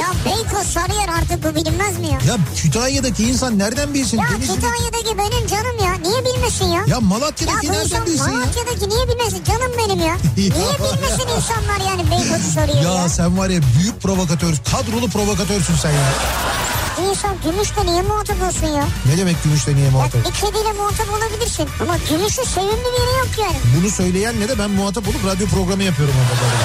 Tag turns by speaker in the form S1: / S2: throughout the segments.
S1: Ya Beykoz Sarıyer artık bu bilinmez mi ya?
S2: Ya Kütahya'daki insan nereden bilsin?
S1: Ya
S2: Denizli'de-
S1: Kütahya'daki benim canım ya. Niye bilmesin ya?
S2: Ya
S1: Ya
S2: Malatya'daki
S1: bu insan
S2: nereden bilsin ya?
S1: Malatya'daki niye bilmesin canım benim ya? Niye bilmesin insanlar yani Beykoz'u soruyor ya?
S2: Ya sen var ya büyük provokatör, kadrolu provokatörsün sen ya.
S1: İnsan gümüşle niye muhatap olsun ya?
S2: Ne demek gümüşle niye
S1: Bak
S2: muhatap?
S1: bir kediyle muhatap olabilirsin ama gümüşle sevimli biri yok yani.
S2: Bunu söyleyen ne de ben muhatap olup radyo programı yapıyorum orada böyle.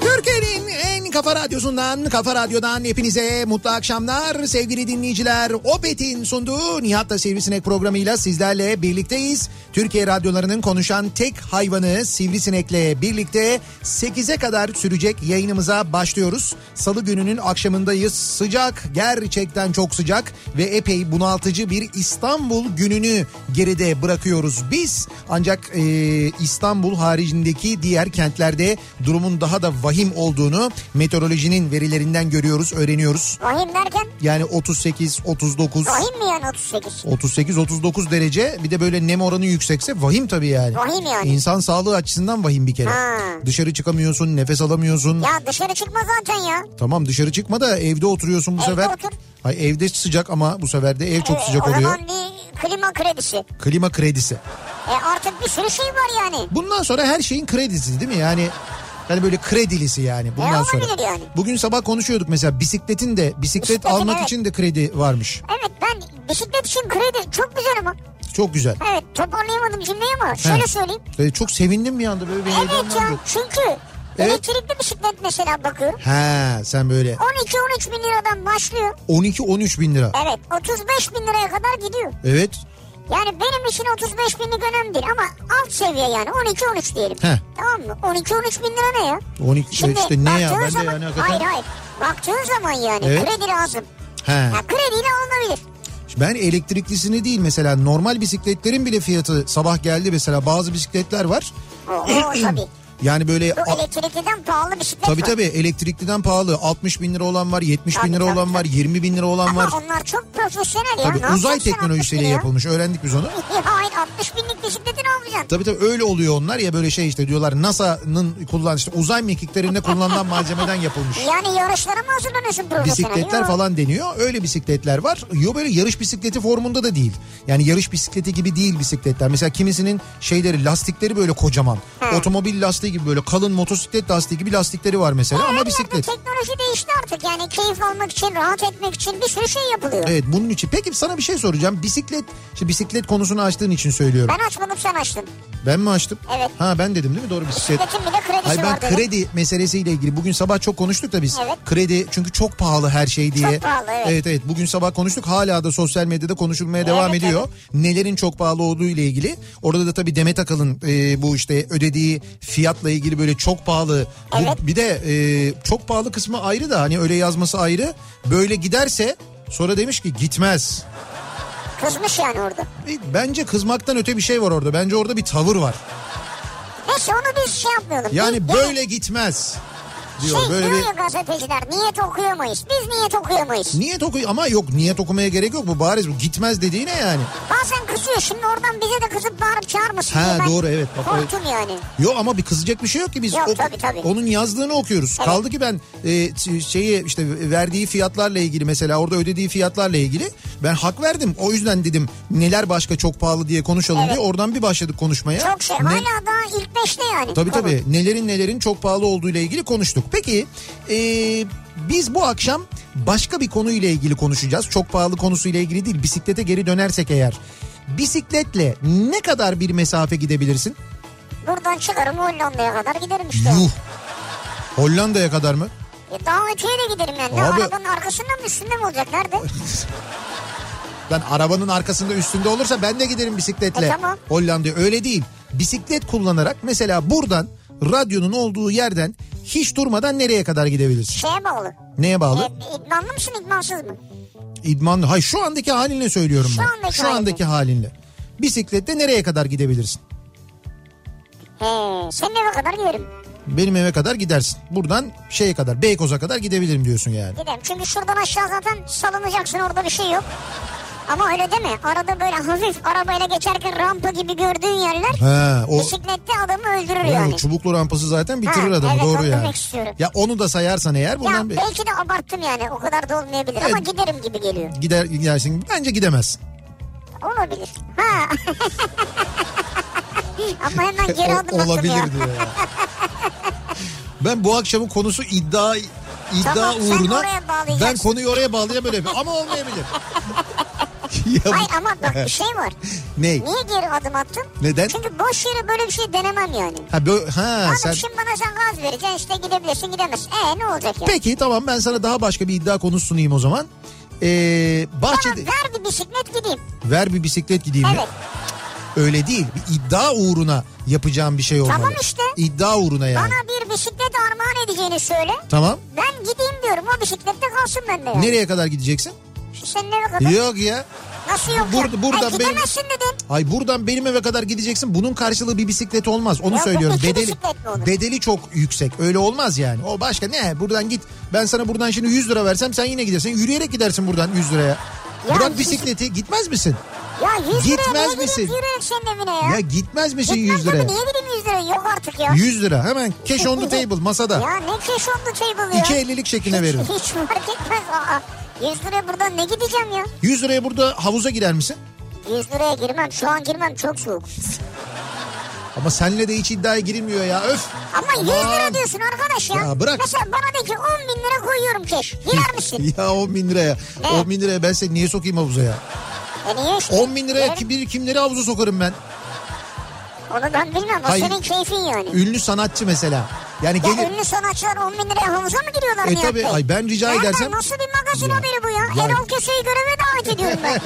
S2: Türkiye'nin en kafa radyosundan, kafa radyodan hepinize mutlu akşamlar sevgili dinleyiciler. Opet'in sunduğu Nihat'la Sivrisinek programıyla sizlerle birlikteyiz. Türkiye radyolarının konuşan tek hayvanı Sivrisinek'le birlikte 8'e kadar sürecek yayınımıza başlıyoruz. Salı gününün akşamındayız. Sıcak, gerçekten çok sıcak ve epey bunaltıcı bir İstanbul gününü geride bırakıyoruz biz. Ancak e, İstanbul haricindeki diğer kentlerde durumun daha da vahim olduğunu meteorolojinin verilerinden görüyoruz, öğreniyoruz.
S1: Rahim derken
S2: Yani 38, 39,
S1: Rahim mi yani 38?
S2: 38, 39 derece bir de böyle nem oranı yüksekse vahim tabii yani.
S1: Vahim yani.
S2: İnsan sağlığı açısından vahim bir kere.
S1: Ha.
S2: Dışarı çıkamıyorsun, nefes alamıyorsun.
S1: Ya dışarı çıkma zaten ya.
S2: Tamam dışarı çıkma da evde oturuyorsun bu
S1: Evde
S2: sefer.
S1: otur.
S2: Ay evde sıcak ama bu sefer de ev çok
S1: Ee,
S2: sıcak
S1: o
S2: oluyor.
S1: zaman bir klima kredisi.
S2: Klima kredisi.
S1: E artık bir sürü şey var yani.
S2: Bundan sonra her şeyin kredisi değil mi? Yani yani böyle kredilisi yani bundan
S1: E,
S2: sonra.
S1: olabilir yani.
S2: Bugün sabah konuşuyorduk mesela bisikletin de bisiklet
S1: Bisikletin,
S2: almak
S1: evet.
S2: için de kredi varmış.
S1: Evet ben bisiklet için kredi çok güzel ama.
S2: Çok güzel.
S1: Evet toparlayamadım cümleyi ama şöyle
S2: He.
S1: söyleyeyim.
S2: Ve çok sevindim bir anda böyle bir
S1: Evet
S2: heyecanlandım.
S1: ya çünkü
S2: Evet.
S1: elektrikli bisiklet mesela bakıyorum.
S2: He sen böyle
S1: 12-13 bin liradan başlıyor.
S2: 12-13 bin lira.
S1: Evet 35 bin liraya kadar gidiyor.
S2: Evet.
S1: Yani benim için 35 binlik önemli değil ama alt seviye yani 12-13 diyelim.
S2: Heh.
S1: Tamam mı? 12-13 bin lira ne ya?
S2: 12 işte ne ya
S1: baktığın
S2: ben de
S1: zaman,
S2: yani
S1: Hayır
S2: hakikaten.
S1: hayır. Baktığın zaman yani
S2: Evet.
S1: kredi lazım.
S2: He.
S1: Ya krediyle alınabilir.
S2: Ben elektriklisini değil mesela normal bisikletlerin bile fiyatı sabah geldi mesela bazı bisikletler var.
S1: O, o tabii.
S2: Yani böyle
S1: Bu
S2: a-
S1: elektrikliden pahalı bisiklet
S2: Tabii
S1: var.
S2: tabii elektrikliden pahalı. 60 bin lira olan var, 70 bin
S1: Tabii,
S2: lira
S1: tabii,
S2: olan var, 20 bin lira olan
S1: Ama
S2: var.
S1: onlar çok profesyonel ya.
S2: Tabii
S1: Ne
S2: uzay
S1: yapacaksın 60 bin
S2: teknolojisiyle
S1: ya?
S2: yapılmış. Öğrendik biz onu.
S1: Hayır 60 binlik bisikleti ne yapacaksın?
S2: Tabii tabii öyle oluyor onlar ya böyle şey işte diyorlar NASA'nın kullan işte uzay mekiklerinde kullanılan malzemeden yapılmış.
S1: Yani yarışlara mı hazırlanıyorsun profesyonel?
S2: Bisikletler
S1: Yok.
S2: falan deniyor. Öyle bisikletler var. Yo böyle yarış bisikleti formunda da değil. Yani yarış bisikleti gibi değil bisikletler. Mesela kimisinin şeyleri lastikleri böyle kocaman.
S1: Hı.
S2: Otomobil lastiği gibi böyle kalın motosiklet lastiği gibi lastikleri var mesela
S1: Her
S2: ama
S1: yerde
S2: bisiklet.
S1: teknoloji değişti artık yani keyif almak için rahat etmek için bir sürü şey yapılıyor.
S2: Evet bunun için. Peki sana bir şey soracağım. Bisiklet, şimdi bisiklet konusunu açtığın için söylüyorum.
S1: Ben açmadım sen açtın.
S2: Ben mi açtım?
S1: Evet.
S2: Ha ben dedim değil mi? Doğru bisiklet.
S1: Bisikletin bile kredisi
S2: Hayır ben
S1: var dedim.
S2: kredi meselesiyle ilgili bugün sabah çok konuştuk da biz.
S1: Evet.
S2: Kredi çünkü çok pahalı her şey diye.
S1: pahalı, evet.
S2: Evet bugün sabah konuştuk hala da sosyal medyada konuşulmaya devam
S1: Evet,
S2: ediyor. Nelerin çok pahalı olduğu ile ilgili. Orada da tabii Demet Akalın e, bu işte ödediği fiyatla ilgili böyle çok pahalı. Bu-
S1: Evet.
S2: Bir de e, çok pahalı kısmı ayrı da hani öyle yazması ayrı. Böyle giderse sonra demiş ki gitmez.
S1: Kızmış yani orada.
S2: E, Bence kızmaktan öte bir şey var orada. Bence orada bir tavır var.
S1: Neyse onu biz şey yapmayalım.
S2: Yani
S1: Bir-
S2: böyle gitmez. diyor.
S1: Şey
S2: Böyle
S1: diyor
S2: bir
S1: ya gazeteciler niyet okuyor muyuz? Biz niyet okuyor muyuz?
S2: niyet okuyor ama yok niyet okumaya gerek yok bu bariz bu gitmez dediğine yani.
S1: Bazen kızıyor şimdi oradan bize de kızıp bağırıp çağırmasın
S2: Ha,
S1: diye ben
S2: doğru, evet. Bak,
S1: korktum yani.
S2: Yok ama bir kızacak bir şey yok ki biz
S1: Yok, tabii, tabii.
S2: onun yazdığını okuyoruz.
S1: Evet.
S2: Kaldı ki ben e, t- şeyi işte verdiği fiyatlarla ilgili mesela orada ödediği fiyatlarla ilgili ben hak verdim. O yüzden dedim neler başka çok pahalı diye konuşalım diye oradan bir başladık konuşmaya.
S1: Çok şey
S2: Ne-
S1: hala daha ilk beşte yani.
S2: Tabii
S1: konu.
S2: tabii nelerin nelerin çok pahalı olduğu ile ilgili konuştuk. Peki e, biz bu akşam başka bir konu ile ilgili konuşacağız. Çok pahalı konusu ile ilgili değil bisiklete geri dönersek eğer. Bisikletle ne kadar bir mesafe gidebilirsin?
S1: Buradan çıkarım Hollanda'ya kadar giderim işte.
S2: Yuh. Hollanda'ya kadar mı?
S1: E, daha öteye de giderim yani. Ne
S2: Abi-
S1: arabanın arkasında mı üstünde mi olacak? Nerede?
S2: Ben arabanın arkasında üstünde olursa ben de giderim bisikletle.
S1: E, tamam.
S2: Hollanda'ya öyle değil. Bisiklet kullanarak mesela buradan radyonun olduğu yerden hiç durmadan nereye kadar gidebilirsin?
S1: Şeye bağlı.
S2: Neye
S1: E,
S2: bağlı?
S1: idmanlı mısın idmansız mı?
S2: İdmanlı. Hayır şu andaki halinle söylüyorum
S1: Şu
S2: ben.
S1: andaki
S2: şu andaki halinle. Bisiklette nereye kadar gidebilirsin?
S1: He, senin eve kadar giderim.
S2: Benim eve kadar gidersin. Buradan şeye kadar Beykoz'a kadar gidebilirim diyorsun yani.
S1: Giderim. Çünkü şuradan aşağı zaten salınacaksın orada bir şey yok. Ama öyle deme. Arada böyle hafif arabayla geçerken rampa gibi gördüğün yerler
S2: Ha, o,
S1: bisiklette adamı öldürür
S2: o
S1: yani.
S2: çubuklu rampası zaten bitirir
S1: Ha,
S2: adamı
S1: evet,
S2: doğru
S1: onu demek
S2: yani.
S1: istiyorum.
S2: Ya onu da sayarsan eğer bundan
S1: Ya
S2: bir...
S1: belki de abarttım yani o kadar da olmayabilir ama
S2: Evet.
S1: giderim gibi geliyor.
S2: gider gidersin. Bence gidemezsin.
S1: Olabilir. Ha. ama hemen geri
S2: O-
S1: adım attım
S2: olabilir
S1: ya.
S2: diyor ya. ben bu akşamın konusu iddia iddia
S1: Tamam, sen
S2: uğruna
S1: oraya bağlayacaksın.
S2: ben konuyu oraya bağlayacağım böyle ama olmayabilir. ya,
S1: Hayır ama bak bir şey var.
S2: ne?
S1: Niye geri adım attım?
S2: Neden?
S1: Çünkü boş yere böyle bir şey denemem yani.
S2: Ha, bö- ha,
S1: Abi
S2: sen...
S1: şimdi bana sen gaz vereceksin işte gidebilirsin gidemezsin. E ne olacak ya?
S2: Peki tamam ben sana daha başka bir iddia konusu sunayım o zaman. Ee,
S1: Bana
S2: bahçede
S1: ver bir bisiklet gideyim.
S2: ver bir bisiklet gideyim. ya.
S1: Evet.
S2: Öyle değil. Bir iddia uğruna yapacağım bir şey olmalı.
S1: Tamam işte.
S2: İddia uğruna yani.
S1: Bana bir bisiklet armağan edeceğini söyle.
S2: Tamam.
S1: Ben gideyim diyorum o bisiklette kalsın bende yani.
S2: Nereye kadar gideceksin?
S1: Senin eve kadar.
S2: Yok ya.
S1: Nasıl yok ya?
S2: Burada- burada
S1: Ay,
S2: ben-
S1: gidemezsin dedin.
S2: Ay buradan benim eve kadar gideceksin. Bunun karşılığı bir bisiklet olmaz. Onu
S1: Ya bu
S2: söylüyorum.
S1: iki
S2: Bedeli
S1: bisiklet mi olur?
S2: bedeli çok yüksek. Öyle olmaz yani. O başka ne? Buradan git. Ben sana buradan şimdi 100 lira versem sen yine gidersin. Yürüyerek gidersin buradan 100 liraya.
S1: Ya şey-
S2: buradan
S1: biz-
S2: bisikleti gitmez misin?
S1: Ya 100 liraya
S2: Gitmez
S1: niye gideyim
S2: misin?
S1: yürüyerek senin evine ya?
S2: Ya gitmez misin
S1: Gitmem
S2: 100 liraya?
S1: tabii, niye gideyim 100 liraya? Yok artık ya.
S2: 100 lira hemen cash on the table masada.
S1: Ya ne cash on the table ya?
S2: İki ellilik şekline
S1: Hiç-
S2: veririm.
S1: Hiç fark etmez. Aa, 100 liraya buradan ne gideceğim ya?
S2: 100 liraya burada havuza girer misin?
S1: 100 liraya girmem. Şu an girmem çok soğuk.
S2: Ama senle de hiç iddiaya girilmiyor ya. Öf.
S1: Ama 100
S2: Aman.
S1: lira diyorsun arkadaş ya.
S2: Ya bırak.
S1: Mesela bana de ki 10 bin lira koyuyorum keş. Girer misin?
S2: ya 10 bin liraya.
S1: Ne?
S2: 10 bin liraya ben seni niye sokayım havuza ya?
S1: e niye işte?
S2: 10 bin liraya
S1: Girerim.
S2: ki- bir kimleri havuza sokarım ben?
S1: Onu ben bilmem. O
S2: Hayır.
S1: senin keyfin yani.
S2: Ünlü sanatçı mesela. Yani
S1: Ya
S2: gelir.
S1: ünlü sanatçılar 10 bin liraya havuza mı giriyorlar
S2: E
S1: Nihat
S2: tabii,
S1: Bey?
S2: ay ben rica
S1: Nereden,
S2: edersem-
S1: Nasıl bir magazin
S2: Ya,
S1: haberi bu ya?
S2: ya.
S1: Erol Köse'yi göreve davet ediyorum ben.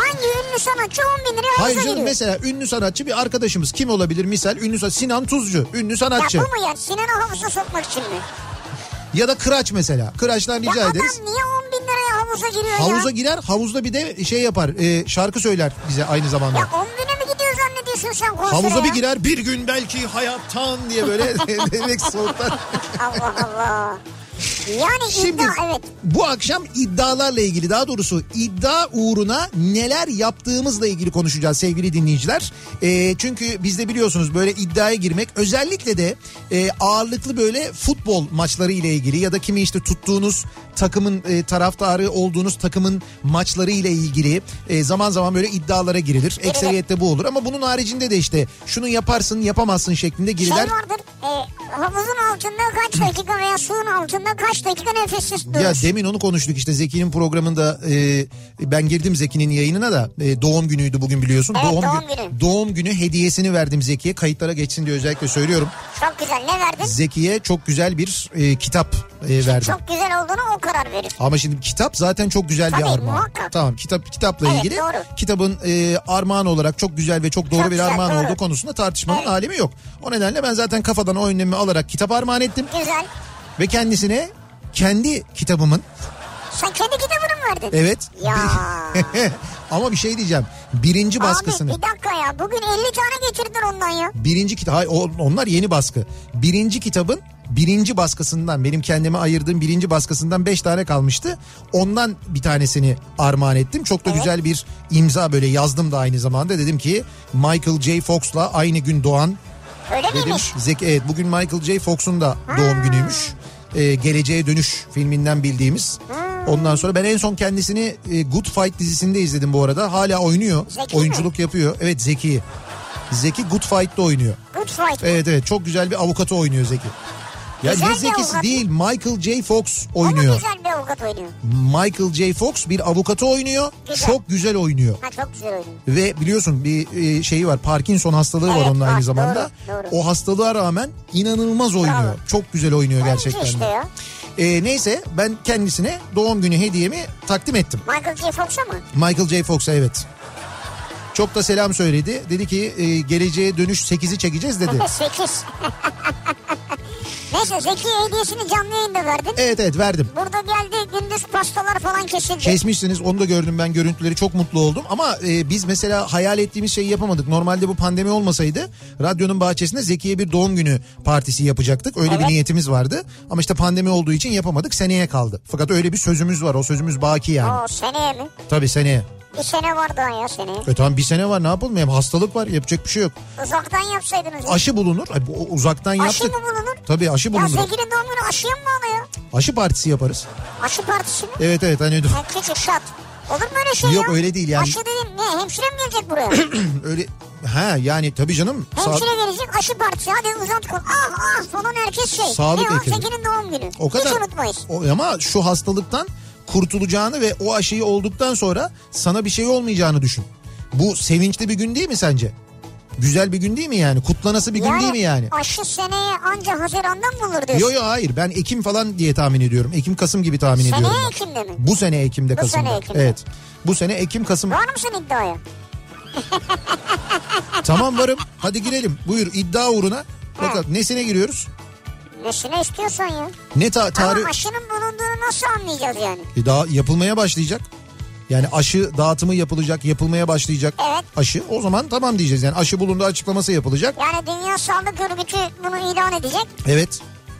S1: Hangi ünlü sanatçı 10 bin liraya
S2: Hayır
S1: havuza
S2: canım
S1: giriyor?
S2: mesela ünlü sanatçı bir arkadaşımız kim olabilir misal ünlü sa- Sinan Tuzcu ünlü sanatçı
S1: Ya
S2: ya,
S1: bu mu ya? Sinan'ı havuza sokmak için mi?
S2: da Kıraç mesela Kıraç'tan rica
S1: ya
S2: ederiz.
S1: adam niye 10 bin liraya havuza giriyor
S2: Havuza
S1: ya?
S2: girer havuzda bir de şey yapar e, şarkı söyler bize aynı zamanda.
S1: Ya 10 bine mi gidiyor zannediyorsun sen konsere
S2: Havuza
S1: ya?
S2: bir girer bir gün belki hayattan diye böyle demek soğuktan.
S1: Allah Allah. Yani
S2: Şimdi
S1: iddia e, şey evet.
S2: bu akşam iddialarla ilgili daha doğrusu iddia uğruna neler yaptığımızla ilgili konuşacağız sevgili dinleyiciler. Ee, çünkü bizde biliyorsunuz böyle iddiaya girmek özellikle de e, ağırlıklı böyle futbol maçları ile ilgili ya da kimi işte tuttuğunuz takımın e, taraftarı olduğunuz takımın maçları ile ilgili e, zaman zaman böyle iddialara girilir. Ekseriyette bu olur ama bunun haricinde de işte şunu yaparsın yapamazsın şeklinde
S1: Şey
S2: giriler.
S1: vardır e, havuzun altında kaç dakika veya suyun altında kaç dakika nefessiz durur.
S2: Ya demin onu konuştuk işte Zeki'nin programında e, ben girdim Zeki'nin yayınına da e, doğum günüydü bugün biliyorsun.
S1: Evet, doğum
S2: gü-
S1: günü.
S2: Doğum günü hediyesini verdim Zeki'ye kayıtlara geçsin diye özellikle söylüyorum.
S1: Çok güzel ne verdin?
S2: Zeki'ye çok güzel bir e, kitap e, verdim.
S1: Çok güzel olduğunu o karar verir.
S2: Ama şimdi kitap zaten çok güzel
S1: Tabii,
S2: bir armağan.
S1: muhakkak.
S2: Tamam kitap kitapla
S1: Evet,
S2: ilgili
S1: doğru.
S2: kitabın e, armağan olarak çok güzel ve çok doğru
S1: Çok
S2: bir
S1: güzel,
S2: armağan
S1: doğru.
S2: olduğu konusunda tartışmanın
S1: Evet.
S2: alemi yok. O nedenle ben zaten kafadan o önlemi alarak kitap armağan ettim
S1: Güzel.
S2: ve kendisine kendi kitabımın
S1: Sen kendi kitabını mı verdin?
S2: evet
S1: Ya.
S2: Ama bir şey diyeceğim. Birinci baskısını.
S1: Abi bir dakika ya. Bugün 50 tane getirdin ondan ya.
S2: Birinci kitap. Hayır o- onlar yeni baskı. Birinci kitabın birinci baskısından benim kendime ayırdığım birinci baskısından beş tane kalmıştı. Ondan bir tanesini armağan ettim. Çok da güzel bir imza böyle yazdım da aynı zamanda. Dedim ki Michael J. Fox'la aynı gün doğan
S1: Öyle
S2: dedim.
S1: miymiş?
S2: Zeki evet bugün Michael J. Fox'un da doğum günüymüş. Ee, Geleceğe Dönüş filminden bildiğimiz. Ondan sonra ben en son kendisini e, Good Fight dizisinde izledim bu arada. Hala oynuyor.
S1: Zeki
S2: Oyunculuk yapıyor. Evet Zeki. Zeki Good Fight'ta oynuyor.
S1: Good fight.
S2: Evet evet çok güzel bir avukatı oynuyor Zeki. Ya
S1: Güzel
S2: ne
S1: bir
S2: zekisi
S1: avukat.
S2: değil Michael J. Fox
S1: Ama
S2: oynuyor.
S1: güzel bir avukat oynuyor.
S2: Michael J. Fox bir avukatı oynuyor.
S1: Güzel.
S2: Çok güzel oynuyor.
S1: Ha çok güzel oynuyor.
S2: Ve biliyorsun bir e, şeyi var Parkinson hastalığı var
S1: Evet,
S2: onun
S1: var.
S2: aynı zamanda.
S1: Doğru, doğru.
S2: O hastalığa rağmen inanılmaz oynuyor.
S1: Bravo.
S2: Çok güzel oynuyor
S1: Oyuncu
S2: gerçekten. de.
S1: işte ya.
S2: E, neyse ben kendisine doğum günü hediyemi takdim ettim.
S1: Michael J. Fox'a mı?
S2: Michael J. Fox'a evet. Çok da selam söyledi. Dedi ki e, geleceğe dönüş 8'i çekeceğiz dedi.
S1: 8. Neyse Zeki hediyesini canlı yayında verdin.
S2: evet evet verdim.
S1: Burada geldi gündüz pastalar falan kesildi.
S2: Kesmişsiniz onu da gördüm ben görüntüleri çok mutlu oldum ama e, biz mesela hayal ettiğimiz şeyi yapamadık. Normalde bu pandemi olmasaydı radyonun bahçesinde Zekiye bir doğum günü partisi yapacaktık. Öyle bir
S1: Evet.
S2: niyetimiz vardı ama işte pandemi olduğu için yapamadık seneye kaldı. Fakat öyle bir sözümüz var o sözümüz baki yani.
S1: Oo seneye mi?
S2: Tabii seneye.
S1: Bir sene var daha ya seneye.
S2: E tamam bir sene var ne yapalım hem hastalık var yapacak bir şey yok.
S1: Uzaktan yapsaydınız.
S2: Aşı bulunur Ay, bu- uzaktan
S1: Aşı
S2: yaptık.
S1: mı bulunur?
S2: Tabii aşı
S1: ya
S2: bulunur.
S1: Zeki'nin doğum günü aşıya mı bağlı ya?
S2: Aşı partisi yaparız.
S1: Aşı partisi mi?
S2: Evet evet hani
S1: Ha, küçük şat. Olur mu öyle şey
S2: Yok,
S1: ya?
S2: öyle değil yani.
S1: Aşı dedim ne hemşire mi gelecek buraya?
S2: öyle ha yani tabii canım. Sağ-
S1: hemşire gelecek aşı partisi hadi uzat kol. Ah ah falan herkes şey.
S2: Sağlık
S1: ne o
S2: ekibi.
S1: Zeki'nin doğum günü.
S2: O kadar.
S1: Hiç unutmayız.
S2: O- ama şu hastalıktan kurtulacağını ve o aşıyı olduktan sonra sana bir şey olmayacağını düşün. Bu sevinçli bir gün değil mi sence? Güzel bir gün değil mi yani? Kutlanası bir gün değil mi yani?
S1: Aşı seneye anca Haziran'dan mı olur diyorsun?
S2: Yo yo hayır ben Ekim falan diye tahmin ediyorum. Ekim Kasım gibi tahmin ediyorum.
S1: Seneye
S2: ben.
S1: Ekim'de mi?
S2: Bu sene Ekim'de
S1: Bu
S2: Kasım'da.
S1: sene Ekim'de.
S2: Evet. Bu sene Ekim Kasım.
S1: Var mısın iddiaya?
S2: tamam varım. Hadi girelim. Buyur iddia uğruna. Bakalım nesine giriyoruz?
S1: Nesine istiyorsan ya.
S2: Ne ta- tarih?
S1: Ama aşının bulunduğunu nasıl anlayacağız yani?
S2: E, Daha yapılmaya başlayacak. Yani aşı dağıtımı yapılacak, yapılmaya başlayacak
S1: Evet.
S2: aşı. O zaman tamam diyeceğiz. Yani aşı bulundu açıklaması yapılacak.
S1: Yani Dünya Sağlık Örgütü bunu ilan edecek.
S2: Evet,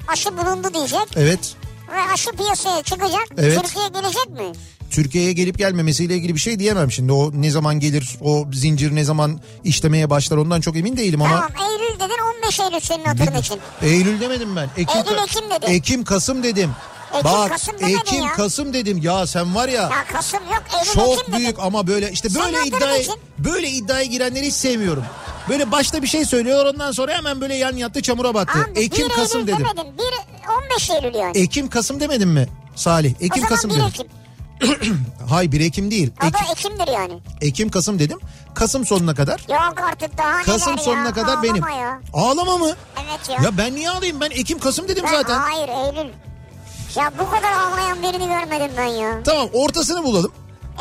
S1: Aşı bulundu diyecek.
S2: evet.
S1: Ve aşı piyasaya çıkacak.
S2: Evet.
S1: Türkiye gelecek mi?
S2: Türkiye'ye gelip gelmemesiyle ilgili bir şey diyemem şimdi. O ne zaman gelir, o zincir ne zaman işlemeye başlar ondan çok emin değilim ama...
S1: Tamam Eylül dedin 15 Eylül senin hatırın için.
S2: Eylül demedim ben. Ekim,
S1: Eylül, Ekim dedin.
S2: Ekim, Kasım dedim.
S1: Ekim,
S2: Bak,
S1: Kasım demedin
S2: Ekim,
S1: ya.
S2: Kasım dedim. Ya sen var ya...
S1: Ya Kasım yok Eylül
S2: Çok
S1: Ekim
S2: büyük
S1: dedin.
S2: ama böyle işte
S1: Sen
S2: böyle
S1: ne yaptın
S2: iddiaya
S1: için?
S2: böyle iddiaya girenleri hiç sevmiyorum. Böyle başta bir şey söylüyor ondan sonra hemen böyle yan yattı çamura battı.
S1: Abi,
S2: Ekim
S1: 1
S2: Kasım
S1: Eylül
S2: dedim.
S1: Demedin. 1 15 Eylül yani.
S2: Ekim Kasım demedim mi? Salih.
S1: o
S2: Ekim
S1: zaman
S2: Kasım
S1: 1
S2: dedim.
S1: Ekim.
S2: Hayır 1 Ekim değil.
S1: O
S2: Ekim,
S1: da Ekim'dir yani.
S2: Ekim Kasım dedim. Kasım sonuna kadar.
S1: Yok artık daha neler
S2: Kasım
S1: ya.
S2: sonuna kadar
S1: Ağlama
S2: benim.
S1: Ya.
S2: Ağlama mı?
S1: Evet ya.
S2: Ya ben niye ağlayayım? Ben Ekim Kasım dedim
S1: Ben-
S2: zaten.
S1: Hayır Eylül. Ya bu kadar ağlayan birini görmedim ben ya.
S2: Tamam ortasını bulalım.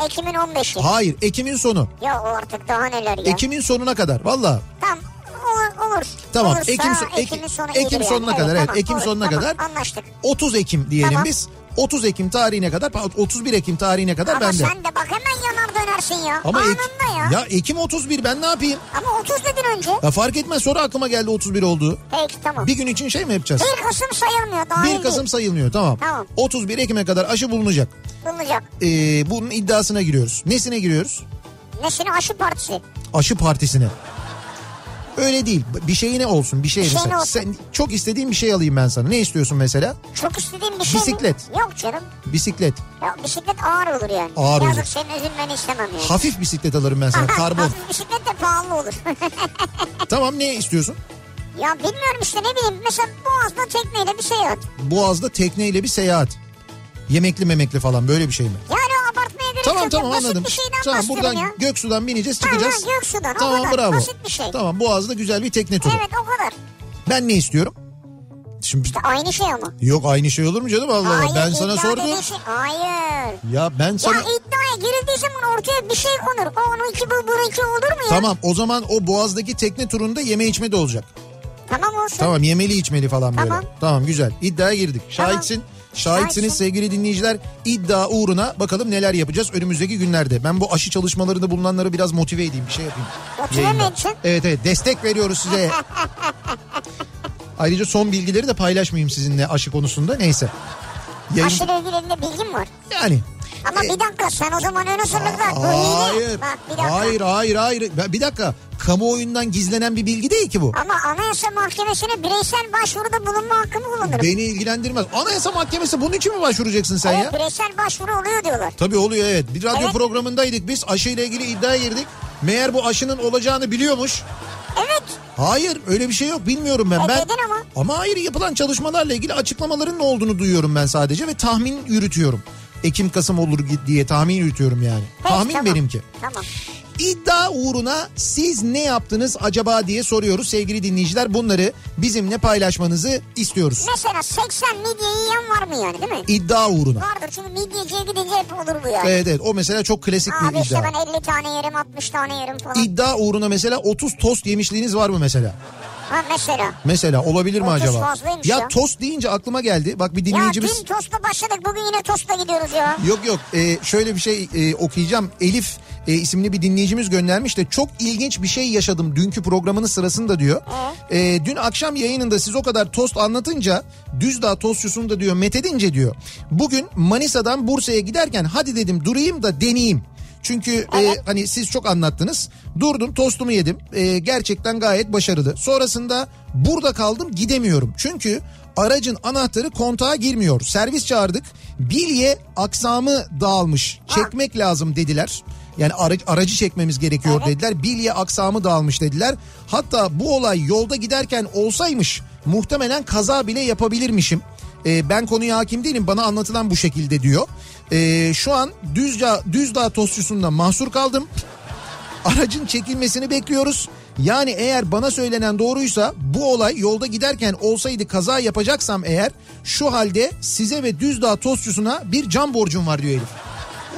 S1: Ekim'in 15'i.
S2: Hayır Ekim'in sonu.
S1: Ya o artık daha neler ya.
S2: Ekim'in sonuna kadar valla.
S1: Tamam olur. olur.
S2: Tamam,
S1: Olursa
S2: Ekim so- Ekim-
S1: Ekim'in sonu
S2: Ekim
S1: iyidir yani.
S2: sonuna kadar, evet,
S1: tamam,
S2: Ekim sonuna
S1: tamam,
S2: kadar.
S1: Anlaştık.
S2: 30 Ekim diyelim
S1: Tamam.
S2: biz. 30 Ekim tarihine kadar 31 Ekim tarihine kadar
S1: Ama
S2: bende.
S1: sen de bak hemen yanar dönersin ya.
S2: Ama Ek-
S1: Anında ya.
S2: ya Ekim 31 ben ne yapayım?
S1: Ama 30 dedin önce.
S2: Ya fark etmez sonra aklıma geldi 31 olduğu.
S1: Peki tamam. 1
S2: Bir gün için şey mi yapacağız?
S1: Kasım sayılmıyor. Dahil
S2: 1 Kasım sayılmıyor tamam.
S1: Tamam.
S2: 31 Ekim'e kadar aşı bulunacak.
S1: değil. Bulunacak.
S2: Ee, bunun iddiasına giriyoruz. Nesine giriyoruz?
S1: Nesine aşı partisi.
S2: Aşı partisine. Öyle değil. B- Bir şeyine olsun. Bir şeyine.
S1: Bir şeyine
S2: sen,
S1: olsun.
S2: sen çok istediğin bir şey alayım ben sana. Ne istiyorsun mesela?
S1: Çok istediğim bir şey mi?
S2: Bisiklet.
S1: Yok canım.
S2: Bisiklet.
S1: Ya bisiklet ağır olur yani.
S2: Ağır
S1: Yazık
S2: olur.
S1: senin üzülmeni istemem yani.
S2: Hafif bisiklet alırım ben sana.
S1: Aha,
S2: Karbon.
S1: Hafif bisiklet de pahalı olur.
S2: tamam ne istiyorsun?
S1: ya bilmiyorum işte ne bileyim. Mesela Boğaz'da tekneyle bir şey at.
S2: Boğaz'da tekneyle bir seyahat. Yemekli memekli falan böyle bir şey mi?
S1: Yani o abartmaya gerek
S2: Tamam
S1: yok.
S2: tamam
S1: Basit
S2: anladım.
S1: bir şeyden
S2: Tamam
S1: bahsediyorum
S2: buradan
S1: ya.
S2: Göksu'dan bineceğiz çıkacağız.
S1: Tamam, Göksu'dan, o
S2: Tamam
S1: kadar.
S2: bravo.
S1: Basit bir şey.
S2: Tamam Boğaz'da güzel bir tekne turu.
S1: Evet o kadar.
S2: Ben ne istiyorum? Şimdi
S1: Aynı şey ama.
S2: yok aynı şey olur mu canım Allah Allah
S1: Hayır,
S2: ben sana
S1: iddia
S2: sordum.
S1: dediği Şey, hayır.
S2: Ya ben
S1: Ya
S2: sana
S1: iddiaya girildiği zaman ortaya bir şey konur. O onun iki bu bunun iki olur mu ya?
S2: Tamam o zaman o Boğaz'daki tekne turunda yeme içme de olacak.
S1: Tamam olsun.
S2: Tamam yemeli içmeli falan böyle.
S1: Tamam.
S2: Tamam güzel. İddiaya girdik. Şahitsin. Şahitsiniz
S1: Şahitsin.
S2: sevgili dinleyiciler. İddia uğruna bakalım neler yapacağız önümüzdeki günlerde. Ben bu aşı çalışmalarında bulunanları biraz motive edeyim. Bir şey yapayım.
S1: Motive mi
S2: Yayında.
S1: edeceksin?
S2: Evet evet destek veriyoruz size. Ayrıca son bilgileri de paylaşmayayım sizinle aşı konusunda neyse. Yayın-
S1: Aşıyla ilgili elinde bilgim var.
S2: yani.
S1: Ama
S2: E,
S1: bir dakika sen o zaman ön hazırlık var. Bu
S2: Hayır.
S1: hile. Bak bir dakika.
S2: Hayır hayır hayır. Ben- Bir dakika. Kamuoyundan gizlenen bir bilgi değil ki bu.
S1: Ama Anayasa Mahkemesi'ne bireysel başvuruda bulunma hakkımı kullanırım.
S2: Beni ilgilendirmez. Anayasa Mahkemesi bunun için mi başvuracaksın sen ya?
S1: evet bireysel başvuru oluyor diyorlar.
S2: Tabii oluyor evet. Bir radyo
S1: Evet.
S2: programındaydık biz aşıyla ilgili iddiaya girdik. Meğer bu aşının olacağını biliyormuş.
S1: Evet.
S2: Hayır öyle bir şey yok bilmiyorum ben.
S1: E,
S2: ben
S1: dedin ama.
S2: hayır yapılan çalışmalarla ilgili açıklamaların ne olduğunu duyuyorum ben sadece ve tahmin yürütüyorum. Ekim Kasım olur diye tahmin yürütüyorum yani.
S1: Peki,
S2: tahmin
S1: tamam.
S2: benimki.
S1: Tamam.
S2: İddia uğruna siz ne yaptınız acaba diye soruyoruz sevgili dinleyiciler. Bunları bizimle paylaşmanızı istiyoruz.
S1: Mesela 80 midye yiyen var mı yani değil mi?
S2: İddia uğruna.
S1: Vardır çünkü midyeciye gidince hep olur bu yani.
S2: Evet evet o mesela çok klasik
S1: Abi
S2: bir
S1: işte
S2: iddia.
S1: ben 50 tane yerim 60 tane yerim falan.
S2: İddia uğruna mesela 30 tost yemişliğiniz var mı mesela?
S1: ha mesela.
S2: Mesela olabilir mi
S1: 30
S2: acaba?
S1: fazlaymış
S2: Ya
S1: ya.
S2: tost deyince aklıma geldi. Bak bir
S1: Ya
S2: dinleyicimiz...
S1: dün tostla başladık bugün yine tostla gidiyoruz ya.
S2: Yok yok e, şöyle bir şey e, okuyacağım. Elif e, isimli bir dinleyicimiz göndermiş de çok ilginç bir şey yaşadım dünkü programının sırasında diyor. E, dün akşam yayınında siz o kadar tost anlatınca Düzdağ tostçusunu da diyor methedince diyor. Bugün Manisa'dan Bursa'ya giderken hadi dedim durayım da deneyeyim. Çünkü e, hani siz çok anlattınız. Durdum tostumu yedim. E, gerçekten gayet başarılı. Sonrasında burada kaldım gidemiyorum. Çünkü aracın anahtarı kontağa girmiyor. Servis çağırdık. Bilye aksamı dağılmış. Çekmek lazım dediler. Yani ara- aracı çekmemiz gerekiyor dediler. Bilye aksamı dağılmış dediler. Hatta bu olay yolda giderken olsaymış muhtemelen kaza bile yapabilirmişim. E, ben konuya hakim değilim bana anlatılan bu şekilde diyor. E, şu an Düzca, Düzdağ tostçusunda mahsur kaldım. Aracın çekilmesini bekliyoruz. Yani eğer bana söylenen doğruysa bu olay yolda giderken olsaydı kaza yapacaksam eğer şu halde size ve Düzdağ tostçusuna bir can borcum var diyor Elif.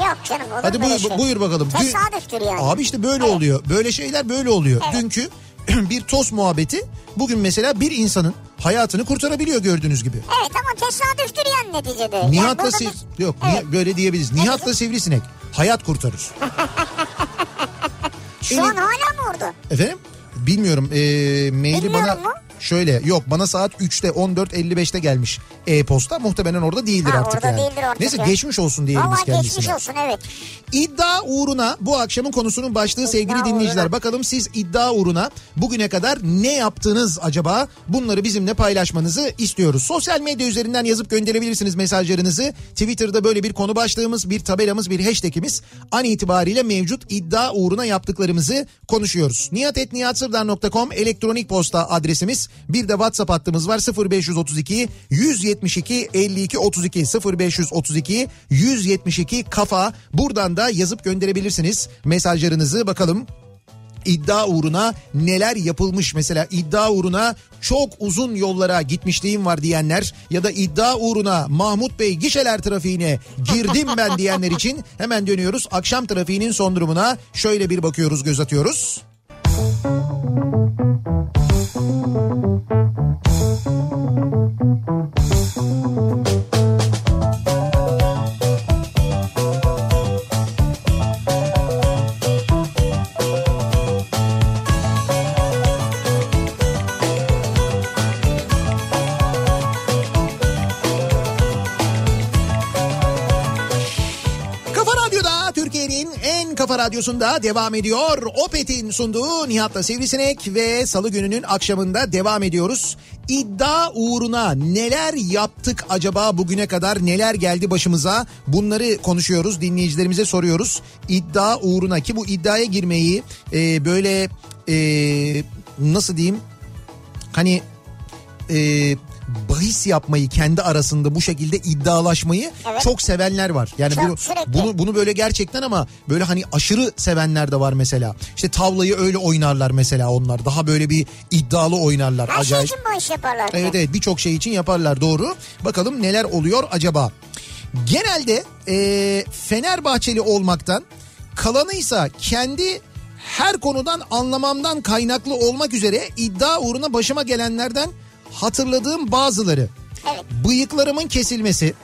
S1: Yok canım olur
S2: Hadi
S1: böyle
S2: buyur,
S1: şey.
S2: buyur bakalım. Dün-
S1: Tesadüftür yani.
S2: Abi işte böyle oluyor. Böyle şeyler böyle oluyor. Dünkü bir tost muhabbeti bugün mesela bir insanın hayatını kurtarabiliyor gördüğünüz gibi.
S1: Evet ama tesadüftür yani neticede. Yani
S2: Nihat'la
S1: burada
S2: siv...
S1: biz-
S2: Yok
S1: Evet.
S2: Nihat- böyle diyebiliriz. Nihat'la sivrisinek hayat kurtarır.
S1: Şu an hala mı orada?
S2: Efendim? Bilmiyorum. Ee, maili
S1: Bilmiyorum
S2: bana
S1: mu?
S2: şöyle yok bana saat 3'te 14.55'te gelmiş e-posta. Muhtemelen orada değildir
S1: Ha,
S2: artık
S1: orada
S2: yani.
S1: değildir artık
S2: Neyse
S1: ya.
S2: geçmiş olsun diyelim biz
S1: Valla
S2: kendisine.
S1: geçmiş olsun evet.
S2: İddia uğruna bu akşamın konusunun başlığı sevgili dinleyiciler.
S1: uğruna.
S2: Bakalım siz iddia uğruna bugüne kadar ne yaptınız acaba? Bunları bizimle paylaşmanızı istiyoruz. Sosyal medya üzerinden yazıp gönderebilirsiniz mesajlarınızı. Twitter'da böyle bir konu başlığımız, bir tabelamız, bir hashtagimiz an itibariyle mevcut iddia uğruna yaptıklarımızı konuşuyoruz. Nihatetnihatsırdar.com elektronik posta adresimiz. Bir de WhatsApp hattımız var 0532 172 52 32 0532 172 kafa. Buradan da yazıp gönderebilirsiniz mesajlarınızı bakalım iddia uğruna neler yapılmış mesela iddia uğruna çok uzun yollara gitmişliğim var diyenler ya da iddia uğruna Mahmut Bey gişeler trafiğine girdim ben diyenler için hemen dönüyoruz akşam trafiğinin son durumuna şöyle bir bakıyoruz göz atıyoruz. Kafa Radyo'da Türkiye'nin en kafa radyosunda devam ediyor. Opet'in sunduğu Nihat'la Sivrisinek ve Salı gününün akşamında devam ediyoruz. İddia uğruna neler yaptık acaba bugüne kadar neler geldi başımıza bunları konuşuyoruz dinleyicilerimize soruyoruz. İddia uğruna ki bu iddiaya girmeyi e, böyle e, nasıl diyeyim hani e, bahis yapmayı kendi arasında bu şekilde iddialaşmayı
S1: Evet.
S2: çok sevenler var. Yani
S1: Çok,
S2: Hani bunu,
S1: sürekli.
S2: bunu bunu böyle gerçekten ama böyle hani aşırı sevenler de var mesela. İşte tavlayı öyle oynarlar mesela onlar. Daha böyle bir iddialı oynarlar.
S1: Her
S2: Acayip.
S1: şey için bu iş yaparlar.
S2: Evet evet birçok şey için yaparlar doğru. Bakalım neler oluyor acaba? Genelde e, Fenerbahçeli olmaktan kalanıysa kendi her konudan anlamamdan kaynaklı olmak üzere iddia uğruna başıma gelenlerden hatırladığım bazıları.
S1: Evet.
S2: Bıyıklarımın kesilmesi,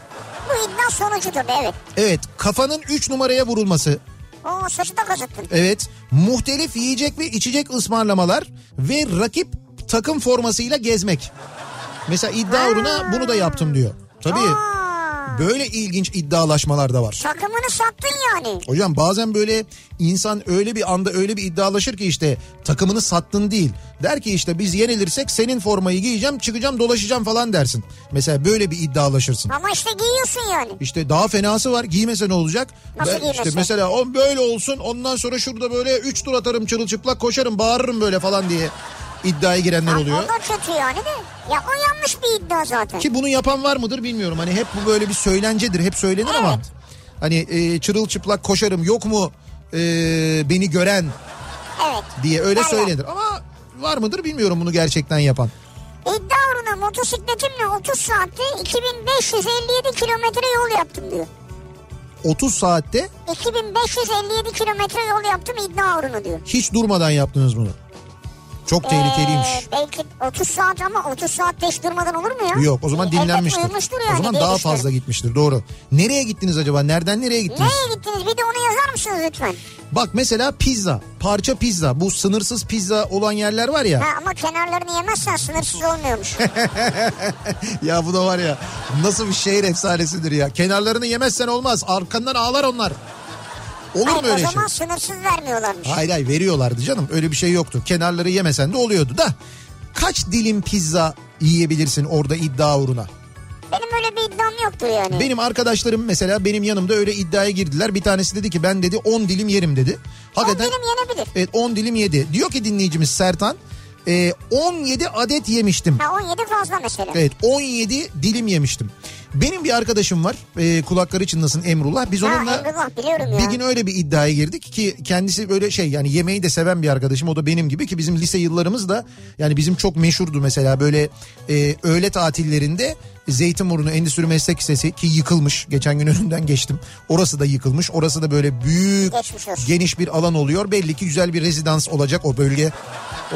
S1: Bu iddia sonucu tabii evet.
S2: evet kafanın 3 numaraya vurulması,
S1: Oo saçı da kazıttın.
S2: Evet. Muhtelif yiyecek ve içecek ısmarlamalar ve rakip takım formasıyla gezmek. Mesela iddia uğruna bunu da yaptım diyor. Tabii
S1: Aa,
S2: böyle ilginç iddialaşmalar da var.
S1: takımını sattın yani.
S2: Hocam bazen böyle insan öyle bir anda öyle bir iddialaşır ki işte takımını sattın değil. Der ki işte biz yenilirsek senin formayı giyeceğim çıkacağım dolaşacağım falan dersin. Mesela böyle bir iddialaşırsın.
S1: Ama işte giyiyorsun yani.
S2: İşte daha fenası var giymese ne olacak?
S1: Nasıl giymese?
S2: işte mesela o böyle olsun ondan sonra şurada böyle 3 tur atarım çırılçıplak koşarım bağırırım böyle falan diye iddiaya girenler
S1: Ya
S2: oluyor.
S1: O da kötü yani de. Ya o yanlış bir iddia zaten.
S2: Ki bunu yapan var mıdır bilmiyorum. Hani hep bu böyle bir söylencedir. Hep söylenir ama. Hani e, çırılçıplak koşarım yok mu e, beni gören
S1: Evet.
S2: diye öyle
S1: Var ya.
S2: söylenir. Ama var mıdır bilmiyorum bunu gerçekten yapan.
S1: İddia uğruna motosikletimle 30 saatte 2557 kilometre yol yaptım diyor.
S2: 30 saatte
S1: 2557 kilometre yol yaptım iddia uğruna diyor.
S2: hiç durmadan yaptınız bunu. Çok tehlikeliymiş.
S1: Ee, belki 30 saat ama 30 saatte hiç durmadan olur mu ya?
S2: Yok o zaman
S1: Elbet
S2: dinlenmiştir.
S1: uyumuştur yani
S2: o zaman
S1: diye
S2: daha
S1: düşünüyorum.
S2: fazla gitmiştir doğru. Nereye gittiniz acaba? Nereden nereye gittiniz?
S1: Nereye gittiniz? Bir de onu yazar mısınız lütfen?
S2: Bak mesela pizza, parça pizza. Bu sınırsız pizza olan yerler var ya.
S1: Ha, ama kenarlarını yemezsen sınırsız olmuyormuş.
S2: ya bu da var ya nasıl bir şehir efsanesidir ya. Kenarlarını yemezsen olmaz. Arkandan ağlar onlar. Olur mu
S1: Hayır, o
S2: öyle şey?
S1: zaman sınırsız vermiyorlarmış.
S2: Hayır hayır veriyorlardı canım. Öyle bir şey yoktu. Kenarları yemesen de oluyordu da. Kaç dilim pizza yiyebilirsin orada iddia uğruna?
S1: Benim öyle bir iddiam yoktur yani.
S2: Benim arkadaşlarım mesela benim yanımda öyle iddiaya girdiler. Bir tanesi dedi ki ben dedi 10 dilim yerim dedi. Hakikaten
S1: dilim yenebilir.
S2: Evet 10 dilim yedi. Diyor ki dinleyicimiz Sertan e, 17 adet yemiştim.
S1: Ha, 17 fazla mesela.
S2: Evet 17 dilim yemiştim. Benim bir arkadaşım var e, kulakları çınlasın Emrullah. Biz
S1: Ha,
S2: onunla
S1: Emrullah biliyorum
S2: bir
S1: ya.
S2: gün öyle bir iddiaya girdik ki kendisi böyle şey yani yemeği de seven bir arkadaşım o da benim gibi ki bizim lise yıllarımız da yani bizim çok meşhurdu mesela böyle e, öğle tatillerinde Zeytinburnu Endüstri Meslek Lisesi ki yıkılmış geçen gün önünden geçtim orası da yıkılmış orası da böyle büyük
S1: Geçmiş olsun.
S2: geniş bir alan oluyor belli ki güzel bir rezidans olacak o bölge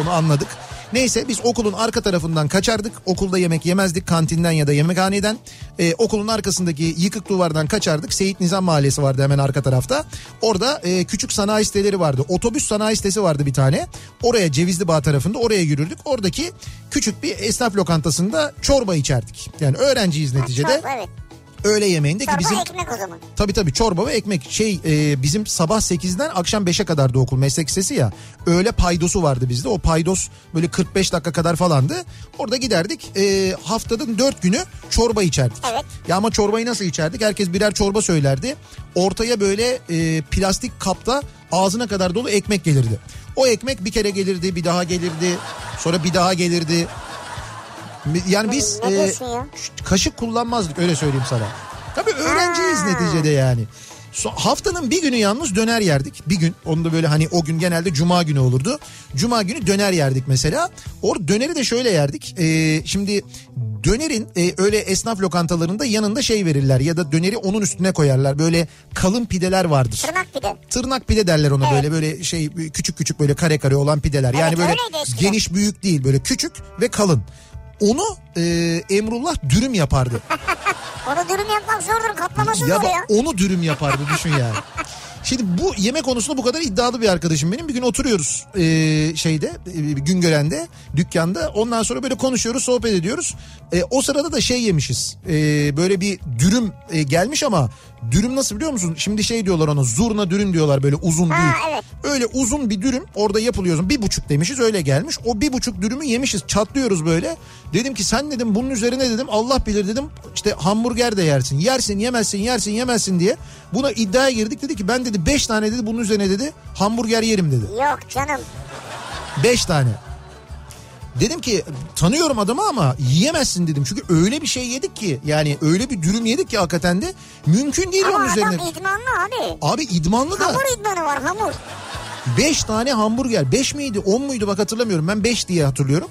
S2: onu anladık. Neyse biz okulun arka tarafından kaçardık. Okulda yemek yemezdik kantinden ya da yemekhaneden. Ee, okulun arkasındaki yıkık duvardan kaçardık. Seyit Nizam Mahallesi vardı hemen arka tarafta. Orada e, küçük sanayi siteleri vardı. Otobüs sanayi sitesi vardı bir tane. Oraya Cevizli Bağ tarafında oraya yürürdük. Oradaki küçük bir esnaf lokantasında çorba içerdik. Yani öğrenciyiz neticede.
S1: Çorba, evet.
S2: Öğle yemeğinde ki
S1: Çorba
S2: bizim...
S1: ekmek o zaman.
S2: Tabii tabii çorba ve ekmek şey e, bizim sabah 8'den akşam 5'e kadar da okul meslek lisesi ya. Öğle paydosu vardı bizde o paydos böyle 45 dakika kadar falandı. Orada giderdik e, haftanın 4 günü çorba içerdik.
S1: Evet.
S2: Ya ama çorbayı nasıl içerdik herkes birer çorba söylerdi. Ortaya böyle e, plastik kapta ağzına kadar dolu ekmek gelirdi. O ekmek bir kere gelirdi bir daha gelirdi sonra bir daha gelirdi. Yani biz
S1: Ne
S2: e,
S1: diyorsun ya?
S2: kaşık kullanmazdık öyle söyleyeyim sana. Tabii öğrenciyiz
S1: Ha.
S2: neticede yani. So- haftanın bir günü yalnız döner yerdik. Bir gün onu da böyle hani o gün genelde cuma günü olurdu. Cuma günü döner yerdik mesela. Or döneri de şöyle yerdik. Ee, şimdi dönerin e, öyle esnaf lokantalarında yanında şey verirler ya da döneri onun üstüne koyarlar. Böyle kalın pideler vardır.
S1: Tırnak bir de.
S2: Tırnak pide derler ona böyle böyle şey küçük küçük böyle kare kare olan pideler. yani
S1: Evet,
S2: böyle
S1: öyleydi eskiden.
S2: geniş büyük değil böyle küçük ve kalın. Onu e, Emrullah dürüm yapardı.
S1: Onu dürüm yapmak zordur. Katlaması
S2: ya
S1: zor
S2: da
S1: ya.
S2: onu dürüm yapardı düşün yani. Şimdi bu yemek konusunda bu kadar iddialı bir arkadaşım benim. Bir gün oturuyoruz e, şeyde e, Güngören'de dükkanda. Ondan sonra böyle konuşuyoruz sohbet ediyoruz. E, o sırada da şey yemişiz. E, böyle bir dürüm e, gelmiş ama dürüm nasıl biliyor musun? Şimdi şey diyorlar ona zurna dürüm diyorlar böyle uzun
S1: Ha,
S2: büyük.
S1: evet.
S2: Öyle uzun bir dürüm orada yapılıyor. Bir buçuk demişiz öyle gelmiş. O bir buçuk dürümü yemişiz çatlıyoruz böyle. Dedim ki sen dedim bunun üzerine dedim Allah bilir dedim işte hamburger de yersin. Yersin yemezsin yersin yemezsin diye. Buna iddiaya girdik dedi ki ben dedi beş tane dedi bunun üzerine dedi hamburger yerim dedi.
S1: Yok canım.
S2: Beş tane. Dedim ki tanıyorum adamı ama yiyemezsin dedim. Çünkü öyle bir şey yedik ki yani öyle bir dürüm yedik ki hakikaten de mümkün değil
S1: Ama
S2: onun
S1: adam
S2: üzerine.
S1: idmanlı abi.
S2: Abi idmanlı da.
S1: Hamur idmanı var hamur.
S2: 5 tane hamburger. 5 miydi 10 muydu bak hatırlamıyorum. Ben 5 diye hatırlıyorum.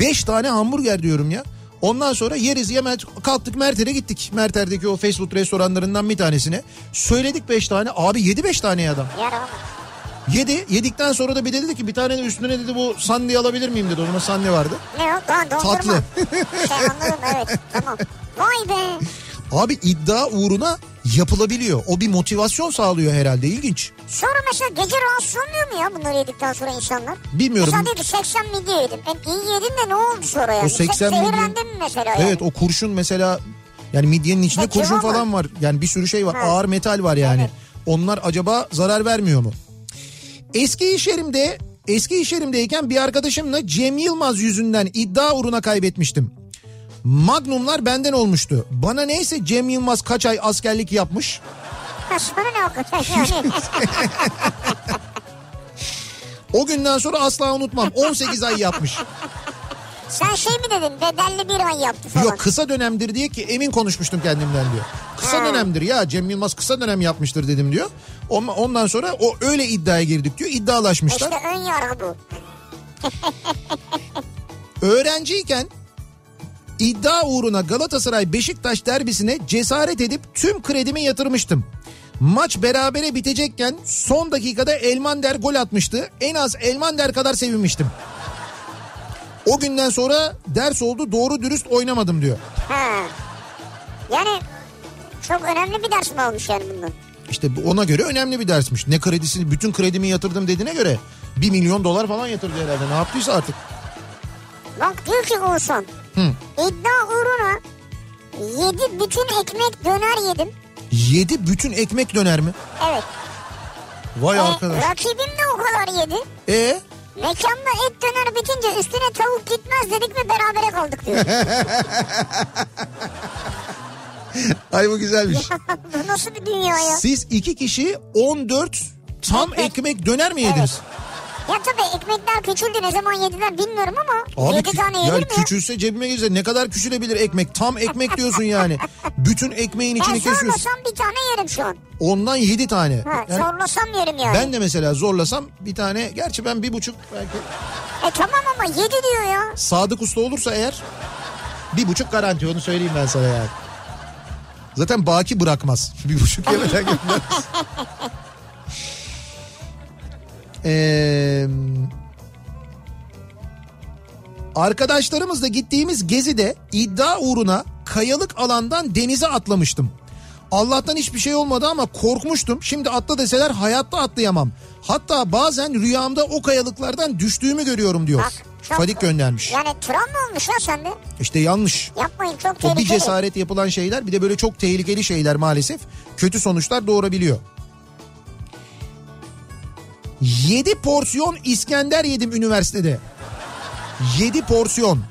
S2: 5 tane hamburger diyorum ya. Ondan sonra yeriz yemez kalktık Merter'e gittik. Merter'deki o fast food restoranlarından bir tanesine. Söyledik 5 tane. Abi yedi 5 tane ya adam.
S1: Yaramaz.
S2: Yedi. Yedikten sonra da bir de dedi ki bir tane de üstüne dedi bu sandviye alabilir miyim dedi. Onunla sandviye vardı.
S1: Ne o? Lan dondurma.
S2: Tatlı.
S1: Şey anladım evet tamam. Vay be.
S2: Abi iddia uğruna yapılabiliyor. O bir motivasyon sağlıyor herhalde ilginç.
S1: Sonra mesela gece rahatsız olmuyor mu ya bunları yedikten sonra insanlar?
S2: Bilmiyorum.
S1: Mesela diyor ki 80 midye yedim. E, iyi yedin de ne oldu sonra yani?
S2: O 80
S1: Se-
S2: midye-
S1: Zehirlendin mi mesela yani?
S2: Evet o kurşun mesela yani midyenin içinde
S1: Peki,
S2: kurşun
S1: var mı?
S2: falan var. Yani bir sürü şey var.
S1: Ha.
S2: Ağır metal var yani.
S1: Evet.
S2: Onlar acaba zarar vermiyor mu? Eski iş yerimde eski iş yerimdeyken bir arkadaşımla Cem Yılmaz yüzünden iddia uğruna kaybetmiştim. Magnumlar benden olmuştu. Bana neyse Cem Yılmaz kaç ay askerlik yapmış.
S1: Ha, sonra ne hakikaten yani?
S2: O günden sonra asla unutmam. 18 ay yapmış.
S1: Sen şey mi dedin bedelli bir ay yaptı falan.
S2: Yok kısa dönemdir diye ki emin konuşmuştum kendimden diyor. Kısa
S1: Ha.
S2: dönemdir ya Cem Yılmaz kısa dönem yapmıştır dedim diyor. On- Ondan sonra o öyle iddiaya girdik diyor. İddialaşmışlar.
S1: İşte ön yargı bu.
S2: Öğrenciyken iddia uğruna Galatasaray Beşiktaş derbisine cesaret edip tüm kredimi yatırmıştım. Maç berabere bitecekken son dakikada Elmander gol atmıştı. En az Elmander kadar sevinmiştim. O günden sonra ders oldu doğru dürüst oynamadım diyor.
S1: Ha. Yani çok önemli bir ders mi almış yani bundan?
S2: İşte bu- ona göre önemli bir dersmiş. Ne kredisini bütün kredimi yatırdım dediğine göre 1 milyon dolar falan yatırdı herhalde. Ne yaptıysa artık.
S1: Bak diyor ki Oğuzhan.
S2: Hı.
S1: İddia uğruna yedi bütün ekmek döner yedim.
S2: 7 bütün ekmek döner mi?
S1: Evet.
S2: Vay
S1: E,
S2: arkadaş.
S1: rakibim de o kadar yedi.
S2: E
S1: Mekanda et döner bitince üstüne tavuk gitmez dedik ve berabere kaldık diyor.
S2: ay bu güzelmiş.
S1: Bu nasıl bir dünya ya?
S2: Siz iki kişi 14 tam
S1: Ekmek.
S2: ekmek döner mi yediniz?
S1: Ya tabii ekmekler küçüldü ne zaman yediler bilmiyorum ama
S2: Abi
S1: yedi
S2: kü-
S1: tane
S2: yani
S1: yedir mi ya?
S2: küçülse cebime girse ne kadar küçülebilir ekmek? Tam ekmek diyorsun yani. Bütün ekmeğin
S1: Ben
S2: içini kesiyorsun.
S1: E, zorlasam bir tane yerim şu an.
S2: Ondan 7 tane.
S1: Ha,
S2: Yani
S1: zorlasam yerim yani.
S2: ben de mesela zorlasam bir tane gerçi ben bir buçuk belki
S1: E tamam ama yedi diyor ya.
S2: Sadık Usta olursa eğer bir buçuk garanti onu söyleyeyim ben sana yani. Zaten baki bırakmaz. Bir buçuk yemeden göndermez. Ee, arkadaşlarımızla gittiğimiz gezide iddia uğruna kayalık alandan denize atlamıştım. Allah'tan hiçbir şey olmadı ama korkmuştum. Şimdi atla deseler hayatta atlayamam. Hatta bazen rüyamda o kayalıklardan düştüğümü görüyorum diyor.
S1: Bak, çok-
S2: Fadik göndermiş.
S1: Yani travma olmuş ya sende.
S2: İşte yanlış.
S1: Yapmayın çok
S2: O bir
S1: tehlikeli.
S2: cesaret yapılan şeyler bir de böyle çok tehlikeli şeyler maalesef kötü sonuçlar doğurabiliyor. 7 porsiyon İskender yedim üniversitede. 7 porsiyon.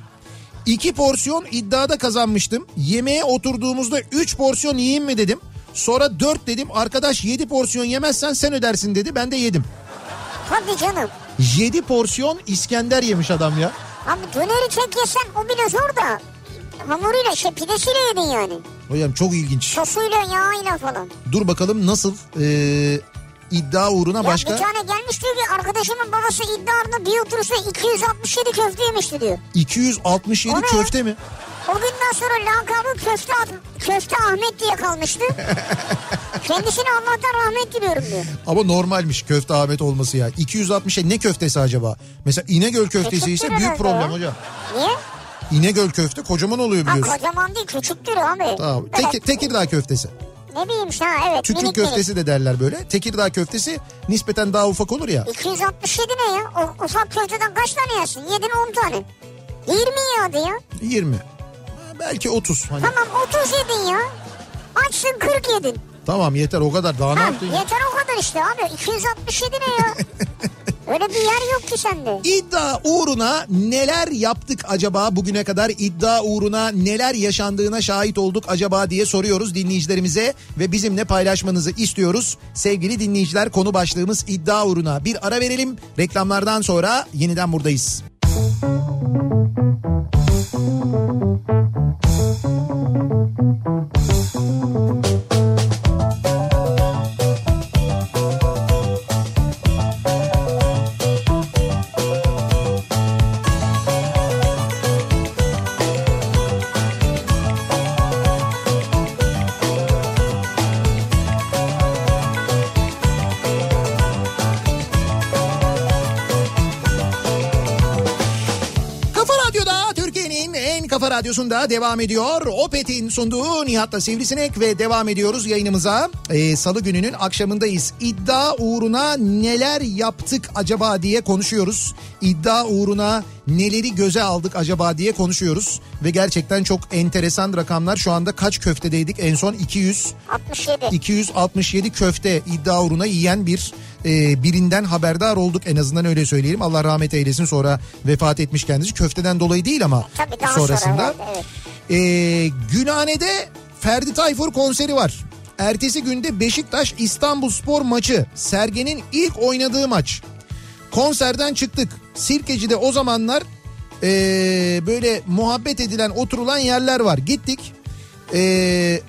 S2: 2 porsiyon iddiada kazanmıştım. Yemeğe oturduğumuzda 3 porsiyon yiyeyim mi dedim. Sonra 4 dedim. Arkadaş 7 porsiyon yemezsen sen ödersin dedi. Ben de yedim.
S1: Hadi canım.
S2: 7 porsiyon İskender yemiş adam ya.
S1: Abi döneri tek yesen o bile zor da. Hamuruyla şey pidesiyle yedin yani.
S2: Hocam çok ilginç.
S1: Sosuyla yağıyla falan.
S2: Dur bakalım nasıl e, iddia uğruna
S1: Ya
S2: başka
S1: bir tane gelmiş diyor ki arkadaşımın babası iddiarında bir oturursa 267 köfte yemişti diyor.
S2: 267
S1: O ne?
S2: köfte mi?
S1: O günden sonra lakabı köfte, Ah- köfte Ahmet diye kalmıştı. Kendisine Allah'tan rahmet diliyorum diyor.
S2: Ama normalmiş köfte Ahmet olması ya. 267 ne köftesi acaba? Mesela İnegöl köftesi ise
S1: Küçüktür
S2: büyük
S1: herhalde
S2: problem
S1: ya.
S2: hocam.
S1: Niye?
S2: İnegöl köfte kocaman oluyor
S1: Ha,
S2: biliyorsun.
S1: kocaman değil küçüktür abi.
S2: Tamam.
S1: Evet.
S2: Tek- Tekirdağ köftesi.
S1: Ne bileyim işte ha evet.
S2: Tükür
S1: minik
S2: köftesi de derler böyle. Tekirdağ köftesi nispeten daha ufak olur ya.
S1: Minik. 267 ne ya? O, ufak köfteden kaç tane yersin? Yedin 10 tane. 20 yağdı ya.
S2: 20. Belki 30 hani.
S1: Tamam 30 yedin ya. Açsın 40 yedin.
S2: Tamam yeter o kadar daha ne
S1: Ha,
S2: yaptın? ya?
S1: yeter o kadar işte abi. 267 ne ya? Öyle bir yer yok ki sende.
S2: İddia uğruna neler yaptık acaba bugüne kadar iddia uğruna neler yaşandığına şahit olduk acaba diye soruyoruz dinleyicilerimize ve bizimle paylaşmanızı istiyoruz. Sevgili dinleyiciler konu başlığımız iddia uğruna bir ara verelim reklamlardan sonra yeniden buradayız. Kafa Radyosu'nda devam ediyor. Opet'in sunduğu Nihat'la Sivrisinek ve devam ediyoruz yayınımıza. Ee, Salı gününün akşamındayız. İddia uğruna neler yaptık acaba diye konuşuyoruz. İddia uğruna neleri göze aldık acaba diye konuşuyoruz. Ve gerçekten çok enteresan rakamlar. Şu anda kaç köftedeydik? En son 200.
S1: 67.
S2: 267 köfte iddia uğruna yiyen bir e, birinden haberdar olduk en azından öyle söyleyelim. Allah rahmet eylesin sonra vefat etmiş kendisi. Köfteden dolayı değil ama
S1: E, Tabii daha
S2: sonrasında.
S1: sonra. evet, evet.
S2: E, Gülhane'de Ferdi Tayfur konseri var. Ertesi günde Beşiktaş İstanbul Spor maçı. Sergen'in ilk oynadığı maç. Konserden çıktık. Sirkeci'de o zamanlar e, böyle muhabbet edilen oturulan yerler var. Gittik. E,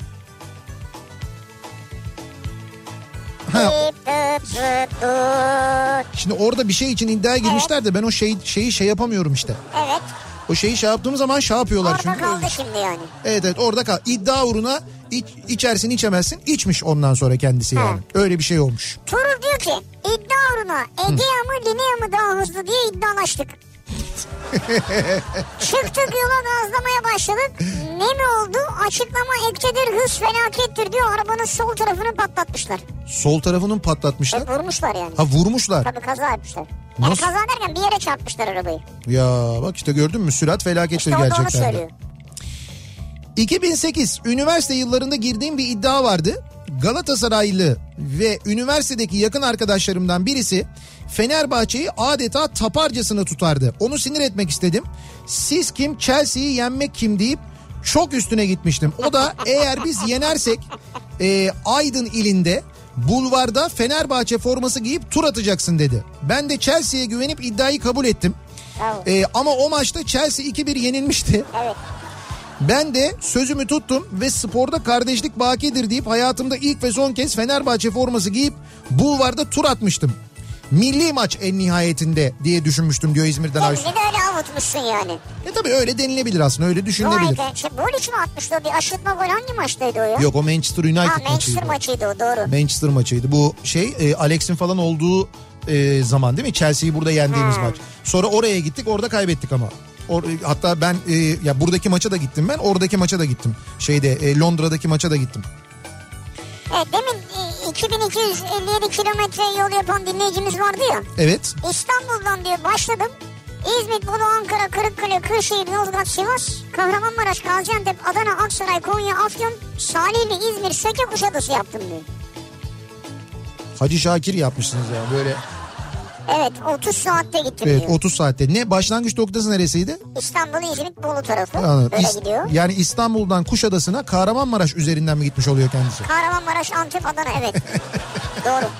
S2: ha,
S1: Dip, dip, dip, dip.
S2: Şimdi orada bir şey için iddiaya girmişler de ben o şey, şeyi şey yapamıyorum işte.
S1: Evet.
S2: O şeyi şey yaptığım zaman şey yapıyorlar
S1: Orada
S2: çünkü.
S1: kaldı şimdi yani.
S2: Evet evet orada kal. İddia uğruna iç, içersin içemezsin. İçmiş ondan sonra kendisi yani. Öyle bir şey olmuş.
S1: Turul diyor ki iddia uğruna Egea mı Linea mı daha hızlı diye iddialaştık. Çıktık yola gazlamaya başladık. Ne mi oldu? Açıklama ektedir hız felakettir diyor. Arabanın sol tarafını patlatmışlar.
S2: Sol tarafının
S1: E,
S2: patlatmışlar.
S1: vurmuşlar yani.
S2: Ha vurmuşlar.
S1: Tabii kaza yapmışlar. Yani
S2: Nasıl?
S1: kaza derken bir yere çarpmışlar arabayı.
S2: Ya bak işte gördün mü sürat
S1: İşte
S2: felaketleri
S1: o da onu
S2: gerçekten. de.
S1: söylüyor.
S2: 2008 üniversite yıllarında girdiğim bir iddia vardı. Galatasaraylı ve üniversitedeki yakın arkadaşlarımdan birisi Fenerbahçe'yi adeta taparcasına tutardı. Onu sinir etmek istedim. Siz kim Chelsea'yi yenmek kim deyip çok üstüne gitmiştim. O da eğer biz yenersek e, Aydın ilinde bulvarda Fenerbahçe forması giyip tur atacaksın dedi. Ben de Chelsea'ye güvenip iddiayı kabul ettim.
S1: Bravo.
S2: E, ama o maçta Chelsea 2-1 yenilmişti.
S1: Evet.
S2: Ben de sözümü tuttum ve sporda kardeşlik bakidir deyip hayatımda ilk ve son kez Fenerbahçe forması giyip bulvarda tur atmıştım. Milli maç en nihayetinde diye düşünmüştüm diyor İzmir'den Aysun.
S1: Kendini de öyle avutmuşsun yani.
S2: E tabii öyle denilebilir aslında öyle düşünülebilir.
S1: Vay be. Şey, gol için mi atmıştı o? Bir aşırtma gol hangi maçtaydı o ya?
S2: Yok o Manchester
S1: Ha,
S2: United maçıydı.
S1: Manchester maçıydı o doğru.
S2: Manchester maçıydı. Bu şey e, Alex'in falan olduğu e, zaman değil mi? Chelsea'yi burada yendiğimiz maç. Sonra oraya gittik orada kaybettik ama. Or, hatta ben e, ya buradaki maça da gittim ben oradaki maça da gittim. Şeyde e, Londra'daki maça da gittim.
S1: Evet, demin e, 2257 kilometre yol yapan dinleyicimiz vardı ya.
S2: Evet.
S1: İstanbul'dan diyor başladım. İzmit, Bolu, Ankara, Kırıkkale, Kırşehir, Yozgat, Sivas, Kahramanmaraş, Gaziantep, Adana, Aksaray, Konya, Afyon, Salihli, İzmir, Seke, Kuşadası yaptım diyor.
S2: Hacı Şakir yapmışsınız yani böyle.
S1: Evet 30 saatte gittim
S2: Evet
S1: diyor.
S2: 30 saatte. Ne başlangıç noktası neresiydi?
S1: İstanbul, İzmit, Bolu tarafı
S2: Anladım.
S1: böyle
S2: İs-
S1: gidiyor.
S2: Yani İstanbul'dan Kuşadası'na Kahramanmaraş üzerinden mi gitmiş oluyor kendisi?
S1: Kahramanmaraş, Antep, Adana evet. Doğru.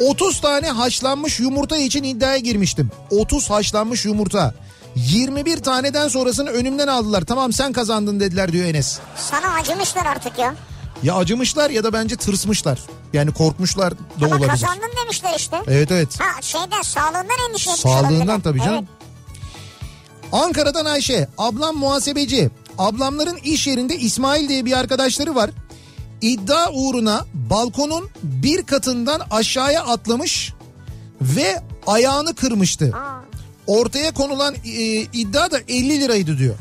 S2: 30 tane haşlanmış yumurta için iddiaya girmiştim. 30 haşlanmış yumurta. 21 taneden sonrasını önümden aldılar. Tamam sen kazandın dediler diyor Enes.
S1: Sana acımışlar artık ya.
S2: Ya acımışlar ya da bence tırsmışlar. Yani korkmuşlar da
S1: Ama
S2: olabilir.
S1: kazandın demişler işte.
S2: Evet evet.
S1: Ha şeyden sağlığından endişe etmiş olabilirler.
S2: Sağlığından tabii canım.
S1: Evet.
S2: Ankara'dan Ayşe. Ablam muhasebeci. Ablamların iş yerinde İsmail diye bir arkadaşları var. İddia uğruna balkonun bir katından aşağıya atlamış ve ayağını kırmıştı. Ortaya konulan e, iddia da 50 liraydı diyor.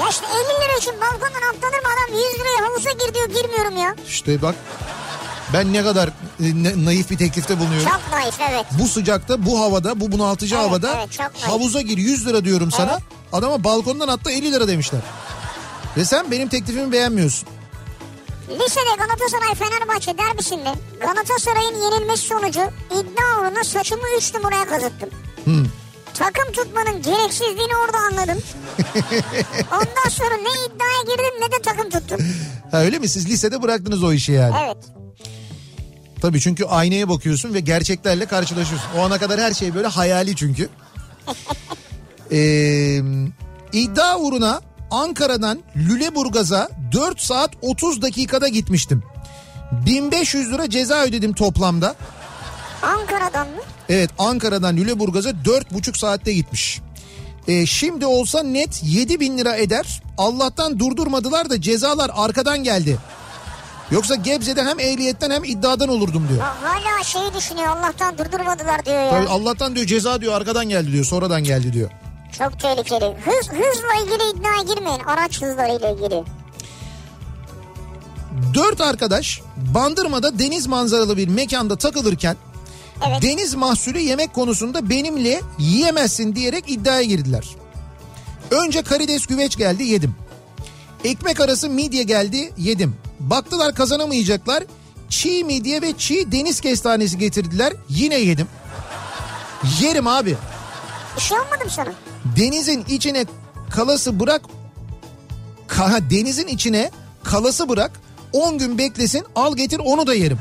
S1: Ya işte 50 lira için balkondan atlanır mı adam 100 liraya havuza gir diyor girmiyorum ya.
S2: İşte bak ben ne kadar e, na- naif bir teklifte bulunuyorum.
S1: Çok naif evet.
S2: Bu sıcakta, bu havada, bu bunaltıcı
S1: Evet,
S2: havada
S1: evet, çok ayıp.
S2: havuza gir 100 lira diyorum sana.
S1: Evet.
S2: Adama balkondan hatta 50 lira demişler. Ve sen benim teklifimi beğenmiyorsun.
S1: Lisede Galatasaray Fenerbahçe derbisinde Galatasaray'ın yenilmesi sonucu iddia uğruna saçımı 3 numaraya kazıttım. Takım tutmanın gereksizliğini orada anladım. Ondan sonra ne iddiaya girdim ne de takım tuttum.
S2: Ha öyle mi? Siz lisede bıraktınız o işi yani.
S1: Evet.
S2: Tabii çünkü aynaya bakıyorsun ve gerçeklerle karşılaşıyorsun. O ana kadar her şey böyle hayali çünkü. ee, iddia uğruna Ankara'dan Lüleburgaz'a 4 saat 30 dakikada gitmiştim. 1500 lira ceza ödedim toplamda.
S1: Ankara'dan mı?
S2: Evet Ankara'dan Lüleburgaz'a 4,5 saatte gitmiş. Ee, şimdi olsa net 7 bin lira eder. Allah'tan durdurmadılar da cezalar arkadan geldi. Yoksa Gebze'de hem ehliyetten hem iddiadan olurdum diyor.
S1: Ya hala şeyi düşünüyor Allah'tan durdurmadılar diyor ya.
S2: Tabii Allah'tan diyor ceza diyor arkadan geldi diyor sonradan geldi diyor.
S1: Çok tehlikeli. Hız, hızla ilgili iddiaya girmeyin. Araç hızlarıyla ilgili.
S2: Dört arkadaş Bandırma'da deniz manzaralı bir mekanda takılırken
S1: Evet.
S2: deniz mahsulü yemek konusunda benimle yiyemezsin diyerek iddiaya girdiler. Önce karides güveç geldi yedim. Ekmek arası midye geldi yedim. Baktılar kazanamayacaklar. Çiğ midye ve çiğ deniz kestanesi getirdiler. Yine yedim. Yerim abi.
S1: Bir şey olmadı mı sana?
S2: Denizin içine kalası bırak. Ka- denizin içine kalası bırak. 10 gün beklesin al getir onu da yerim.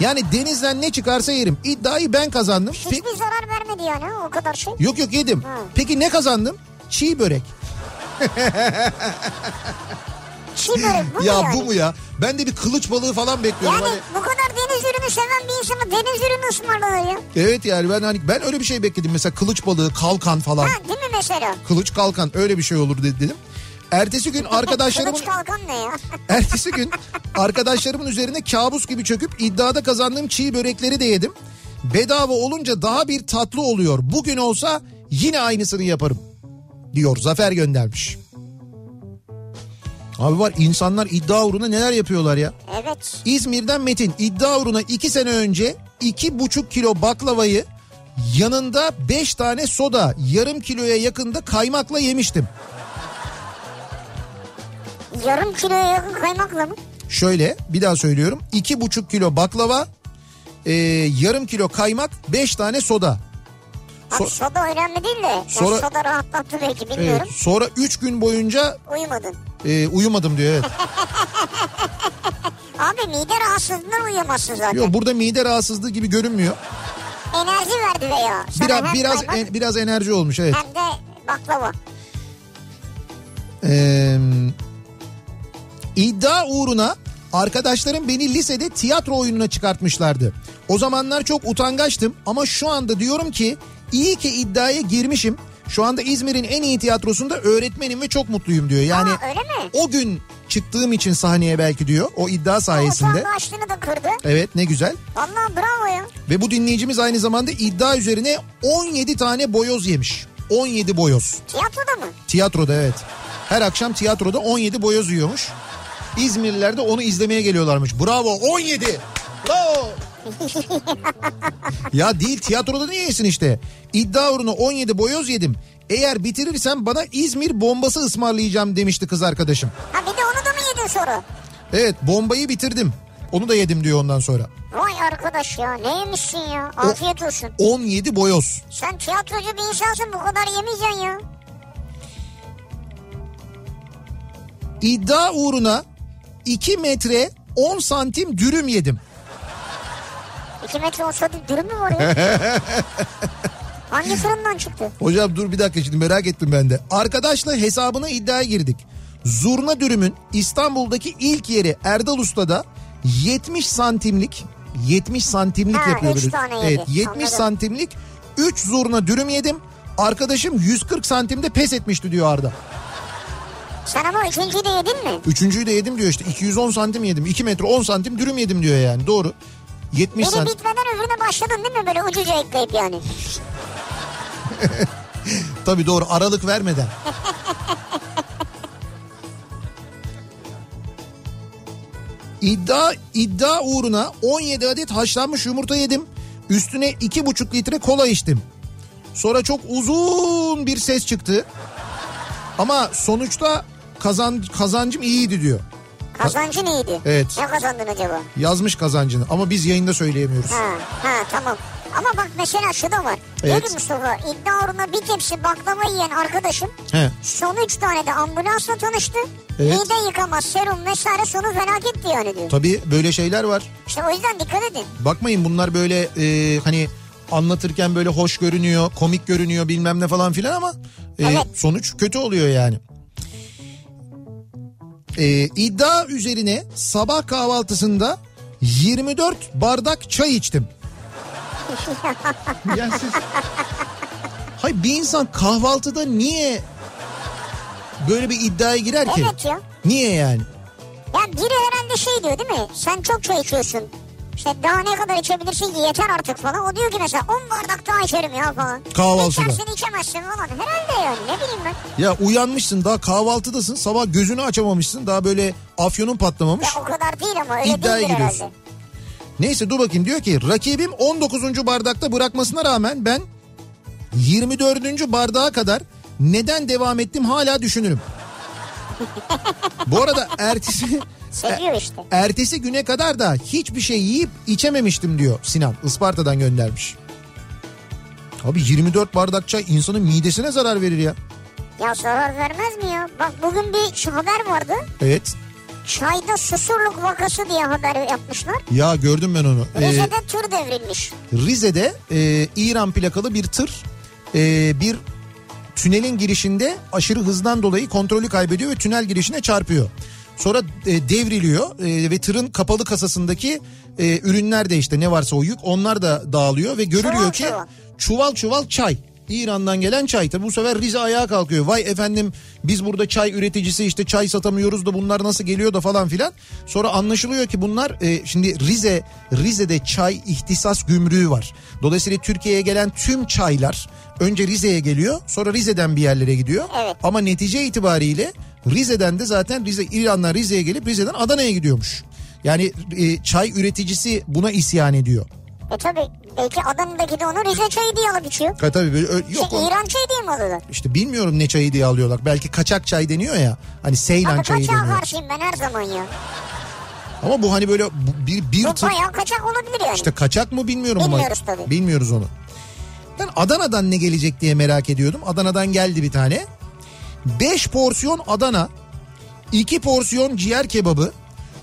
S2: Yani denizden ne çıkarsa yerim. İddiayı ben kazandım. Pe-
S1: Hiçbir zarar vermedi yani o kadar şey.
S2: Yok yok yedim. Peki ne kazandım? Çiğ börek.
S1: Çiğ börek bu mu
S2: ya
S1: yani?
S2: bu mu ya? Ben de bir kılıç balığı falan bekliyorum.
S1: Yani
S2: Hani,
S1: bu kadar deniz ürünü seven bir insana deniz ürünü ısmarlanır ya.
S2: evet yani ben hani ben öyle bir şey bekledim. Mesela kılıç balığı, kalkan falan.
S1: Ha değil mi mesela?
S2: Kılıç kalkan öyle bir şey olur dedi- dedim. Ertesi gün arkadaşlarımın
S1: Kılıç kalkan ne ya?
S2: ertesi gün arkadaşlarımın üzerine kabus gibi çöküp iddiada kazandığım çiğ börekleri de yedim. Bedava olunca daha bir tatlı oluyor. Bugün olsa yine aynısını yaparım diyor Zafer göndermiş. Abi var insanlar iddia uğruna neler yapıyorlar ya.
S1: evet.
S2: İzmir'den Metin iddia uğruna 2 sene önce 2,5 kilo baklavayı yanında 5 tane soda yarım kiloya yakında kaymakla yemiştim.
S1: Yarım kiloya yakın kaymakla mı?
S2: Şöyle bir daha söylüyorum 2,5 kilo baklava e, yarım kilo kaymak 5 tane soda.
S1: Abi
S2: So-
S1: soda önemli değil de. Yani
S2: Sonra-
S1: soda rahatlattı belki
S2: Evet,
S1: bilmiyorum.
S2: sonra 3 gün boyunca
S1: Uyumadın.
S2: e, uyumadım diyor evet.
S1: Abi mide rahatsızlığından uyuyamazsın zaten.
S2: Yok burada mide rahatsızlığı gibi görünmüyor.
S1: Enerji verdi be ya. Sana
S2: Biraz
S1: hem
S2: biraz
S1: kaymak
S2: en- biraz enerji olmuş evet.
S1: hem de baklava.
S2: Ee, iddia uğruna arkadaşlarım beni lisede tiyatro oyununa çıkartmışlardı. O zamanlar çok utangaçtım ama şu anda diyorum ki iyi ki iddiaya girmişim. Şu anda İzmir'in en iyi tiyatrosunda öğretmenim ve çok mutluyum diyor. Yani
S1: Aa, öyle mi?
S2: o gün çıktığım için sahneye belki diyor o iddia sayesinde.
S1: Utangaçlığını da kırdı.
S2: Evet ne güzel.
S1: Vallahi bravo ya.
S2: Ve bu dinleyicimiz aynı zamanda iddia üzerine 17 tane boyoz yemiş. 17 boyoz.
S1: Tiyatroda mı?
S2: Tiyatroda evet. Her akşam tiyatroda 17 boyoz yiyormuş. İzmirliler de onu izlemeye geliyorlarmış. Bravo 17. Bravo. ya değil tiyatroda niye yesin işte. İddia uğruna 17 boyoz yedim. Eğer bitirirsem bana İzmir bombası ısmarlayacağım demişti kız arkadaşım.
S1: Ha bir de onu da mı yedin sonra?
S2: Evet bombayı bitirdim. Onu da yedim diyor ondan sonra.
S1: Vay arkadaş ya ne yemişsin ya? Afiyet olsun.
S2: 17 boyoz.
S1: Sen tiyatrocu bir insansın bu kadar yemeyeceksin ya.
S2: İddia uğruna 2 metre 10 santim dürüm yedim.
S1: 2 metre olsaydı dürüm mü var ya? Hangi fırından çıktı?
S2: Hocam dur bir dakika şimdi merak ettim ben de. Arkadaşla hesabına iddiaya girdik. Zurna dürümün İstanbul'daki ilk yeri Erdal Usta'da 70 santimlik 70 santimlik
S1: Ha,
S2: yapıyor.
S1: üç
S2: böyle.
S1: tane yedi.
S2: evet 70
S1: Anladım.
S2: santimlik 3 zurna dürüm yedim. Arkadaşım 140 santimde pes etmişti diyor Arda.
S1: Sen ama üçüncüyü de yedin mi?
S2: Üçüncüyü de yedim diyor işte 210 santim yedim. 2 metre 10 santim dürüm yedim diyor yani doğru. 70
S1: Biri
S2: santim.
S1: bitmeden öbürüne başladın değil mi? Böyle ucuca ekleyip yani.
S2: Tabii doğru aralık vermeden. İddia, iddia uğruna 17 adet haşlanmış yumurta yedim. Üstüne 2,5 litre kola içtim. Sonra çok uzun bir ses çıktı. Ama sonuçta kazan, kazancım iyiydi diyor.
S1: Kazancın iyiydi.
S2: Evet.
S1: Ne kazandın acaba?
S2: Yazmış kazancını ama biz yayında söyleyemiyoruz.
S1: Ha, ha tamam. Ama bak mesela şu da var.
S2: Evet.
S1: Diyor ki Mustafa iddia uğruna bir tepsi baklava yiyen arkadaşım
S2: He.
S1: son üç tane de ambulansla tanıştı.
S2: Evet.
S1: Mide yıkama, serum vesaire sonu felaketti yani diyor.
S2: Tabii böyle şeyler var.
S1: İşte o yüzden dikkat edin.
S2: Bakmayın bunlar böyle e, hani anlatırken böyle hoş görünüyor, komik görünüyor bilmem ne falan filan ama e,
S1: Evet.
S2: sonuç kötü oluyor yani. E, iddia üzerine sabah kahvaltısında 24 bardak çay içtim. ya siz... Hayır bir insan kahvaltıda niye böyle bir iddiaya girer ki?
S1: Evet ya.
S2: Niye yani?
S1: Ya biri herhalde şey diyor değil mi? Sen çok çay içiyorsun. İşte daha ne kadar içebilirsin ki yeter artık falan. O diyor ki mesela 10 bardak daha içerim ya falan.
S2: Kahvaltıda.
S1: İçersin içemezsin falan. Herhalde yani ne bileyim ben.
S2: Ya uyanmışsın daha kahvaltıdasın sabah gözünü açamamışsın daha böyle afyonun patlamamış.
S1: Ya o kadar değil ama öyle
S2: İddiaya
S1: değildir
S2: giriyorsun.
S1: herhalde.
S2: Neyse dur bakayım diyor ki rakibim 19. bardakta bırakmasına rağmen ben 24. bardağa kadar neden devam ettim hala düşünürüm. Bu arada ertesi E-
S1: Seviyor Şey işte.
S2: ertesi güne kadar da hiçbir şey yiyip içememiştim diyor Sinan Isparta'dan göndermiş. Abi 24 bardak çay insanın midesine zarar verir ya.
S1: Ya zarar vermez mi ya? Bak bugün bir şu haber vardı.
S2: Evet.
S1: Çayda susurluk vakası diye haber yapmışlar.
S2: Ya gördüm ben onu. Ee,
S1: Rize'de tır devrilmiş.
S2: Rize'de e, İran plakalı bir tır e, bir tünelin girişinde aşırı hızdan dolayı kontrolü kaybediyor ve tünel girişine çarpıyor. Sonra e, devriliyor e, ve tırın kapalı kasasındaki e, ürünler de işte ne varsa o yük onlar da dağılıyor ve görülüyor
S1: Çuval
S2: ki
S1: çuval.
S2: çuval çuval çay. İran'dan gelen çay. Tabi bu sefer Rize ayağa kalkıyor. Vay efendim biz burada çay üreticisi işte çay satamıyoruz da bunlar nasıl geliyor da falan filan. Sonra anlaşılıyor ki bunlar e, şimdi Rize Rize'de çay ihtisas gümrüğü var. Dolayısıyla Türkiye'ye gelen tüm çaylar önce Rize'ye geliyor sonra Rize'den bir yerlere gidiyor.
S1: Evet.
S2: Ama netice itibariyle Rize'den de zaten Rize İran'dan Rize'ye gelip Rize'den Adana'ya gidiyormuş. Yani e, çay üreticisi buna isyan ediyor.
S1: E tabi belki Adana'daki de onu Rize çayı diye alıp içiyor.
S2: Ha, tabii böyle ö- yok
S1: Şey,
S2: o-
S1: İran çayı diye mi alıyorlar?
S2: İşte bilmiyorum ne çayı diye alıyorlar. Belki kaçak çay deniyor ya. Hani Seylan
S1: Abi
S2: çayı
S1: kaçağa
S2: deniyor.
S1: karşıyım ben her zaman ya.
S2: Ama bu hani böyle bu- bir bir
S1: Bu
S2: tır-
S1: bayağı kaçak olabilir yani.
S2: işte kaçak mı bilmiyorum ama.
S1: Bilmiyoruz tabii.
S2: Bilmiyoruz onu. Ben Adana'dan ne gelecek diye merak ediyordum. Adana'dan geldi bir tane. 5 porsiyon Adana, 2 porsiyon ciğer kebabı,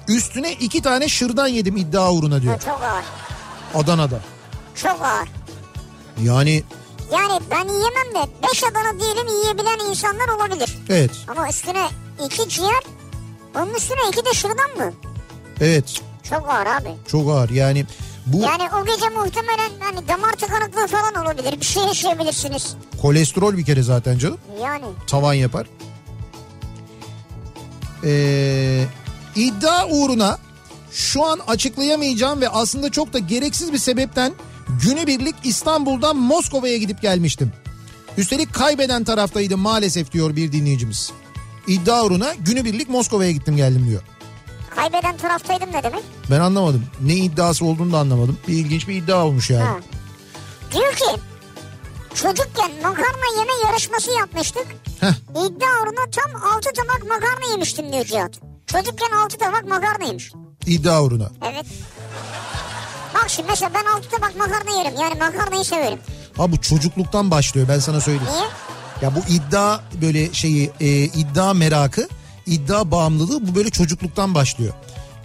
S2: üstüne 2 tane şırdan yedim iddia uğruna
S1: Ha,
S2: diyor.
S1: Çok ağır.
S2: Adana'da.
S1: Çok ağır.
S2: Yani
S1: Yani ben yiyemem de 5 Adana diyelim yiyebilen insanlar olabilir.
S2: evet,
S1: Ama üstüne 2 ciğer onun üstüne 2 de şırdan mı?
S2: evet
S1: Çok ağır abi.
S2: çok ağır. Yani bu
S1: Yani o gece muhtemelen hani damar tıkanıklığı falan olabilir. Bir şey yaşayabilirsiniz.
S2: kolesterol bir kere zaten canım.
S1: Yani
S2: tavan yapar. Ee, iddia uğruna şu an açıklayamayacağım ve aslında çok da gereksiz bir sebepten günübirlik İstanbul'dan Moskova'ya gidip gelmiştim. Üstelik kaybeden taraftaydı maalesef diyor bir dinleyicimiz. İddia uğruna günübirlik Moskova'ya gittim geldim diyor.
S1: kaybeden taraftaydım ne demek?
S2: Ben anlamadım. Ne iddiası olduğunu da anlamadım. Bir ilginç bir iddia olmuş yani.
S1: Ha. Diyor ki çocukken makarna yeme yarışması yapmıştık.
S2: Heh.
S1: İddia uğruna tam 6 tabak makarna yemiştim diyor Cihat. Çocukken 6 tabak makarna yemiş.
S2: İddia uğruna.
S1: Evet. Bak şimdi mesela ben 6 tabak makarna yerim. Yani makarnayı severim.
S2: Ha bu çocukluktan başlıyor ben sana söyleyeyim.
S1: Niye?
S2: Ya bu iddia böyle şeyi e, iddia merakı, iddia bağımlılığı bu böyle çocukluktan başlıyor.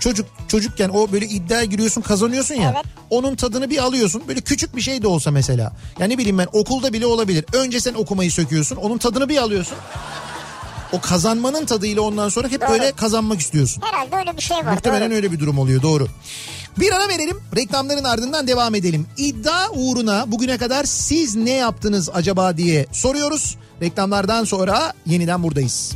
S2: Çocuk çocukken o böyle iddiaya giriyorsun kazanıyorsun ya.
S1: Evet.
S2: Onun tadını bir alıyorsun. Böyle küçük bir şey de olsa mesela. Yani ne bileyim ben okulda bile olabilir. Önce sen okumayı söküyorsun. Onun tadını bir alıyorsun. O kazanmanın tadıyla ondan sonra hep
S1: Doğru.
S2: böyle kazanmak istiyorsun.
S1: Herhalde öyle bir şey var.
S2: Muhtemelen
S1: doğru.
S2: öyle bir durum oluyor doğru. Bir ara verelim reklamların ardından devam edelim. İddia uğruna bugüne kadar siz ne yaptınız acaba diye soruyoruz. Reklamlardan sonra yeniden buradayız.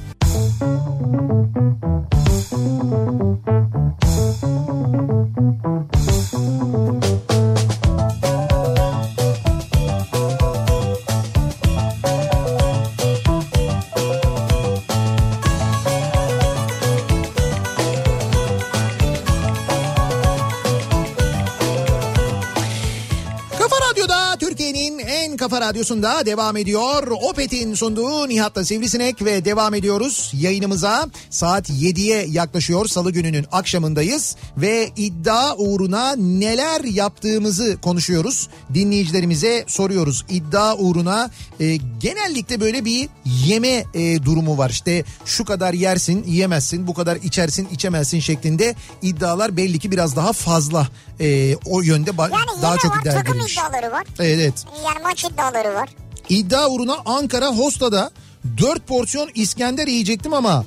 S2: Kafa Radyo'da Türkiye'nin en kafa radyosunda devam ediyor. Opet'in sunduğu Nihat'la Sivrisinek ve devam ediyoruz yayınımıza. Saat 7'ye yaklaşıyor. Salı gününün akşamındayız ve iddia uğruna neler yaptığımızı konuşuyoruz. Dinleyicilerimize soruyoruz. İddia uğruna e, genellikle böyle bir yeme e, durumu var. İşte şu kadar yersin, yiyemezsin, bu kadar içersin, içemezsin şeklinde iddialar belli ki biraz daha fazla e, o yönde ba-
S1: Yani yeme
S2: daha çok
S1: var,
S2: iddia
S1: takım
S2: edilmiş.
S1: iddiaları var.
S2: Evet, evet.
S1: Yani maç iddiaları var.
S2: İddia uğruna Ankara Hosta'da 4 porsiyon İskender yiyecektim ama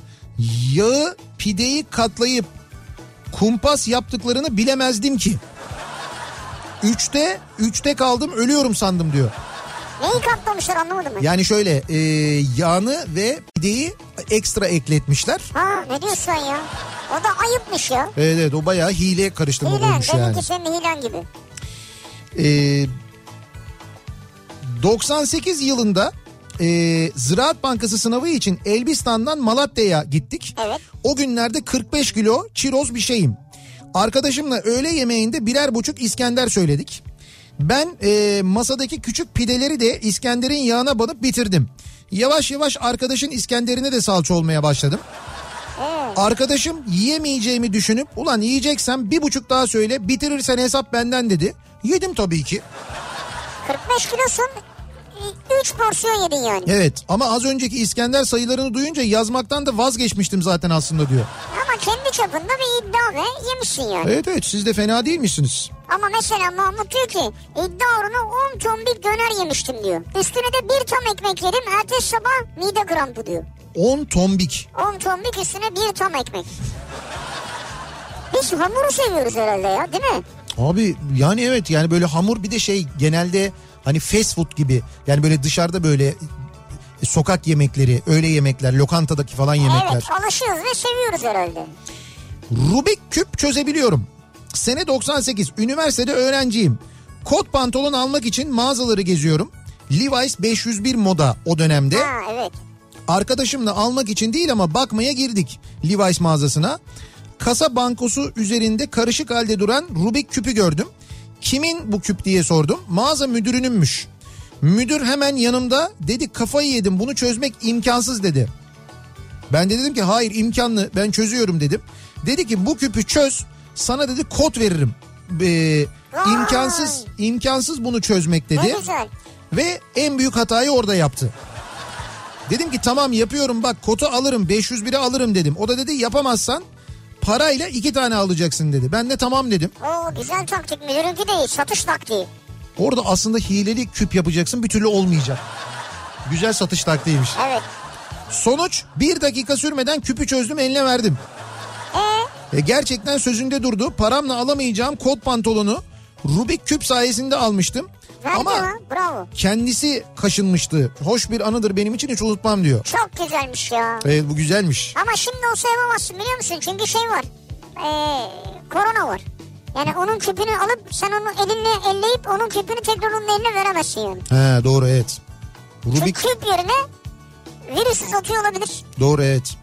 S2: yağı pideyi katlayıp kumpas yaptıklarını bilemezdim ki. Üçte, üçte kaldım ölüyorum sandım diyor.
S1: Neyi katlamışlar anlamadım ben.
S2: Yani şöyle e, yağını ve pideyi ekstra ekletmişler.
S1: Ha ne diyorsun sen ya? O da ayıpmış ya.
S2: Evet evet o bayağı hile karıştırma
S1: Hilen.
S2: olmuş
S1: Benimki
S2: yani.
S1: senin hilen gibi.
S2: Ee, 98 yılında e, Ziraat Bankası sınavı için Elbistan'dan Malatya'ya gittik.
S1: Evet.
S2: O günlerde 45 kilo çiroz bir şeyim. Arkadaşımla öğle yemeğinde birer buçuk İskender söyledik. Ben e, masadaki küçük pideleri de İskender'in yağına banıp bitirdim. Yavaş yavaş arkadaşın İskender'ine de salça olmaya başladım. Arkadaşım yiyemeyeceğimi düşünüp ulan yiyeceksem bir buçuk daha söyle bitirirsen hesap benden dedi. Yedim tabii ki.
S1: 45 kilosun 3 porsiyon yedin yani.
S2: Evet ama az önceki İskender sayılarını duyunca yazmaktan da vazgeçmiştim zaten aslında diyor.
S1: Ama kendi çapında bir iddia ve yemişsin yani.
S2: Evet evet siz de fena değilmişsiniz.
S1: Ama mesela Mahmut diyor ki iddia uğruna 10 ton bir döner yemiştim diyor. Üstüne de 1 ton ekmek yedim ertesi sabah mide krampı diyor.
S2: 10 tombik.
S1: 10 ton bir üstüne 1 ton ekmek. Biz hamuru seviyoruz herhalde ya değil mi?
S2: Abi yani evet yani böyle hamur bir de şey genelde hani fast food gibi yani böyle dışarıda böyle e, sokak yemekleri, öğle yemekler, lokantadaki falan yemekler.
S1: Evet alışıyoruz ve seviyoruz herhalde.
S2: Rubik küp çözebiliyorum. Sene 98 üniversitede öğrenciyim. Kot pantolon almak için mağazaları geziyorum. Levi's 501 moda o dönemde.
S1: Ha evet.
S2: Arkadaşımla almak için değil ama bakmaya girdik Levi's mağazasına. Kasa bankosu üzerinde karışık halde duran Rubik küpü gördüm. Kimin bu küp diye sordum. Mağaza müdürününmüş. Müdür hemen yanımda dedi kafayı yedim bunu çözmek imkansız dedi. Ben de dedim ki hayır imkanlı ben çözüyorum dedim. Dedi ki bu küpü çöz sana dedi kod veririm. Ee,
S1: Vay.
S2: imkansız imkansız bunu çözmek dedi.
S1: Ne güzel.
S2: Ve en büyük hatayı orada yaptı. Dedim ki tamam yapıyorum bak kotu alırım 501'i alırım dedim. O da dedi yapamazsan parayla iki tane alacaksın dedi. Ben de tamam dedim.
S1: Oo güzel taktik müdürünki değil satış taktiği.
S2: Orada aslında hileli küp yapacaksın bir türlü olmayacak. Güzel satış taktiğiymiş.
S1: Evet.
S2: Sonuç bir dakika sürmeden küpü çözdüm eline verdim.
S1: Ee?
S2: E, gerçekten sözünde durdu. Paramla alamayacağım kot pantolonu Rubik küp sayesinde almıştım.
S1: Verdi
S2: Ama
S1: ha bravo.
S2: kendisi kaşınmıştı. Hoş bir anıdır benim için hiç unutmam diyor.
S1: Çok güzelmiş ya.
S2: Evet bu güzelmiş.
S1: Ama şimdi olsa yapamazsın biliyor musun? Çünkü şey var. Ee, korona var. Yani onun küpünü alıp sen onu elinle elleyip onun küpünü tekrar onun eline veremezsin yani.
S2: He doğru evet. Rubik
S1: Çünkü küp yerine virüs satıyor olabilir.
S2: doğru evet.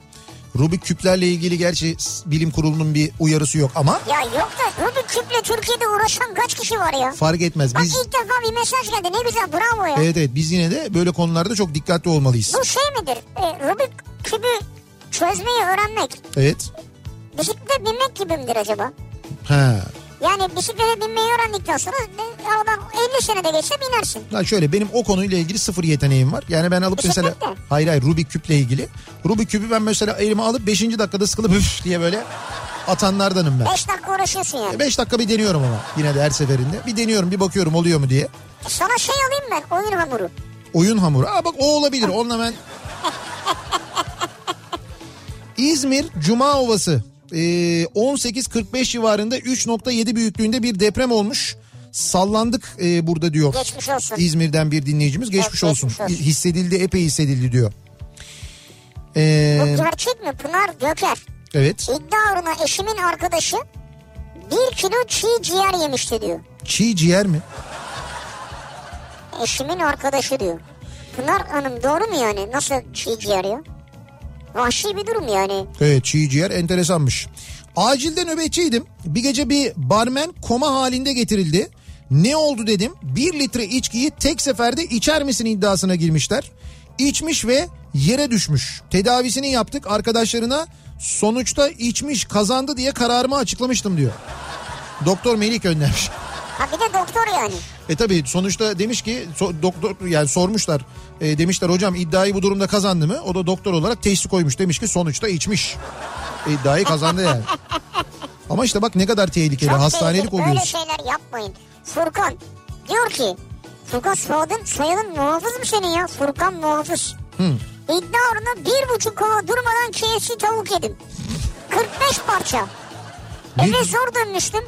S2: Rubik küplerle ilgili gerçi s- bilim kurulunun bir uyarısı yok ama
S1: Ya yok da Rubik küple Türkiye'de uğraşan kaç kişi var ya?
S2: fark etmez.
S1: Bak
S2: Biz
S1: ilk defa bir mesaj geldi ne güzel bravo ya.
S2: evet evet biz yine de böyle konularda çok dikkatli olmalıyız.
S1: Bu şey midir? E, Rubik küpü çözmeyi öğrenmek
S2: Evet.
S1: bisiklete binmek gibi midir acaba?
S2: Ha.
S1: Yani bisiklete binmeyi öğrendikten sonra e, aradan 50 senede geçse binersin.
S2: Ya şöyle benim o konuyla ilgili sıfır yeteneğim var. Yani ben alıp mesela
S1: Bisiklet mi?
S2: hayır hayır Rubik küple ilgili. Rubik küpü ben mesela elime alıp 5. dakikada sıkılıp üf diye böyle atanlardanım ben.
S1: 5 dakika uğraşıyorsun yani.
S2: 5 dakika bir deniyorum ama yine de her seferinde. Bir deniyorum bir bakıyorum oluyor mu diye.
S1: Sana şey alayım ben oyun hamuru.
S2: Oyun hamuru. Aa bak o olabilir. Onunla ben... İzmir Cuma Ovası. Ee, 18.45 civarında 3.7 büyüklüğünde bir deprem olmuş. Sallandık e, burada diyor.
S1: Geçmiş olsun.
S2: İzmir'den bir dinleyicimiz geçmiş,
S1: Evet, geçmiş
S2: olsun.
S1: olsun.
S2: İ- Hissedildi epey hissedildi diyor. Ee,
S1: Bu gerçek mi? Pınar Göker.
S2: evet.
S1: İddia uğruna eşimin arkadaşı bir kilo çiğ ciğer yemişti diyor.
S2: Çiğ ciğer mi?
S1: Eşimin arkadaşı diyor. Pınar Hanım doğru mu yani? Nasıl çiğ ciğer ya? Vahşi bir durum yani.
S2: Evet Ee, çiğ ciğer enteresanmış. Acilde nöbetçiydim. Bir gece bir barmen koma halinde getirildi. Ne oldu dedim. Bir litre içkiyi tek seferde içer misin iddiasına girmişler. İçmiş ve yere düşmüş. Tedavisini yaptık arkadaşlarına. Sonuçta içmiş kazandı diye kararımı açıklamıştım diyor. Doktor Melik göndermiş.
S1: Ha bir de doktor yani.
S2: E tabi sonuçta demiş ki so- doktor yani sormuşlar. E, demişler hocam iddiayı bu durumda kazandı mı? O da doktor olarak teşhis koymuş. Demiş ki sonuçta içmiş. E, iddiayı kazandı yani. Ama işte bak ne kadar tehlikeli.
S1: Çok
S2: Hastanelik
S1: tehlikeli. Böyle
S2: oluyorsun.
S1: şey- şeyler yapmayın. Furkan diyor ki Furkan soyadın, soyadın muhafız mı senin ya? Furkan muhafız. İddia uğruna bir buçuk kova durmadan KFC tavuk yedim. 45 parça. Eve zor dönmüştüm.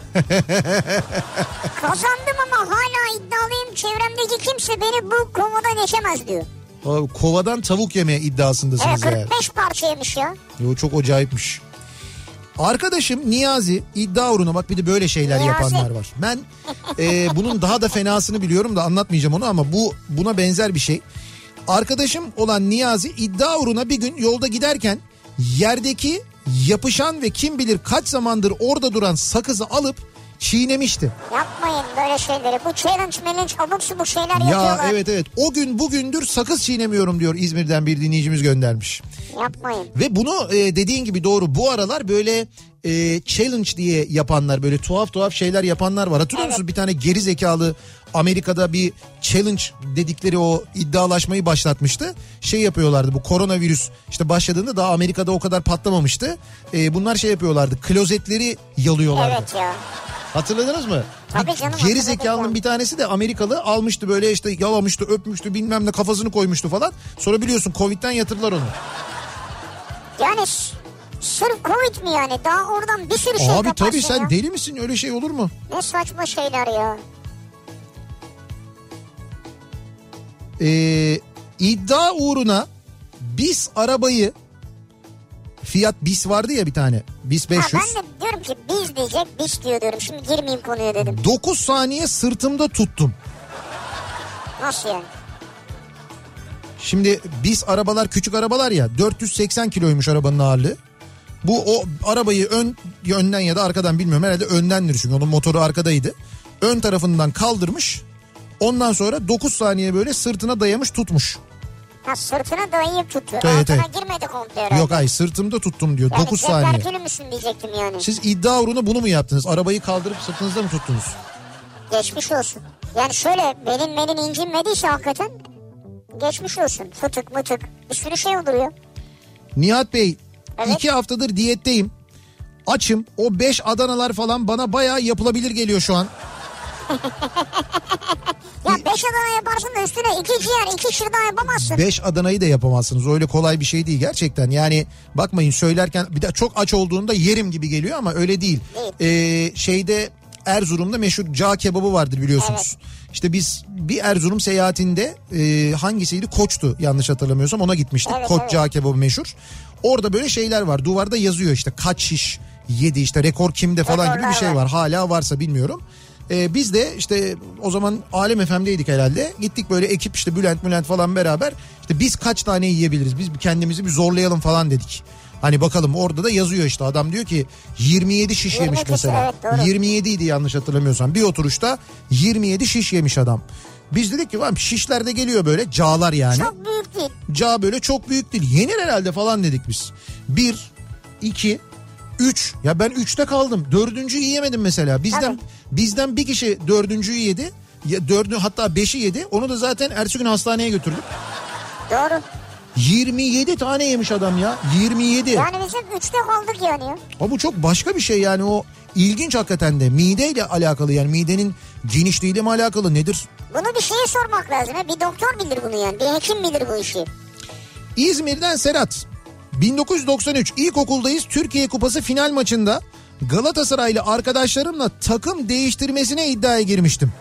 S1: Kazandım ama hala iddialıyım. Çevremdeki kimse beni bu kovadan geçemez diyor.
S2: Abi, Kovadan tavuk yeme
S1: Evet
S2: iddiasındasınız yani.
S1: 45 parça yemiş ya.
S2: Yo, çok acayipmiş. Arkadaşım Niyazi iddia uğruna bak bir de böyle şeyler
S1: Niyazi.
S2: yapanlar var. Ben e, bunun daha da fenasını biliyorum da anlatmayacağım onu ama bu buna benzer bir şey. Arkadaşım olan Niyazi iddia uğruna bir gün yolda giderken yerdeki yapışan ve kim bilir kaç zamandır orada duran sakızı alıp çiğnemişti.
S1: Yapmayın böyle şeyleri. Bu challenge manage abuk subuk şeyler
S2: Ya
S1: yapıyorlar.
S2: evet evet o gün bugündür sakız çiğnemiyorum diyor İzmir'den bir dinleyicimiz göndermiş.
S1: Yapmayın.
S2: Ve bunu e, dediğin gibi doğru bu aralar böyle e, challenge diye yapanlar böyle tuhaf tuhaf şeyler yapanlar var. Hatırlıyor musun bir tane geri zekalı Amerika'da bir challenge dedikleri o iddialaşmayı başlatmıştı. Şey yapıyorlardı bu koronavirüs işte başladığında daha Amerika'da o kadar patlamamıştı. E, bunlar şey yapıyorlardı klozetleri yalıyorlardı.
S1: Evet ya.
S2: Hatırladınız mı?
S1: Tabii
S2: Bir
S1: canım,
S2: Geri
S1: hatırladım
S2: zekalının
S1: ben.
S2: bir tanesi de Amerikalı almıştı böyle işte yalamıştı öpmüştü bilmem ne kafasını koymuştu falan. Sonra biliyorsun Covid'den yatırdılar onu.
S1: Yani s- sırf Covid mi yani? Daha oradan bir sürü şey
S2: Abi
S1: kaparsın
S2: tabii sen
S1: ya.
S2: deli misin öyle şey olur mu?
S1: Ne saçma şeyler ya.
S2: Ee, iddia uğruna biz arabayı Fiat Bis vardı ya bir tane. Bis
S1: Ha,
S2: 500.
S1: ben de diyorum ki biz diyecek biz diyor diyorum. Şimdi girmeyeyim konuya dedim.
S2: 9 saniye sırtımda tuttum.
S1: Nasıl yani?
S2: Şimdi biz arabalar küçük arabalar ya 480 kiloymuş arabanın ağırlığı. Bu o arabayı ön ya önden ya da arkadan bilmiyorum herhalde öndendir çünkü onun motoru arkadaydı. Ön tarafından kaldırmış. Ondan sonra 9 saniye böyle sırtına dayamış tutmuş.
S1: Ha sırtına dayayıp tutuyor.
S2: Evet,
S1: Altına
S2: evet.
S1: girmedi komple herhalde.
S2: Yok ay sırtımda tuttum diyor
S1: yani
S2: 9
S1: cep
S2: saniye.
S1: erkeni misin diyecektim yani.
S2: Siz iddia uğruna bunu mu yaptınız? Arabayı kaldırıp sırtınızda mı tuttunuz?
S1: Geçmiş olsun. Yani şöyle belin belin incinmediyse hakikaten geçmiş olsun. Fıtık mıtık bir sürü şey olur ya.
S2: Nihat Bey
S1: Evet.
S2: iki haftadır diyetteyim. Açım o 5 Adanalar falan bana bayağı yapılabilir geliyor şu an.
S1: Ya beş Adana yaparsın da üstüne iki ciğer iki şırdan yapamazsın.
S2: 5 Adana'yı da yapamazsınız. Öyle kolay bir şey değil gerçekten. Yani bakmayın söylerken bir de çok aç olduğunda yerim gibi geliyor ama öyle değil. Ee, şeyde Erzurum'da meşhur cağ kebabı vardır biliyorsunuz. İşte biz bir Erzurum seyahatinde e, hangisiydi? Koç'tu yanlış hatırlamıyorsam ona gitmiştik.
S1: Evet,
S2: Koç
S1: evet.
S2: cağ kebabı meşhur. Orada böyle şeyler var. Duvarda yazıyor işte kaç şiş yedi işte rekor kimde falan gibi bir
S1: Rekorlar
S2: şey
S1: var.
S2: var. Hala varsa bilmiyorum. Ee, biz de işte o zaman Alem FM'deydik herhalde. Gittik böyle ekip işte Bülent Bülent falan beraber. işte biz kaç tane yiyebiliriz? Biz bir kendimizi bir zorlayalım falan dedik. Hani bakalım orada da yazıyor işte adam diyor ki 27 şiş yemiş
S1: 27
S2: mesela.
S1: evet, doğru.
S2: 27 idi yanlış hatırlamıyorsam. Bir oturuşta 27 şiş yemiş adam. Biz dedik ki "Ulan şişler de geliyor böyle cağlar yani.
S1: Çok büyük değil.
S2: Ca böyle çok büyük değil. Yenir herhalde falan dedik biz. Bir, iki, üç. Ya ben üçte kaldım. Dördüncüyü yiyemedim mesela. Bizden
S1: Evet.
S2: bizden bir kişi dördüncüyü yedi. Ya dördü hatta beşi yedi. Onu da zaten ertesi gün hastaneye götürdük.
S1: Doğru.
S2: 27 tane yemiş adam ya. 27.
S1: Yani bizim üçte kaldık yani. ya.
S2: Ama bu çok başka bir şey yani o ilginç hakikaten de mideyle alakalı yani midenin genişliğiyle mi alakalı nedir
S1: Bunu bir şeye sormak lazım. ha. Bir doktor bilir bunu yani. Bir hekim bilir bu işi.
S2: İzmir'den Serhat. 1993 ilkokuldayız Türkiye Kupası final maçında Galatasaraylı arkadaşlarımla takım değiştirmesine iddiaya girmiştim.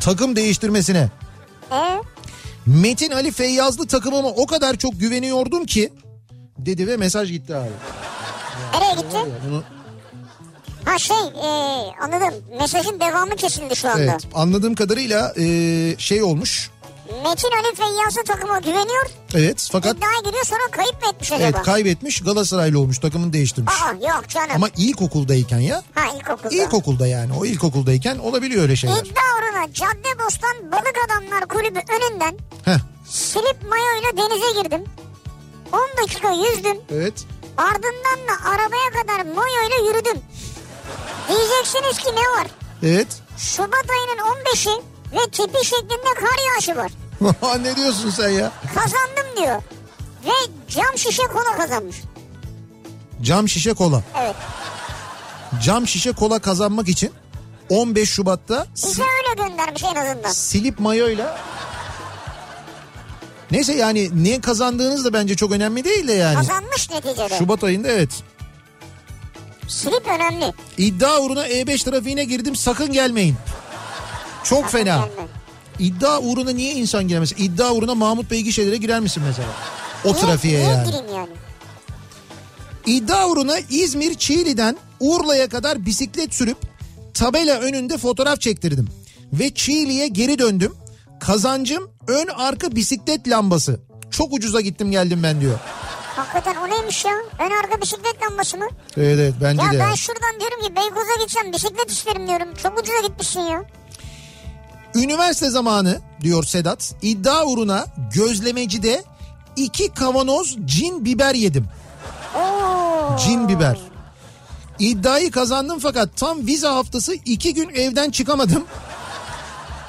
S2: Takım değiştirmesine.
S1: E,
S2: Metin Ali Feyyazlı takımıma o kadar çok güveniyordum ki dedi ve mesaj gitti abi.
S1: nereye gitti?
S2: Ya Bunu,
S1: Ha şey e, anladım. Mesajın devamı kesildi şu anda.
S2: evet, anladığım kadarıyla e, şey olmuş.
S1: Metin Ali Feyyazlı takıma güveniyor.
S2: Evet fakat
S1: İddiaya giriyor sonra kayıp mı etmiş acaba?
S2: evet, kaybetmiş Galatasaraylı olmuş takımını değiştirmiş.
S1: Aa yok canım.
S2: Ama ilkokuldayken ya
S1: Ha ilkokulda.
S2: İlkokulda yani o ilkokuldayken olabiliyor öyle şeyler.
S1: İddia uğruna Caddebostan Balık Adamlar Kulübü önünden
S2: Heh,
S1: silip mayoyla denize girdim. 10 dakika yüzdüm.
S2: evet.
S1: Ardından da arabaya kadar mayoyla yürüdüm. Diyeceksiniz ki ne var?
S2: Evet.
S1: Şubat ayının 15'i ve tipi şeklinde kar yağışı var.
S2: ne diyorsun sen ya?
S1: Kazandım diyor. Ve cam şişe kola kazanmış.
S2: Cam şişe kola.
S1: Evet.
S2: Cam şişe kola kazanmak için 15 Şubat'ta si-
S1: Bize öyle göndermiş en azından.
S2: silip mayoyla Neyse yani ne kazandığınız da bence çok önemli değil de yani.
S1: Kazanmış neticede.
S2: Şubat ayında evet.
S1: Silip önemli.
S2: İddia uğruna E5 trafiğine girdim sakın gelmeyin. Çok fena.
S1: Gelme.
S2: İddia uğruna niye insan giremez? İddia uğruna Mahmut Bey gişelere girer misin mesela? O
S1: Niye-
S2: trafiğe
S1: niye
S2: yani.
S1: gireyim yani?
S2: İddia uğruna İzmir Çiğli'den Urla'ya kadar bisiklet sürüp tabela önünde fotoğraf çektirdim. Ve Çiğli'ye geri döndüm. Kazancım ön arka bisiklet lambası. Çok ucuza gittim geldim ben diyor.
S1: Hakikaten o neymiş ya? Ön arka bisiklet lambası mı?
S2: Evet evet bence
S1: Ya
S2: de.
S1: ben
S2: ya.
S1: şuradan diyorum ki Beykoz'a gideceğim bisiklet isterim diyorum. Çok ucuza gitmişsin ya.
S2: Üniversite zamanı diyor Sedat. İddia uğruna gözlemecide iki kavanoz cin biber yedim.
S1: Oo.
S2: Cin biber. İddiayı kazandım fakat tam vize haftası iki gün evden çıkamadım.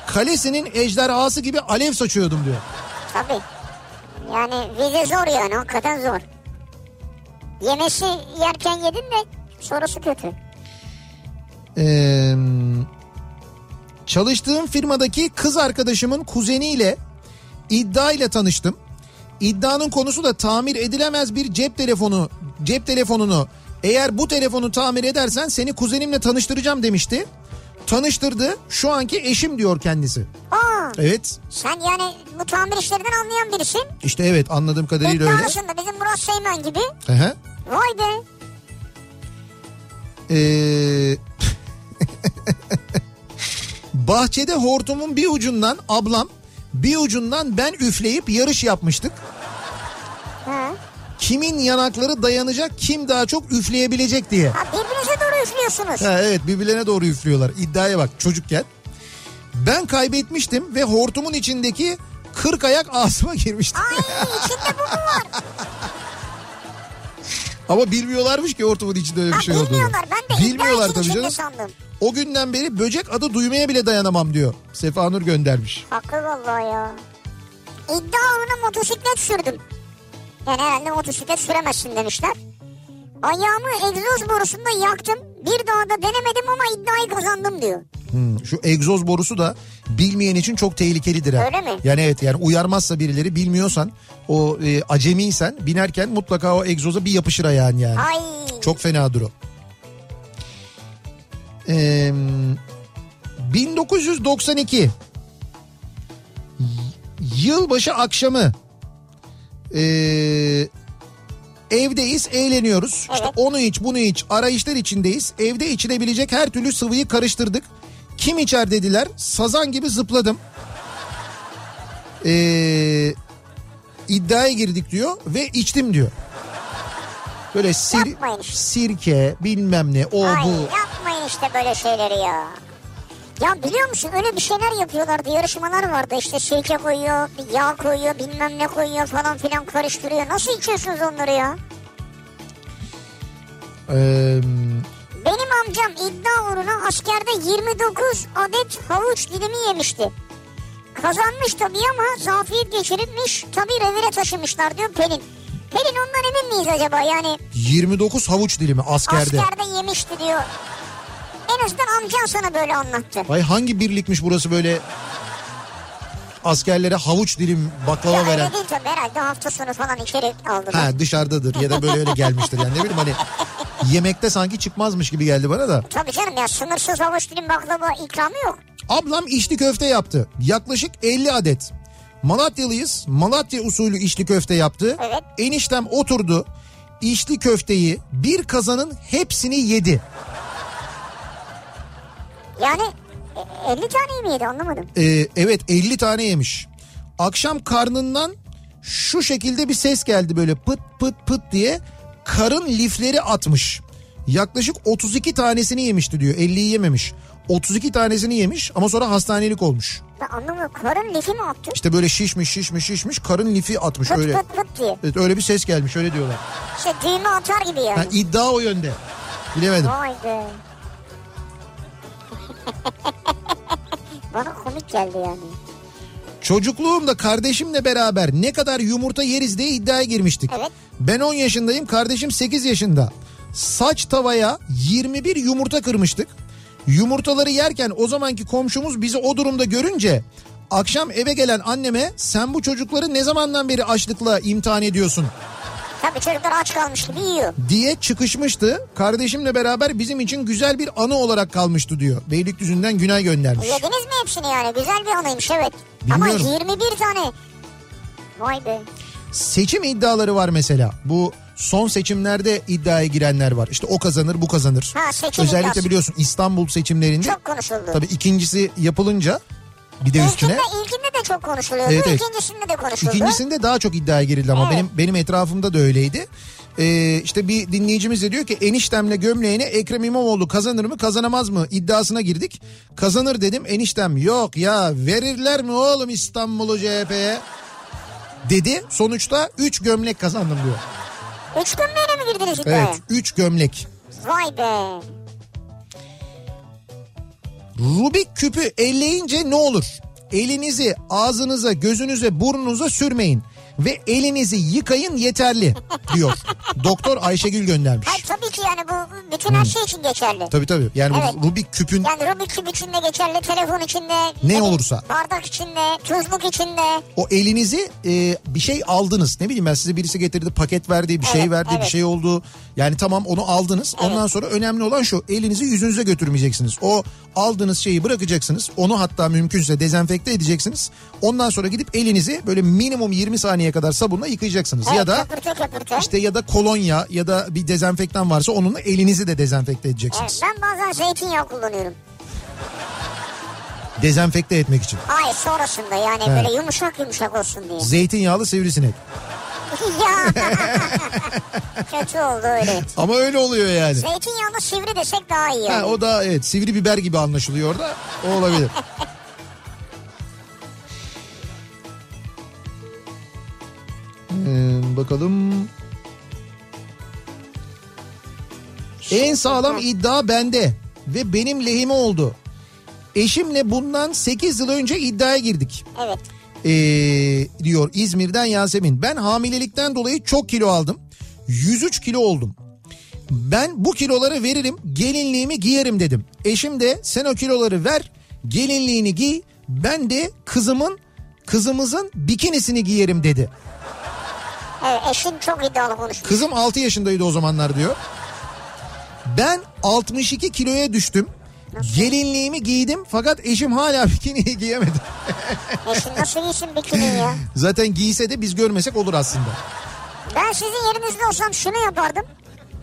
S2: Kalesinin ejderhası gibi alev saçıyordum diyor.
S1: Tabii. Yani vize zor yani hakikaten zor. Yemesi yerken yedin de sorusu kötü.
S2: Ee, çalıştığım firmadaki kız arkadaşımın kuzeniyle iddiayla tanıştım. İddianın konusu da tamir edilemez bir cep telefonu, cep telefonunu. Eğer bu telefonu tamir edersen seni kuzenimle tanıştıracağım demişti. Tanıştırdı. Şu anki eşim diyor kendisi.
S1: Aa,
S2: Evet.
S1: sen yani bu tamir işlerinden anlayan birisin.
S2: İşte evet anladığım kadarıyla öyle.
S1: İddialısın da bizim Murat Seymen gibi.
S2: Hı hı.
S1: Vay be.
S2: Ee, bahçede hortumun bir ucundan ablam bir ucundan ben üfleyip yarış yapmıştık.
S1: Ha.
S2: Kimin yanakları dayanacak kim daha çok üfleyebilecek diye.
S1: ha birbirinize doğru üflüyorsunuz.
S2: Ha, evet birbirlerine doğru üflüyorlar iddiaya bak çocukken. Ben kaybetmiştim ve hortumun içindeki kırk ayak ağzıma girmişti.
S1: Ay içinde bu mu var?
S2: Ama bilmiyorlarmış ki hortumun içinde öyle
S1: Ha,
S2: bir şey olduğunu.
S1: bilmiyorlar. Ben de iddia
S2: Bilmiyorlar
S1: için
S2: tabii
S1: içinde
S2: canım.
S1: sandım.
S2: O günden beri böcek adı duymaya bile dayanamam diyor. Sefa Nur göndermiş.
S1: Haklı vallahi ya. İddia uğruna motosiklet sürdüm. Yani herhalde motosiklet süremezsin demişler. Ayağımı egzoz borusunda yaktım. Bir daha da denemedim ama iddiayı kazandım diyor.
S2: Hmm, şu egzoz borusu da bilmeyen için çok tehlikelidir. ha.
S1: Öyle mi?
S2: Yani evet yani uyarmazsa birileri bilmiyorsan o e, acemiysen binerken mutlaka o egzoza bir yapışır ayağın yani.
S1: Ay.
S2: Çok fena duru. Ee, 1992 Y- yılbaşı akşamı ee, evdeyiz eğleniyoruz. İşte
S1: Evet.
S2: onu iç bunu iç arayışlar içindeyiz. Evde içilebilecek her türlü sıvıyı karıştırdık. Kim içer dediler. Sazan gibi zıpladım. Ee, iddiaya girdik diyor ve içtim diyor. Böyle sir,
S1: Yapmayın işte.
S2: sirke bilmem ne o
S1: Ay
S2: bu.
S1: yapmayın işte böyle şeyleri ya. Ya biliyor musun öyle bir şeyler yapıyorlardı yarışmalar vardı işte sirke koyuyor bir yağ koyuyor bilmem ne koyuyor falan filan karıştırıyor. Nasıl içiyorsunuz onları ya?
S2: Ee,
S1: Benim amcam iddia uğruna askerde 29 adet havuç dilimi yemişti. Kazanmış tabii ama zafiyet geçirilmiş. Tabii revire taşımışlar diyor Pelin. Pelin ondan emin miyiz acaba? Yani
S2: 29 havuç dilimi askerde.
S1: askerde yemişti diyor. En azından amcan sana böyle anlattı.
S2: Vay hangi birlikmiş burası böyle askerlere havuç dilim baklava
S1: Ya
S2: veren.
S1: öyle değil tabii herhalde hafta sonu falan içeri aldılar.
S2: Ha dışarıdadır ya da böyle öyle gelmiştir yani ne bileyim hani yemekte sanki çıkmazmış gibi geldi bana da.
S1: Tabii canım ya sınırsız havuç dilim baklava ikramı yok.
S2: Ablam içli köfte yaptı. Yaklaşık 50 adet. Malatyalıyız. Malatya usulü içli köfte yaptı.
S1: Evet.
S2: Eniştem oturdu. İçli köfteyi bir kazanın hepsini yedi.
S1: Yani e, 50 tane mi yedi anlamadım.
S2: Ee, evet 50 tane yemiş. Akşam karnından şu şekilde bir ses geldi böyle pıt pıt pıt diye karın lifleri atmış. Yaklaşık 32 tanesini yemişti diyor 50'yi yememiş. 32 tanesini yemiş ama sonra hastanelik olmuş.
S1: Ben anlamıyorum karın lifi mi attı?
S2: İşte böyle şişmiş şişmiş şişmiş karın lifi atmış
S1: Pıt
S2: öyle.
S1: pıt pıt diye.
S2: Evet, öyle bir ses gelmiş öyle diyorlar.
S1: İşte düğme atar gibi yani.
S2: Ha, iddia o yönde. Bilemedim.
S1: Vay be. Bana komik geldi yani.
S2: Çocukluğumda kardeşimle beraber ne kadar yumurta yeriz diye iddiaya girmiştik.
S1: Evet.
S2: Ben 10 yaşındayım, kardeşim 8 yaşında. Saç tavaya 21 yumurta kırmıştık. Yumurtaları yerken o zamanki komşumuz bizi o durumda görünce akşam eve gelen anneme sen bu çocukları ne zamandan beri açlıkla imtihan ediyorsun
S1: Tabii çocuklar aç kalmış gibi yiyor.
S2: diye çıkışmıştı. Kardeşimle beraber bizim için güzel bir anı olarak kalmıştı diyor. Beylikdüzü'nden Günay göndermiş.
S1: Yediniz mi hepsini yani? Güzel bir anıymış evet.
S2: Bilmiyorum.
S1: Ama 21 tane. Vay be.
S2: Seçim iddiaları var mesela. Bu son seçimlerde iddiaya girenler var. İşte o kazanır bu kazanır.
S1: Ha, seçim
S2: Özellikle
S1: iddiası.
S2: biliyorsun İstanbul seçimlerinde
S1: Çok konuşuldu.
S2: tabii ikincisi yapılınca bir de üstüne.
S1: İlkinde, ilkinde de çok konuşuluyordu.
S2: Evet, evet.
S1: İkincisinde de konuşuldu.
S2: İkincisinde daha çok iddiaya girildi ama
S1: Evet.
S2: benim benim etrafımda da öyleydi. Ee, işte bir dinleyicimiz de diyor ki eniştemle gömleğine Ekrem İmamoğlu kazanır mı kazanamaz mı iddiasına girdik. Kazanır dedim eniştem yok ya verirler mi oğlum İstanbul'u CHP'ye dedi. Sonuçta 3 gömlek kazandım diyor.
S1: Üç gömleğine mi girdiniz iddiaya?
S2: Evet 3 gömlek.
S1: Vay be.
S2: Rubik küpü elleyince ne olur? Elinizi ağzınıza, gözünüze, burnunuza sürmeyin ve elinizi yıkayın yeterli diyor. Doktor Ayşegül göndermiş.
S1: Hayır tabii ki yani bu bütün her şey için geçerli.
S2: Hmm. Tabii tabii. Yani bu
S1: Evet.
S2: Rubik küpün
S1: Yani Rubik küp için de geçerli, telefon için de.
S2: Ne olursa.
S1: Bardak için de, tuzluk için de.
S2: o elinizi e, bir şey aldınız. Ne bileyim ben size birisi getirdi paket verdi bir şey
S1: Evet,
S2: verdi bir
S1: evet.
S2: şey oldu. Yani tamam onu aldınız. Ondan sonra önemli olan şu elinizi yüzünüze götürmeyeceksiniz. O aldığınız şeyi bırakacaksınız. Onu hatta mümkünse dezenfekte edeceksiniz. Ondan sonra gidip elinizi böyle minimum 20 saniye kadar sabunla yıkayacaksınız.
S1: Evet,
S2: ya da
S1: köpürte köpürte.
S2: işte ya da kolonya ya da bir dezenfektan varsa onunla elinizi de dezenfekte edeceksiniz.
S1: Evet, ben bazen zeytinyağı kullanıyorum.
S2: Dezenfekte etmek için.
S1: Hayır sonrasında yani
S2: Evet.
S1: böyle yumuşak yumuşak olsun diye.
S2: Zeytinyağlı sivrisinek.
S1: ya. Kötü oldu öyle.
S2: Ama öyle oluyor yani.
S1: Zeytinyağını sivri desek daha iyi.
S2: Ha,
S1: olur.
S2: o da evet sivri biber gibi anlaşılıyor orada. O olabilir. Hmm, bakalım. En sağlam iddia bende ve benim lehime oldu. Eşimle bundan 8 yıl önce iddiaya girdik.
S1: Evet.
S2: Ee, diyor İzmir'den Yasemin. Ben hamilelikten dolayı çok kilo aldım. 103 kilo oldum. Ben bu kiloları veririm gelinliğimi giyerim dedim. Eşim de sen o kiloları ver gelinliğini giy ben de kızımın kızımızın bikinisini giyerim dedi.
S1: evet. Eşin çok iddialı konuşmuş.
S2: Kızım 6 yaşındaydı o zamanlar diyor. Ben 62 kiloya düştüm. Gelinliğimi giydim fakat eşim hala bikiniyi giyemedi.
S1: Eşin nasıl giysin bikini ya?
S2: Zaten giyse de biz görmesek olur aslında.
S1: Ben sizin yerinizde olsam şunu yapardım.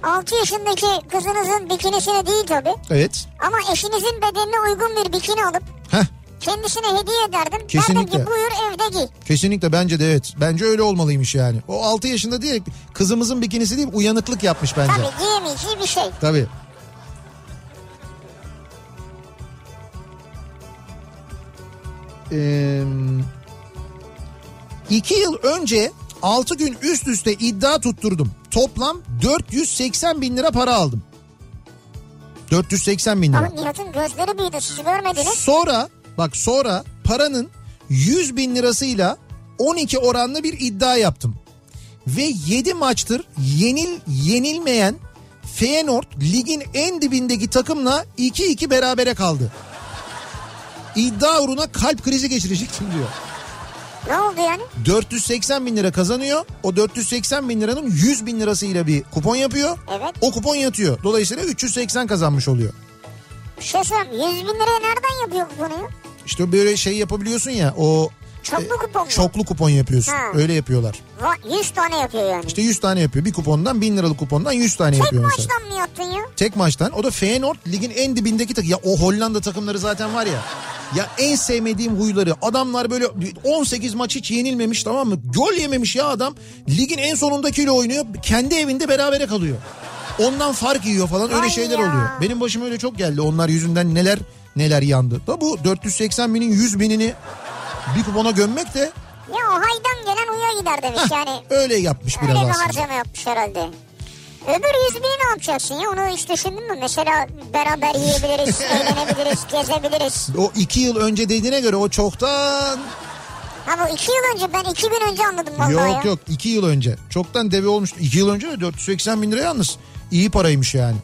S1: 6 yaşındaki kızınızın bikinisini değil tabii.
S2: Evet.
S1: Ama eşinizin bedenine uygun bir bikini alıp
S2: Heh.
S1: kendisine hediye ederdim. Derdim
S2: Kesinlikle.
S1: ki buyur evde giy.
S2: Kesinlikle bence de evet. Bence öyle olmalıymış yani. O 6 yaşında değil kızımızın bikinisi değil uyanıklık yapmış bence.
S1: Tabii giyemeyeceği bir şey.
S2: Tabii. Ee, iki yıl önce 6 gün üst üste iddia tutturdum. Toplam 480 bin lira para aldım. 480 bin
S1: Ama
S2: lira.
S1: Nihat'ın gözleri büyüdü sizi görmediniz.
S2: Sonra bak sonra paranın 100 bin lirasıyla 12 oranlı bir iddia yaptım. Ve 7 maçtır yenil yenilmeyen Feyenoord ligin en dibindeki takımla 2-2 berabere kaldı. İddia uğruna kalp krizi geçirecektim diyor.
S1: Ne oldu yani?
S2: 480 bin lira kazanıyor. O 480 bin liranın 100 bin lirasıyla bir kupon yapıyor.
S1: Evet.
S2: O kupon yatıyor. Dolayısıyla 380 kazanmış oluyor.
S1: Bir şey söyleyeyim. 100 bin liraya nereden yapıyor bu konuyu?
S2: İşte böyle şey yapabiliyorsun ya o
S1: Çoklu
S2: E,
S1: kupon mu?
S2: Çoklu kupon yapıyorsun.
S1: Ha.
S2: Öyle yapıyorlar.
S1: Va- 100 tane yapıyor yani.
S2: İşte 100 tane yapıyor. Bir kupondan 1000 liralık kupondan 100 tane
S1: Tek
S2: yapıyor mesela.
S1: maçtan mı yaptın ya?
S2: Tek maçtan. O da Feyenoord ligin en dibindeki takım. Ya o Hollanda takımları zaten var ya. Ya en sevmediğim huyları. Adamlar böyle 18 maç hiç yenilmemiş tamam mı? Gol yememiş ya adam. Ligin en sonundakiyle oynuyor. Kendi evinde berabere kalıyor. Ondan fark yiyor falan öyle
S1: Vay
S2: şeyler
S1: ya.
S2: oluyor. Benim başıma öyle çok geldi. Onlar yüzünden neler neler yandı. Da bu 480 binin 100 binini bir kupona gömmek de
S1: Ya o haydan gelen uya gider demiş yani.
S2: öyle yapmış
S1: Öyle
S2: biraz
S1: bir
S2: aslında.
S1: harcama yapmış herhalde. Öbür 100 bini ne yapacaksın ya? Onu hiç düşündün mü? Mesela beraber yiyebiliriz, eğlenebiliriz, gezebiliriz.
S2: O iki yıl önce dediğine göre o çoktan...
S1: Ha bu 2 yıl önce ben 2 gün önce anladım vallahi ya.
S2: yok yok iki yıl önce. Çoktan deve olmuştu. İki yıl önce de 480 bin lira yalnız. İyi paraymış yani.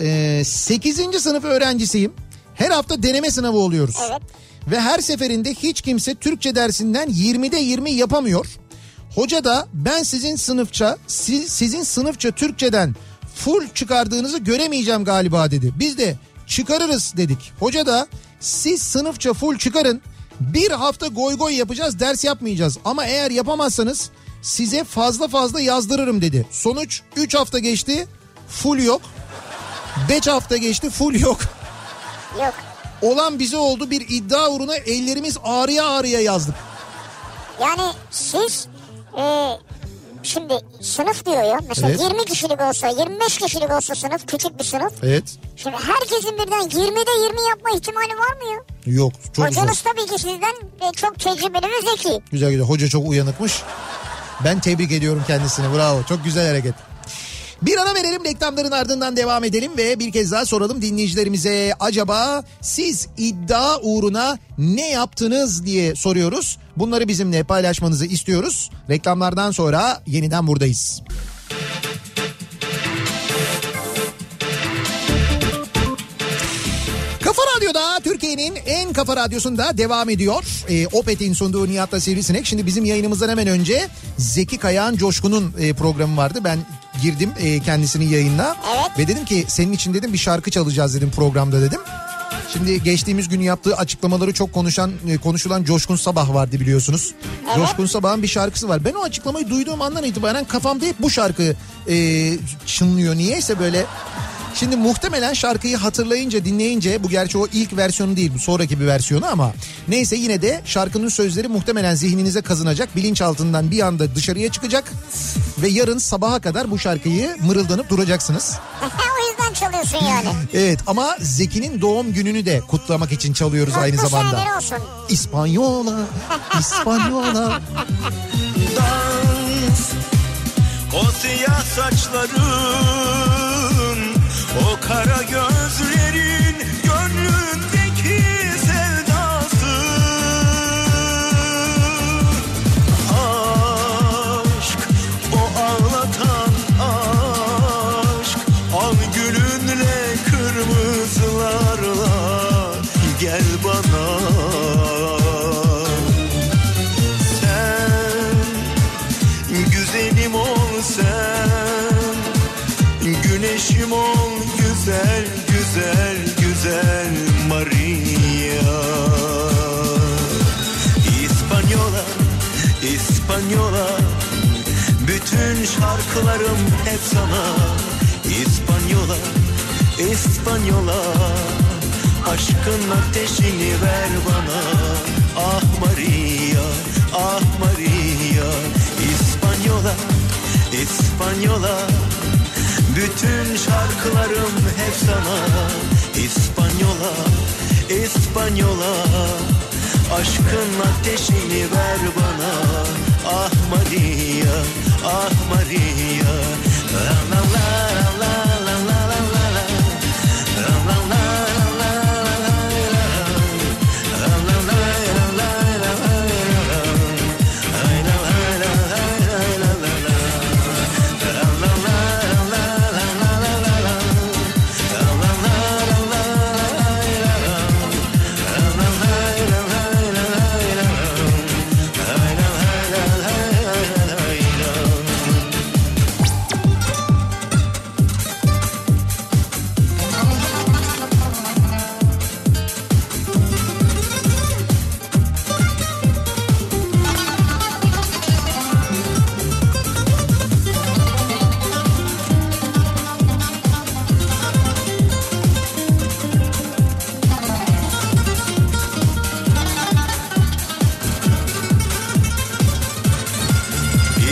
S2: Ee, 8. sınıf öğrencisiyim. Her hafta deneme sınavı oluyoruz.
S1: Evet.
S2: Ve her seferinde hiç kimse Türkçe dersinden 20'de 20 yapamıyor. Hoca da ben sizin sınıfça siz, sizin sınıfça Türkçeden full çıkardığınızı göremeyeceğim galiba dedi. Biz de çıkarırız dedik. Hoca da siz sınıfça full çıkarın Bir hafta goy goy yapacağız ders yapmayacağız. Ama eğer yapamazsanız size fazla fazla yazdırırım dedi. Sonuç 3 hafta geçti full yok. 5 hafta geçti full yok.
S1: Yok.
S2: Olan bize oldu bir iddia uğruna ellerimiz ağrıya ağrıya yazdık.
S1: Yani siz e, şimdi sınıf diyor ya. Mesela
S2: Evet.
S1: 20 kişilik olsa 25 kişilik olsa sınıf küçük bir sınıf.
S2: Evet.
S1: Şimdi herkesin birden 20'de 20 yapma ihtimali var mı ya?
S2: Yok çok güzel.
S1: Hocanız tabii ki sizden e, çok tecrübeli ve zeki.
S2: Güzel güzel. Hoca çok uyanıkmış. Ben tebrik ediyorum kendisini. Bravo. Çok güzel hareket. Bir ara verelim reklamların ardından devam edelim ve bir kez daha soralım dinleyicilerimize acaba siz iddia uğruna ne yaptınız diye soruyoruz. Bunları bizimle paylaşmanızı istiyoruz. Reklamlardan sonra yeniden buradayız. Kafa Radyo'da Türkiye'nin en kafa radyosunda devam ediyor. E, Opet'in sunduğu Nihat'la Sivrisinek. Şimdi bizim yayınımızdan hemen önce Zeki Kayağan Coşkun'un e, programı vardı. Ben girdim e, kendisinin yayınına.
S1: Evet.
S2: Ve dedim ki senin için dedim bir şarkı çalacağız dedim programda dedim. Şimdi geçtiğimiz gün yaptığı açıklamaları çok konuşan e, konuşulan Coşkun Sabah vardı biliyorsunuz. Coşkun Sabah'ın bir şarkısı var. Ben o açıklamayı duyduğum andan itibaren kafamda hep bu şarkı e, çınlıyor. Niyeyse böyle Şimdi muhtemelen şarkıyı hatırlayınca dinleyince bu gerçi o ilk versiyonu değil bu sonraki bir versiyonu ama neyse yine de şarkının sözleri muhtemelen zihninize kazınacak bilinçaltından bir anda dışarıya çıkacak ve yarın sabaha kadar bu şarkıyı mırıldanıp duracaksınız.
S1: o yüzden çalıyorsun yani.
S2: Evet ama Zeki'nin doğum gününü de kutlamak için çalıyoruz aynı
S1: Mutlu
S2: zamanda.
S1: seneler olsun.
S2: İspanyola, İspanyola.
S3: dans O siyah saçların O kara gözlerin Gönlündeki sevdası Aşk O ağlatan aşk Al gülünle kırmızılarla Gel bana sen Güzelim ol sen Güneşim ol güzel güzel güzel Maria İspanyola İspanyola Bütün şarkılarım hep sana İspanyola İspanyola Aşkın ateşini ver bana Ah Maria Ah Maria İspanyola İspanyola bütün şarkılarım hep sana İspanyola, İspanyola Aşkın ateşini ver bana Ah Maria, ah Maria La la la la la la la la la La la la la la la la La la la la la la la la Ay la la la la la la la La la la la la la la la la La la la la la la la la La la la la la la la la Ay la la la la la la la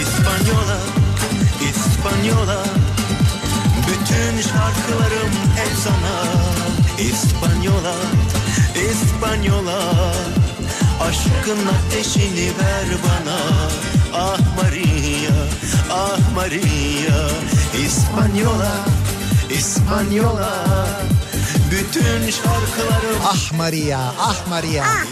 S3: İspanyola, İspanyola Bütün şarkılarım hep sana İspanyola, İspanyola Aşkın ateşini ver bana Ah Maria, ah Maria İspanyola, İspanyola Bütün şarkılarım
S2: Ah Maria, ah Maria.
S1: ah.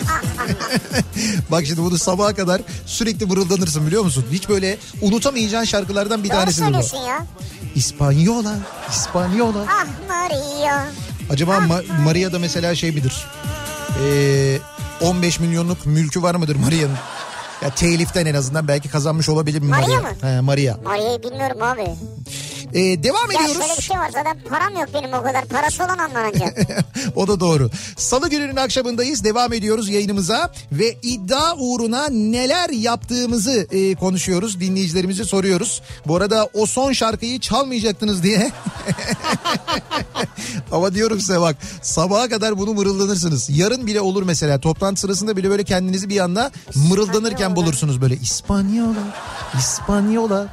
S2: Bak şimdi bunu sabaha kadar sürekli mırıldanırsın biliyor musun? Hiç böyle unutamayacağın şarkılardan bir
S1: Doğru
S2: tanesidir bu.
S1: söylüyorsun ya.
S2: İspanyola, İspanyola.
S1: Ah Maria.
S2: Acaba
S1: Ah.
S2: Ma- Maria da mesela şey midir? Ee, 15 milyonluk mülkü var mıdır Maria'nın? Ya teliften en azından belki kazanmış olabilir mi
S1: Maria
S2: Maria?
S1: mı?
S2: He, Maria.
S1: Maria'yı bilmiyorum abi.
S2: Ee, devam
S1: Ya
S2: ediyoruz.
S1: şöyle bir şey var zaten param yok benim o kadar. Parası olan anlanacak.
S2: o da doğru. Salı gününün akşamındayız. Devam ediyoruz yayınımıza ve iddia uğruna neler yaptığımızı e, konuşuyoruz. Dinleyicilerimizi soruyoruz. Bu arada o son şarkıyı çalmayacaktınız diye. Ama diyorum size bak sabaha kadar bunu mırıldanırsınız. Yarın bile olur mesela toplantı sırasında bile böyle kendinizi bir anda mırıldanırken bulursunuz böyle İspanyola, İspanyola.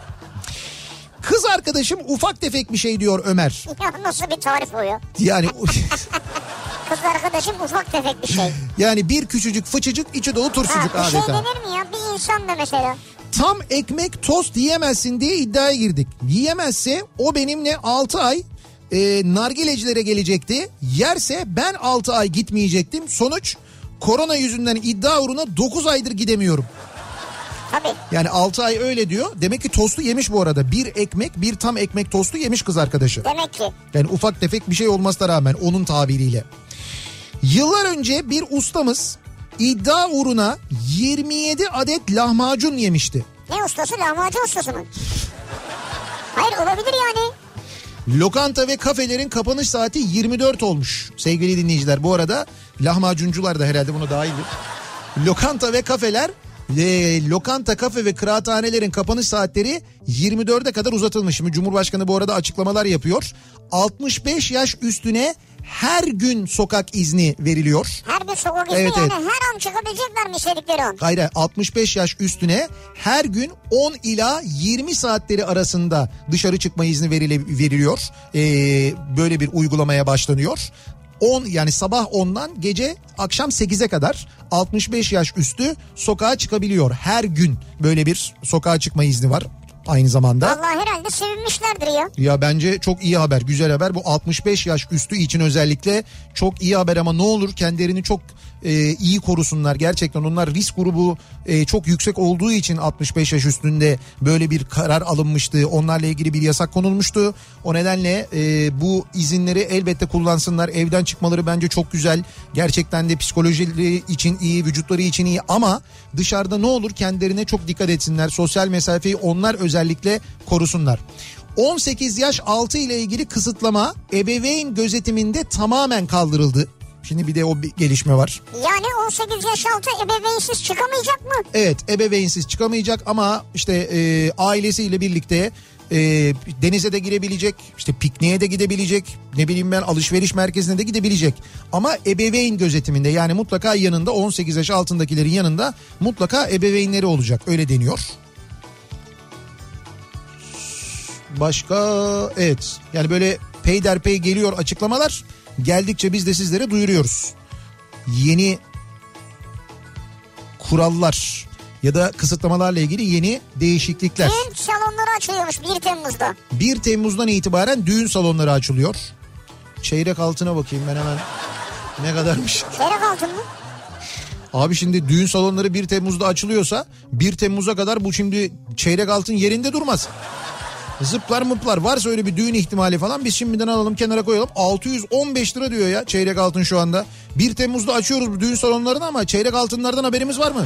S2: Kız arkadaşım ufak tefek bir şey diyor Ömer.
S1: Ya Nasıl bir tarif o ya?
S2: Yani
S1: Kız arkadaşım ufak tefek bir şey.
S2: Yani bir küçücük fıçıcık içi dolu turşucuk
S1: Ha, bir şey
S2: adeta.
S1: denir mi ya? Bir insan da mesela.
S2: Tam ekmek tost yiyemezsin diye iddiaya girdik. Yiyemezse o benimle 6 ay e, nargilecilere gelecekti. Yerse ben 6 ay gitmeyecektim. Sonuç korona yüzünden iddia uğruna 9 aydır gidemiyorum.
S1: Tabii.
S2: Yani 6 ay öyle diyor. Demek ki tostu yemiş bu arada. Bir ekmek bir tam ekmek tostu yemiş kız arkadaşı.
S1: Demek ki.
S2: Yani ufak tefek bir şey olmasına rağmen onun tabiriyle. Yıllar önce bir ustamız iddia uğruna 27 adet lahmacun yemişti.
S1: Ne ustası? Lahmacun ustası mı? Hayır olabilir yani.
S2: Lokanta ve kafelerin kapanış saati 24 olmuş. Sevgili dinleyiciler bu arada lahmacuncular da herhalde buna dahildir. Lokanta ve kafeler e, lokanta, kafe ve kıraathanelerin kapanış saatleri 24'e kadar uzatılmış. Şimdi Cumhurbaşkanı bu arada açıklamalar yapıyor. 65 yaş üstüne her gün sokak izni veriliyor.
S1: Her bir sokak izni
S2: Evet,
S1: yani
S2: evet.
S1: her an çıkabilecekler mi istedikleri an?
S2: Hayır hayır, 65 yaş üstüne her gün 10 ila 20 saatleri arasında dışarı çıkma izni verile, veriliyor. Ee, böyle bir uygulamaya başlanıyor. 10 yani sabah 10'dan gece akşam 8'e kadar 65 yaş üstü sokağa çıkabiliyor. Her gün böyle bir sokağa çıkma izni var aynı zamanda.
S1: Vallahi herhalde sevinmişlerdir ya.
S2: Ya bence çok iyi haber, güzel haber. Bu 65 yaş üstü için özellikle çok iyi haber ama ne olur kendilerini çok e, iyi korusunlar. Gerçekten onlar risk grubu e, çok yüksek olduğu için 65 yaş üstünde böyle bir karar alınmıştı. Onlarla ilgili bir yasak konulmuştu. O nedenle e, bu izinleri elbette kullansınlar. Evden çıkmaları bence çok güzel. Gerçekten de psikolojileri için iyi, vücutları için iyi ama dışarıda ne olur kendilerine çok dikkat etsinler. Sosyal mesafeyi onlar özellikle korusunlar. 18 yaş altı ile ilgili kısıtlama ebeveyn gözetiminde tamamen kaldırıldı. Şimdi bir de o bir gelişme var.
S1: Yani 18 yaş altı ebeveynsiz çıkamayacak mı?
S2: Evet ebeveynsiz çıkamayacak ama işte e, ailesiyle birlikte e, denize de girebilecek, işte pikniğe de gidebilecek, ne bileyim ben alışveriş merkezine de gidebilecek. Ama ebeveyn gözetiminde yani mutlaka yanında 18 yaş altındakilerin yanında mutlaka ebeveynleri olacak öyle deniyor. Başka evet yani böyle peyderpey geliyor açıklamalar geldikçe biz de sizlere duyuruyoruz. Yeni kurallar ya da kısıtlamalarla ilgili yeni değişiklikler.
S1: Düğün salonları açılıyormuş 1 Temmuz'da.
S2: 1 Temmuz'dan itibaren düğün salonları açılıyor. Çeyrek altına bakayım ben hemen ne kadarmış.
S1: Çeyrek altın mı?
S2: Abi şimdi düğün salonları 1 Temmuz'da açılıyorsa 1 Temmuz'a kadar bu şimdi çeyrek altın yerinde durmaz. Zıplar mıplar varsa öyle bir düğün ihtimali falan biz şimdiden alalım kenara koyalım. 615 lira diyor ya çeyrek altın şu anda. 1 Temmuz'da açıyoruz bu düğün salonlarını ama çeyrek altınlardan haberimiz var mı?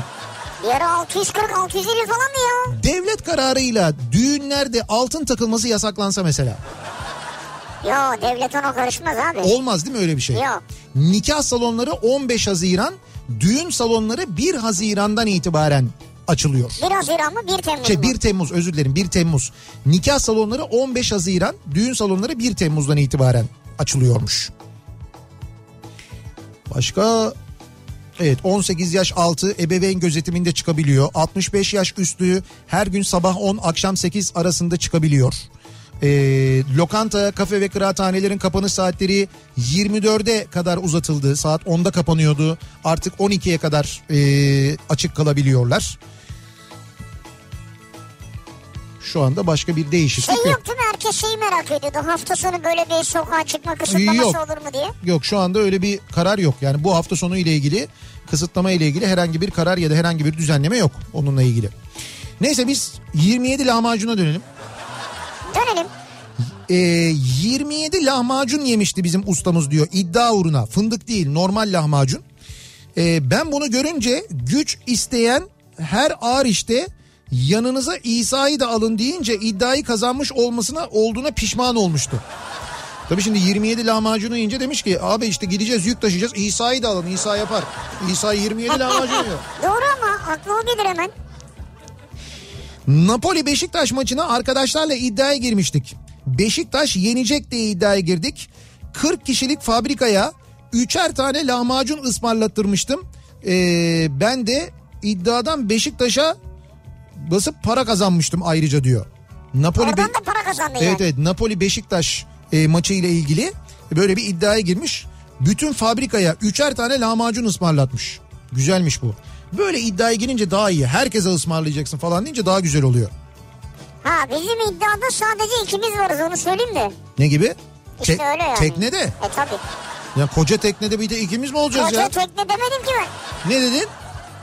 S1: Bir ara 640-650 falan mı ya?
S2: Devlet kararıyla düğünlerde altın takılması yasaklansa mesela.
S1: Yo devlet ona karışmaz abi.
S2: Olmaz değil mi öyle bir şey?
S1: Yok.
S2: Nikah salonları 15 Haziran, düğün salonları 1 Haziran'dan itibaren açılıyor.
S1: 1 Haziran mı 1 Temmuz
S2: Şey
S1: mu?
S2: 1 Temmuz özür dilerim 1 Temmuz. Nikah salonları 15 Haziran, düğün salonları 1 Temmuz'dan itibaren açılıyormuş. Başka Evet 18 yaş altı ebeveyn gözetiminde çıkabiliyor. 65 yaş üstü her gün sabah 10 akşam 8 arasında çıkabiliyor. Ee, lokanta, kafe ve kıraathanelerin kapanış saatleri 24'e kadar uzatıldı. Saat 10'da kapanıyordu. Artık 12'ye kadar ee, açık kalabiliyorlar. Şu anda başka bir değişiklik
S1: Şey
S2: yok.
S1: yok değil mi? Herkes şeyi merak ediyordu. Hafta sonu böyle bir sokağa çıkma kısıtlaması
S2: Yok.
S1: olur mu diye.
S2: Yok şu anda öyle bir karar yok. Yani bu hafta sonu ile ilgili kısıtlama ile ilgili herhangi bir karar ya da herhangi bir düzenleme yok onunla ilgili. Neyse biz 27 lahmacuna dönelim.
S1: Dönelim.
S2: Ee, 27 lahmacun yemişti bizim ustamız diyor iddia uğruna. Fındık değil normal lahmacun. Ee, ben bunu görünce güç isteyen her ağır işte yanınıza İsa'yı da alın deyince iddiayı kazanmış olmasına olduğuna pişman olmuştu. Tabii şimdi 27 lahmacunu yiyince demiş ki abi işte gideceğiz yük taşıyacağız İsa'yı da alın İsa yapar. İsa 27 lahmacun yiyor.
S1: Doğru ama aklıma gelir hemen.
S2: Napoli Beşiktaş maçına arkadaşlarla iddiaya girmiştik. Beşiktaş yenecek diye iddiaya girdik. 40 kişilik fabrikaya üçer tane lahmacun ısmarlattırmıştım. Ee, ben de iddiadan Beşiktaş'a basıp para kazanmıştım ayrıca diyor. Napoli
S1: Oradan
S2: Be-
S1: da para kazandı yani.
S2: Evet evet Napoli Beşiktaş e, maçı ile ilgili böyle bir iddiaya girmiş. Bütün fabrikaya üçer tane lahmacun ısmarlatmış. Güzelmiş bu. Böyle iddiaya girince daha iyi. Herkese ısmarlayacaksın falan deyince daha güzel oluyor.
S1: Ha bizim iddiada sadece ikimiz varız onu söyleyeyim de.
S2: Ne gibi?
S1: İşte
S2: Te-
S1: öyle yani.
S2: Teknede.
S1: E tabii.
S2: Ya koca teknede bir de ikimiz mi olacağız
S1: Koca
S2: ya?
S1: tekne demedim ki ben.
S2: Ne dedin?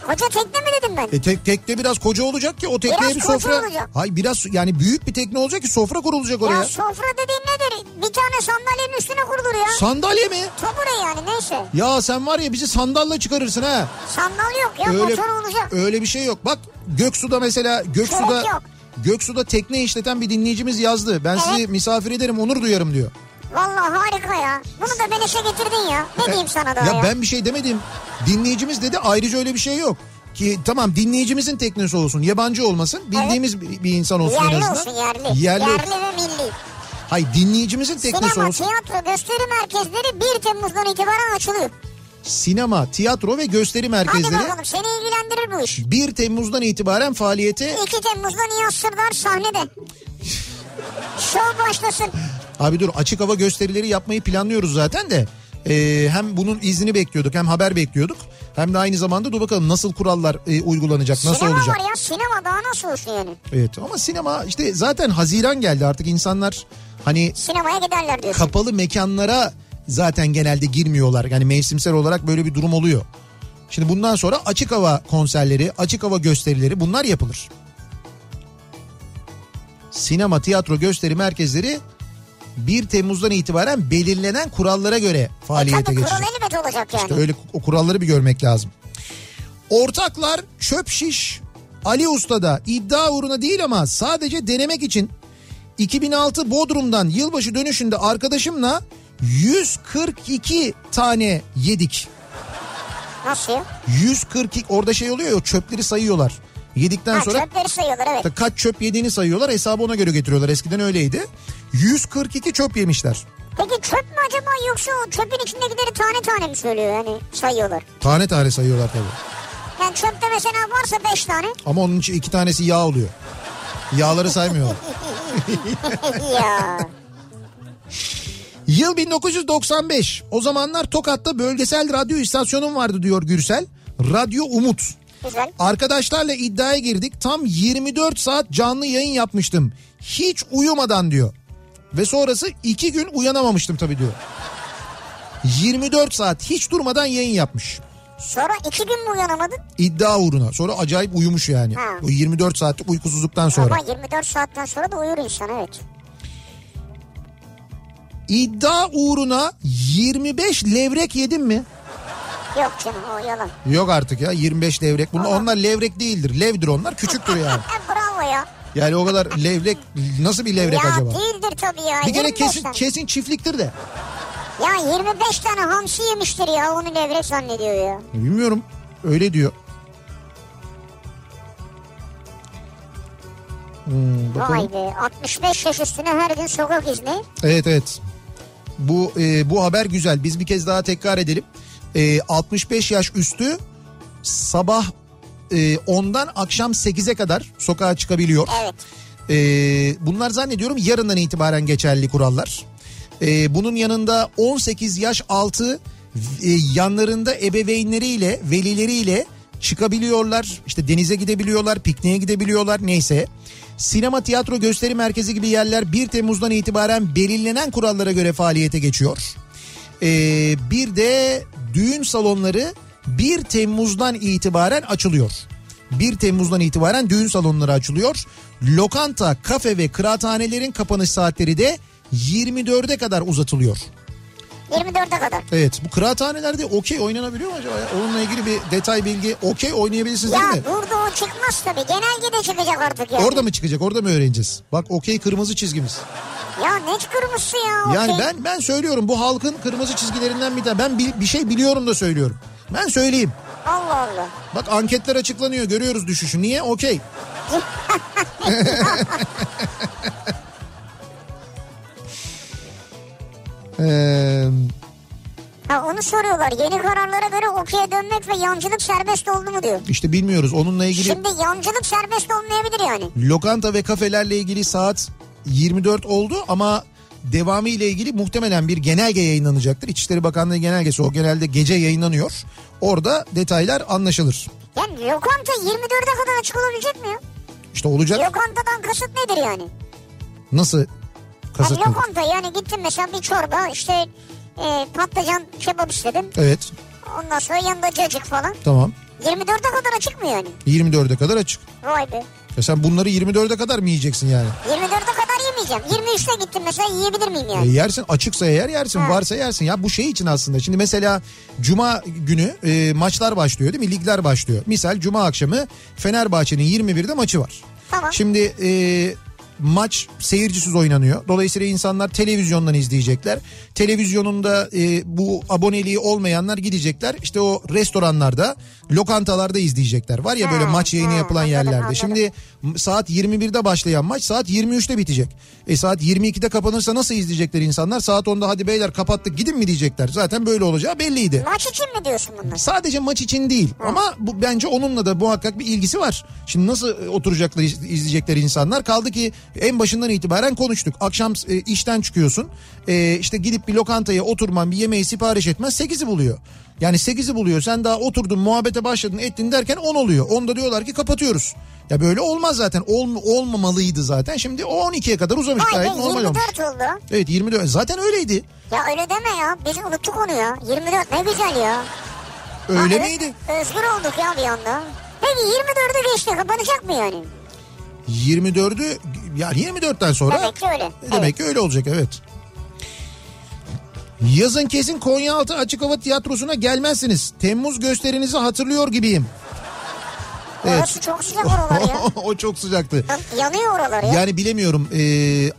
S1: Koca tekne mi dedim ben?
S2: E tek, tekne biraz koca olacak ki o tekneye
S1: Biraz
S2: bir
S1: koca
S2: sofra.
S1: olacak.
S2: Hay biraz yani büyük bir tekne olacak ki sofra kurulacak oraya.
S1: ya sofra dediğin nedir? Bir tane sandalyenin üstüne kurulur ya.
S2: Sandalye mi?
S1: Tabure yani neyse.
S2: Ya sen var ya bizi sandalla çıkarırsın ha.
S1: Sandal yok ya motor olacak.
S2: Öyle bir şey yok. Bak Göksu'da mesela Göksu'da
S1: Gerek yok.
S2: Göksu'da tekne işleten bir dinleyicimiz yazdı. Ben sizi
S1: Evet.
S2: misafir ederim, onur duyarım diyor.
S1: Vallahi harika ya. Bunu da beleşe getirdin ya. Ne diyeyim sana daha
S2: E, ya
S1: ya?
S2: ben bir şey demedim. Dinleyicimiz dedi ayrıca öyle bir şey yok. Ki tamam dinleyicimizin teknesi olsun, yabancı olmasın, bildiğimiz bir- bir insan olsun en
S1: yerli
S2: azından.
S1: olsun yerli.
S2: Yerli.
S1: ve milli.
S2: Hayır dinleyicimizin teknesi
S1: Sinema,
S2: olsun.
S1: tiyatro, şey gösteri merkezleri 1 Temmuz'dan itibaren açılıyor.
S2: Sinema, tiyatro ve gösteri
S1: Hadi
S2: merkezleri
S1: bakalım seni ilgilendirir bu iş.
S2: 1 Temmuz'dan itibaren faaliyete
S1: 2 Temmuz'da Nihat Sırdar sahnede. Şov başlasın.
S2: Abi dur açık hava gösterileri yapmayı planlıyoruz zaten de. Ee, hem bunun izni bekliyorduk hem haber bekliyorduk. Hem de aynı zamanda dur bakalım nasıl kurallar e, uygulanacak nasıl
S1: sinema
S2: olacak.
S1: var ya sinema daha nasıl olsun yani?
S2: Evet ama sinema işte zaten Haziran geldi artık insanlar hani
S1: Sinemaya giderler diyorsun.
S2: kapalı mekanlara zaten genelde girmiyorlar. Yani mevsimsel olarak böyle bir durum oluyor. Şimdi bundan sonra açık hava konserleri, açık hava gösterileri bunlar yapılır. Sinema, tiyatro gösteri merkezleri 1 Temmuz'dan itibaren belirlenen kurallara göre
S1: Tabii
S2: faaliyete geçecek.
S1: kural elbet olacak yani.
S2: İşte öyle o kuralları bir görmek lazım. Ortaklar çöp şiş Ali Usta'da iddia uğruna değil ama sadece denemek için 2006 Bodrum'dan yılbaşı dönüşünde arkadaşımla 142 tane yedik.
S1: Nasıl ya?
S2: 142 orada şey oluyor ya çöpleri sayıyorlar. Yedikten
S1: Ha,
S2: sonra
S1: çöpleri sayıyorlar evet.
S2: Ta- kaç çöp yediğini sayıyorlar hesabı ona göre getiriyorlar. Eskiden öyleydi. 142 çöp yemişler.
S1: Peki çöp mü acaba yoksa o çöpün içindekileri tane tane mi söylüyor yani sayıyorlar?
S2: Tane tane sayıyorlar tabii.
S1: Yani çöpte mesela varsa 5 tane.
S2: Ama onun için iki tanesi yağ oluyor. Yağları saymıyorlar.
S1: ya.
S2: Yıl 1995. O zamanlar Tokat'ta bölgesel radyo istasyonum vardı diyor Gürsel. Radyo Umut.
S1: Güzel.
S2: Arkadaşlarla iddiaya girdik. Tam 24 saat canlı yayın yapmıştım. Hiç uyumadan diyor. Ve sonrası 2 gün uyanamamıştım tabii diyor. 24 saat hiç durmadan yayın yapmış.
S1: Sonra iki gün mü uyanamadın?
S2: İddia uğruna. Sonra acayip uyumuş yani.
S1: Ha.
S2: O 24 saatlik uykusuzluktan sonra.
S1: Ama 24 saatten sonra da uyur insan evet.
S2: İddia uğruna 25 levrek yedim mi?
S1: Yok canım o yalan.
S2: Yok artık ya 25 levrek. Bunlar onlar levrek değildir. Levdir onlar. Küçüktür yani.
S1: E, bravo ya.
S2: Yani o kadar levrek nasıl bir levrek
S1: ya
S2: acaba?
S1: değildir tabii ya.
S2: Bir kere
S1: 25
S2: kesin
S1: tane.
S2: kesin çiftliktir de.
S1: Ya 25 tane hamsi yemiştir ya onu levrek zannediyor ya.
S2: Bilmiyorum. Öyle diyor. Hmm, bakalım.
S1: Vay be 65 yaş üstüne her gün sokak izni.
S2: Evet evet. Bu e, bu haber güzel. Biz bir kez daha tekrar edelim. E, 65 yaş üstü sabah e, 10'dan akşam 8'e kadar sokağa çıkabiliyor.
S1: Evet.
S2: Ee, bunlar zannediyorum yarından itibaren geçerli kurallar. Ee, bunun yanında 18 yaş altı e, yanlarında ebeveynleriyle, velileriyle çıkabiliyorlar. İşte denize gidebiliyorlar, pikniğe gidebiliyorlar neyse. Sinema, tiyatro, gösteri merkezi gibi yerler 1 Temmuz'dan itibaren belirlenen kurallara göre faaliyete geçiyor. Ee, bir de düğün salonları 1 Temmuz'dan itibaren açılıyor. 1 Temmuz'dan itibaren düğün salonları açılıyor. Lokanta, kafe ve kıraathanelerin kapanış saatleri de 24'e kadar uzatılıyor.
S1: 24'e kadar.
S2: Evet bu kıraathanelerde okey oynanabiliyor mu acaba? ya? Onunla ilgili bir detay bilgi okey oynayabilirsiniz
S1: Ya
S2: değil mi?
S1: burada o çıkmaz tabii. Genelge de çıkacak artık ya.
S2: Orada mı çıkacak orada mı öğreneceğiz? Bak okey kırmızı çizgimiz.
S1: Ya ne kırmızısı ya.
S2: Yani
S1: okey.
S2: ben ben söylüyorum bu halkın kırmızı çizgilerinden bir tane. Ben bir, bir şey biliyorum da söylüyorum. Ben söyleyeyim.
S1: Allah Allah.
S2: Bak anketler açıklanıyor görüyoruz düşüşü. Niye? Okey. Eee,
S1: Ha onu soruyorlar. Yeni kararlara göre okey'e dönmek ve yancılık serbest oldu mu diyor.
S2: işte bilmiyoruz onunla ilgili
S1: Şimdi yancılık serbest olmayabilir yani.
S2: lokanta ve kafelerle ilgili saat 24 oldu ama devamı ile ilgili muhtemelen bir genelge yayınlanacaktır. İçişleri Bakanlığı genelgesi o genelde gece yayınlanıyor. Orada detaylar anlaşılır.
S1: Yani lokanta 24'e kadar açık olabilecek mi ya?
S2: İşte olacak
S1: Lokantadan kasıt nedir yani?
S2: nasıl
S1: Yani
S2: kasıt nedir?
S1: lokanta yani gittin mesela bir çorba işte e, patlıcan kebap istedim.
S2: Evet
S1: Ondan sonra yanında cacık falan.
S2: tamam
S1: 24'e kadar açık mı yani?
S2: 24'e kadar açık.
S1: Vay be.
S2: Ya sen bunları 24'e kadar mı yiyeceksin yani?
S1: 24'e kadar yemeyeceğim. 23'te gittim mesela yiyebilir miyim
S2: E,
S1: yani?
S2: yersin açıksa eğer yersin
S1: Ha.
S2: varsa yersin ya bu şey için aslında şimdi mesela cuma günü e, maçlar başlıyor değil mi ligler başlıyor misal cuma akşamı Fenerbahçe'nin 21'de maçı var.
S1: Tamam.
S2: Şimdi e, maç seyircisiz oynanıyor dolayısıyla insanlar televizyondan izleyecekler televizyonunda e, bu aboneliği olmayanlar gidecekler işte o restoranlarda lokantalarda izleyecekler var ya böyle
S1: Ha,
S2: maç yayını
S1: ha,
S2: yapılan
S1: anladım,
S2: yerlerde
S1: anladım.
S2: şimdi M- saat 21'de başlayan maç saat 23'te bitecek. E saat 22'de kapanırsa nasıl izleyecekler insanlar? Saat 10'da hadi beyler kapattık gidin mi diyecekler. Zaten böyle olacağı belliydi.
S1: Maç için mi diyorsun bunları?
S2: Sadece maç için değil ama bu bence onunla da muhakkak bir ilgisi var. Şimdi nasıl e, oturacaklar iz- izleyecekler insanlar kaldı ki en başından itibaren konuştuk. Akşam e, işten çıkıyorsun E, işte gidip bir lokantaya oturman bir yemeği sipariş etmez 8'i buluyor. Yani 8'i buluyor sen daha oturdun muhabbete başladın ettin derken 10 oluyor. 10'da diyorlar ki kapatıyoruz. Ya böyle olmaz zaten Ol, olmamalıydı zaten şimdi o 12'ye kadar uzamış
S1: Vay be
S2: gayet normal olmuş.
S1: 24 oldu.
S2: Evet 24 zaten öyleydi
S1: Ya öyle deme ya. Biz unuttuk onu ya. 24 ne güzel ya.
S2: öyle
S1: Abi,
S2: miydi?
S1: Özgür olduk ya bir anda. Peki 24'ü geçti kapanacak mı yani?
S2: 24'ü yani 24'ten sonra
S1: Demek ki öyle.
S2: E, Demek ki öyle olacak evet. Yazın kesin Konyaaltı Açık Hava Tiyatrosu'na gelmezsiniz. Temmuz gösterinizi hatırlıyor gibiyim.
S1: Evet. Orası çok sıcak oralar ya.
S2: o çok sıcaktı.
S1: Yan- Yanıyor oralar ya.
S2: Yani bilemiyorum e,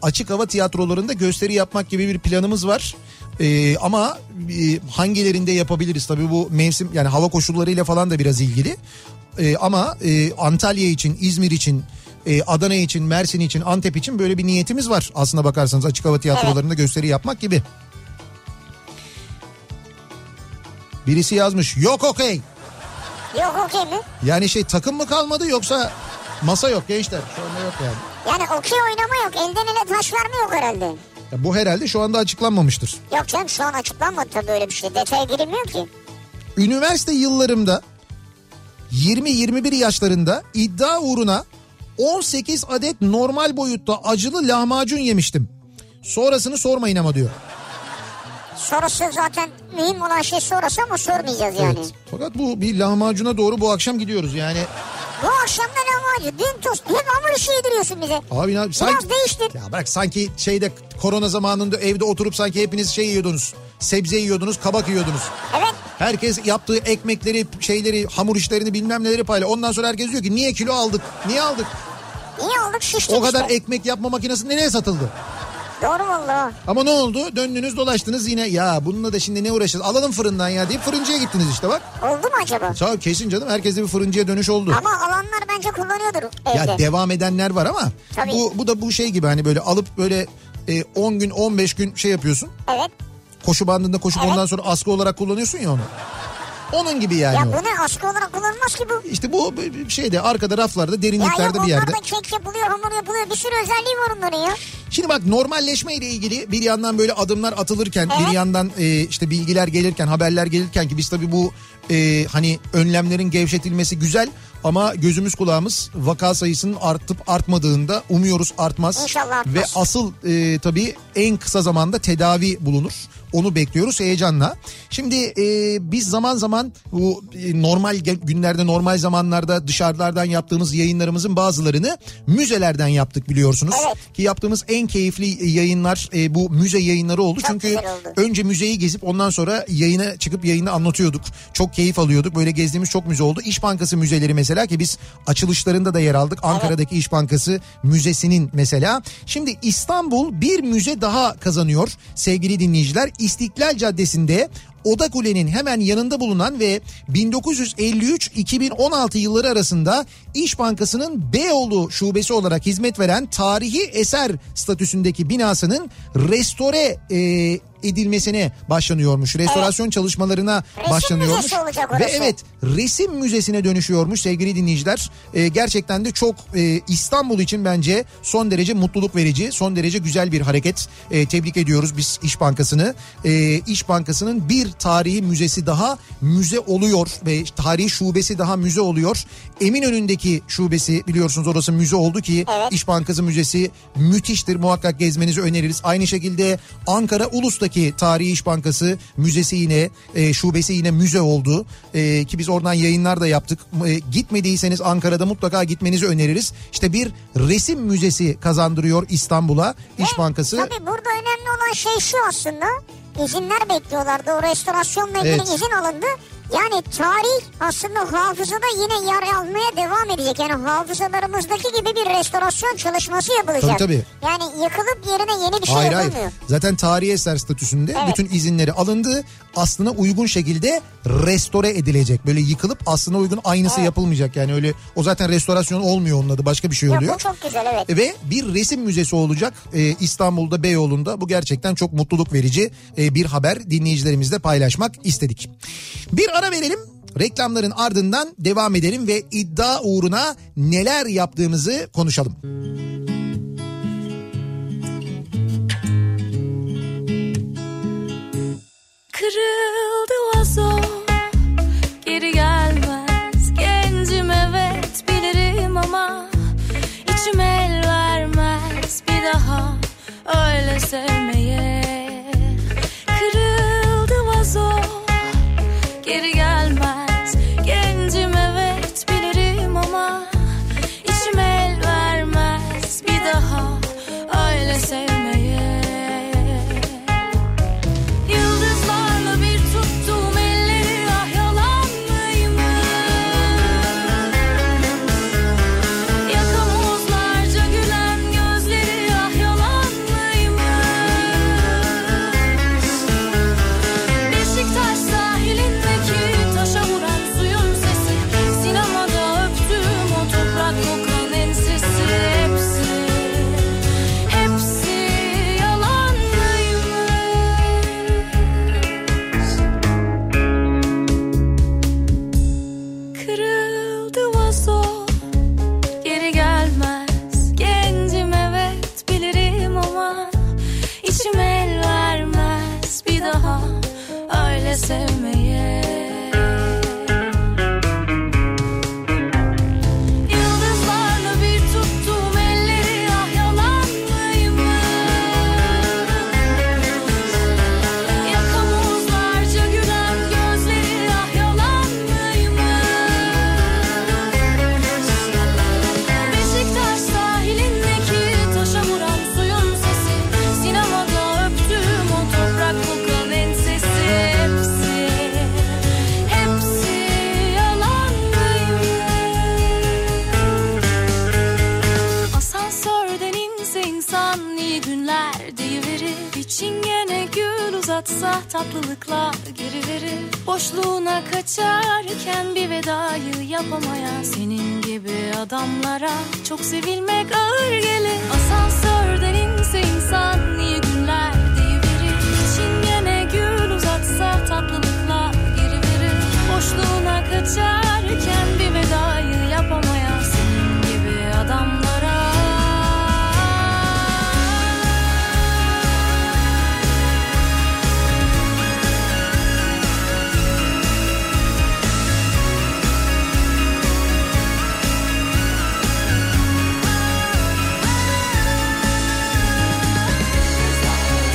S2: açık hava tiyatrolarında gösteri yapmak gibi bir planımız var. E, ama e, hangilerinde yapabiliriz tabii bu mevsim yani hava koşullarıyla falan da biraz ilgili. E, ama e, Antalya için, İzmir için, e, Adana için, Mersin için, Antep için böyle bir niyetimiz var. Aslına bakarsanız açık hava tiyatrolarında gösteri yapmak gibi. Birisi yazmış yok okey.
S1: Yok okey mi?
S2: Yani şey takım mı kalmadı yoksa masa yok gençler. Şu anda yok yani.
S1: Yani okey oynama yok. Elden ele taş verme yok herhalde.
S2: Ya bu herhalde şu anda açıklanmamıştır.
S1: Yok canım şu an açıklanmadı tabii öyle bir şey. Detaya girilmiyor ki.
S2: Üniversite yıllarımda 20-21 yaşlarında iddia uğruna 18 adet normal boyutta acılı lahmacun yemiştim. Sonrasını sormayın ama diyor.
S1: Sorusu zaten mühim olan şey sorusu ama sormayacağız yani.
S2: Evet. Fakat bu bir lahmacuna doğru bu akşam gidiyoruz yani.
S1: Bu akşam da lahmacun, dün tost, hep hamur işi yediriyorsun bize.
S2: Abi ne sanki...
S1: Biraz değiştir.
S2: Ya bırak sanki şeyde korona zamanında evde oturup sanki hepiniz şey yiyordunuz. Sebze yiyordunuz, kabak yiyordunuz.
S1: Evet.
S2: Herkes yaptığı ekmekleri, şeyleri, hamur işlerini bilmem neleri paylaşıyor. Ondan sonra herkes diyor ki niye kilo aldık? Niye aldık?
S1: İyi olduk şiştik
S2: O kadar
S1: işte.
S2: ekmek yapma makinesi nereye satıldı?
S1: Doğru valla.
S2: Ama ne oldu? Döndünüz dolaştınız yine ya bununla da şimdi ne uğraşacağız? Alalım fırından ya deyip fırıncıya gittiniz işte bak.
S1: Oldu mu acaba?
S2: Sağ kesin canım herkeste bir fırıncıya dönüş oldu.
S1: Ama alanlar bence kullanıyordur evde.
S2: Ya devam edenler var ama
S1: Tabii.
S2: bu, bu da bu şey gibi hani böyle alıp böyle e, 10 gün 15 gün şey yapıyorsun.
S1: evet.
S2: Koşu bandında koşup
S1: Evet.
S2: ondan sonra askı olarak kullanıyorsun ya onu. Onun gibi yani
S1: Ya
S2: o.
S1: bu ne askı olarak kullanılmaz ki bu.
S2: İşte bu şeyde arkada raflarda
S1: Ya yok
S2: derinliklerde bir yerde.
S1: onlarda kek yapılıyor, hamur yapılıyor. Bir sürü özelliği var onların ya.
S2: Şimdi bak normalleşme ile ilgili bir yandan böyle adımlar atılırken
S1: Evet.
S2: bir yandan e, işte bilgiler gelirken haberler gelirken ki biz tabii bu e, hani önlemlerin gevşetilmesi güzel ama gözümüz kulağımız vaka sayısının artıp artmadığında umuyoruz artmaz.
S1: İnşallah artmaz.
S2: Ve asıl e, tabii en kısa zamanda tedavi bulunur. Onu bekliyoruz heyecanla. Şimdi e, biz zaman zaman bu e, normal ge- günlerde normal zamanlarda dışarılardan yaptığımız yayınlarımızın bazılarını müzelerden yaptık biliyorsunuz.
S1: Evet.
S2: Ki yaptığımız en keyifli yayınlar e, bu müze yayınları oldu.
S1: Çok
S2: Çünkü
S1: güzel oldu.
S2: önce müzeyi gezip ondan sonra yayına çıkıp yayını anlatıyorduk. Çok keyif alıyorduk. Böyle gezdiğimiz çok müze oldu. İş Bankası müzeleri mesela ki biz açılışlarında da yer aldık. Ankara'daki İş Bankası Müzesi'nin mesela. Şimdi İstanbul bir müze daha kazanıyor sevgili dinleyiciler. İstiklal Caddesi'nde Oda Kule'nin hemen yanında bulunan ve 1953-2016 yılları arasında İş Bankası'nın Beyoğlu şubesi olarak hizmet veren tarihi eser statüsündeki binasının restore e, edilmesine başlanıyormuş. Restorasyon çalışmalarına
S1: Resim
S2: başlanıyormuş.
S1: müzesi olacak
S2: ve
S1: orası.
S2: evet resim müzesine dönüşüyormuş sevgili dinleyiciler. E, gerçekten de çok e, İstanbul için bence son derece mutluluk verici, son derece güzel bir hareket. E, tebrik ediyoruz biz İş Bankası'nı. E, İş Bankası'nın bir tarihi müzesi daha müze oluyor ve tarihi şubesi daha müze oluyor. Eminönü'ndeki şubesi biliyorsunuz orası müze oldu ki
S1: Evet.
S2: İş Bankası Müzesi müthiştir. Muhakkak gezmenizi öneririz. Aynı şekilde Ankara Ulus'taki Tarihi İş Bankası Müzesi yine e, şubesi yine müze oldu. E, ki biz oradan yayınlar da yaptık. E, gitmediyseniz Ankara'da mutlaka gitmenizi öneririz. İşte bir resim müzesi kazandırıyor İstanbul'a İş Bankası.
S1: Tabii burada önemli olan şey şu aslında. İzinler bekliyorlardı. O restorasyonla ilgili
S2: Evet.
S1: izin alındı. Yani tarih aslında hafızada yine yer almaya devam edecek. Yani hafızalarımızdaki gibi bir restorasyon çalışması yapılacak.
S2: Tabii, tabii.
S1: Yani yakılıp yerine yeni bir şey
S2: hayır hayır.
S1: yapılmıyor.
S2: Zaten tarihi eser statüsünde
S1: Evet.
S2: bütün izinleri alındı. Aslına uygun şekilde restore edilecek. Böyle yıkılıp aslına uygun aynısı yapılmayacak. Yani öyle o zaten restorasyon olmuyor onun adı. Başka bir şey oluyor.
S1: Yok, bu çok güzel evet.
S2: Ve bir resim müzesi olacak e, İstanbul'da Beyoğlu'nda. Bu gerçekten çok mutluluk verici e, bir haber dinleyicilerimizle paylaşmak istedik. Bir ara verelim. Reklamların ardından devam edelim ve iddia uğruna neler yaptığımızı konuşalım.
S4: Kırıldı vazo Geri gelmez Gencim evet bilirim ama içim el vermez bir daha Öyle sevmeye Kırıldı vazo Geri gelmez Gencim evet bilirim ama içim el vermez bir daha Öyle sevmeye Yıldızlarla bir tuttum elleri ah yalan mıymış? Yakamozlarca gülen gözleri ah yalan mıymış? Beşiktaş sahilindeki taşa vuran suyun sesi Sinemada öptüm o toprak kokan ensesi Hepsi, hepsi yalan mıymış? Kırıldı vazo geri gelmez Gencim evet bilirim ama içim el vermez bir daha öyle sevmeye Yıldızlarla bir tuttum elleri ah yalan mıymış? Yakamozlarca gülen gözleri ah yalan mıymış? Beşiktaş sahilindeki taşa vuran suyun sesi Sinemada öptüm o toprak kokan ensesi Hepsi, hepsi yalan mıymış? Asansörden inse insan iyi günler deyiverir İçin gene gül uzatsa tatlılıkla geri verir Boşluğuna kaçarken bir vedayı yapamayan Senin gibi adamlara çok sevilmek ağır gelir Asansörden inse insan iyi günler deyiverir İçin gene gül uzatsa tatlılıkla geri verir Boşluğuna kaçarken bir vedayı yapamayan Senin gibi adamlara Yıldızlarla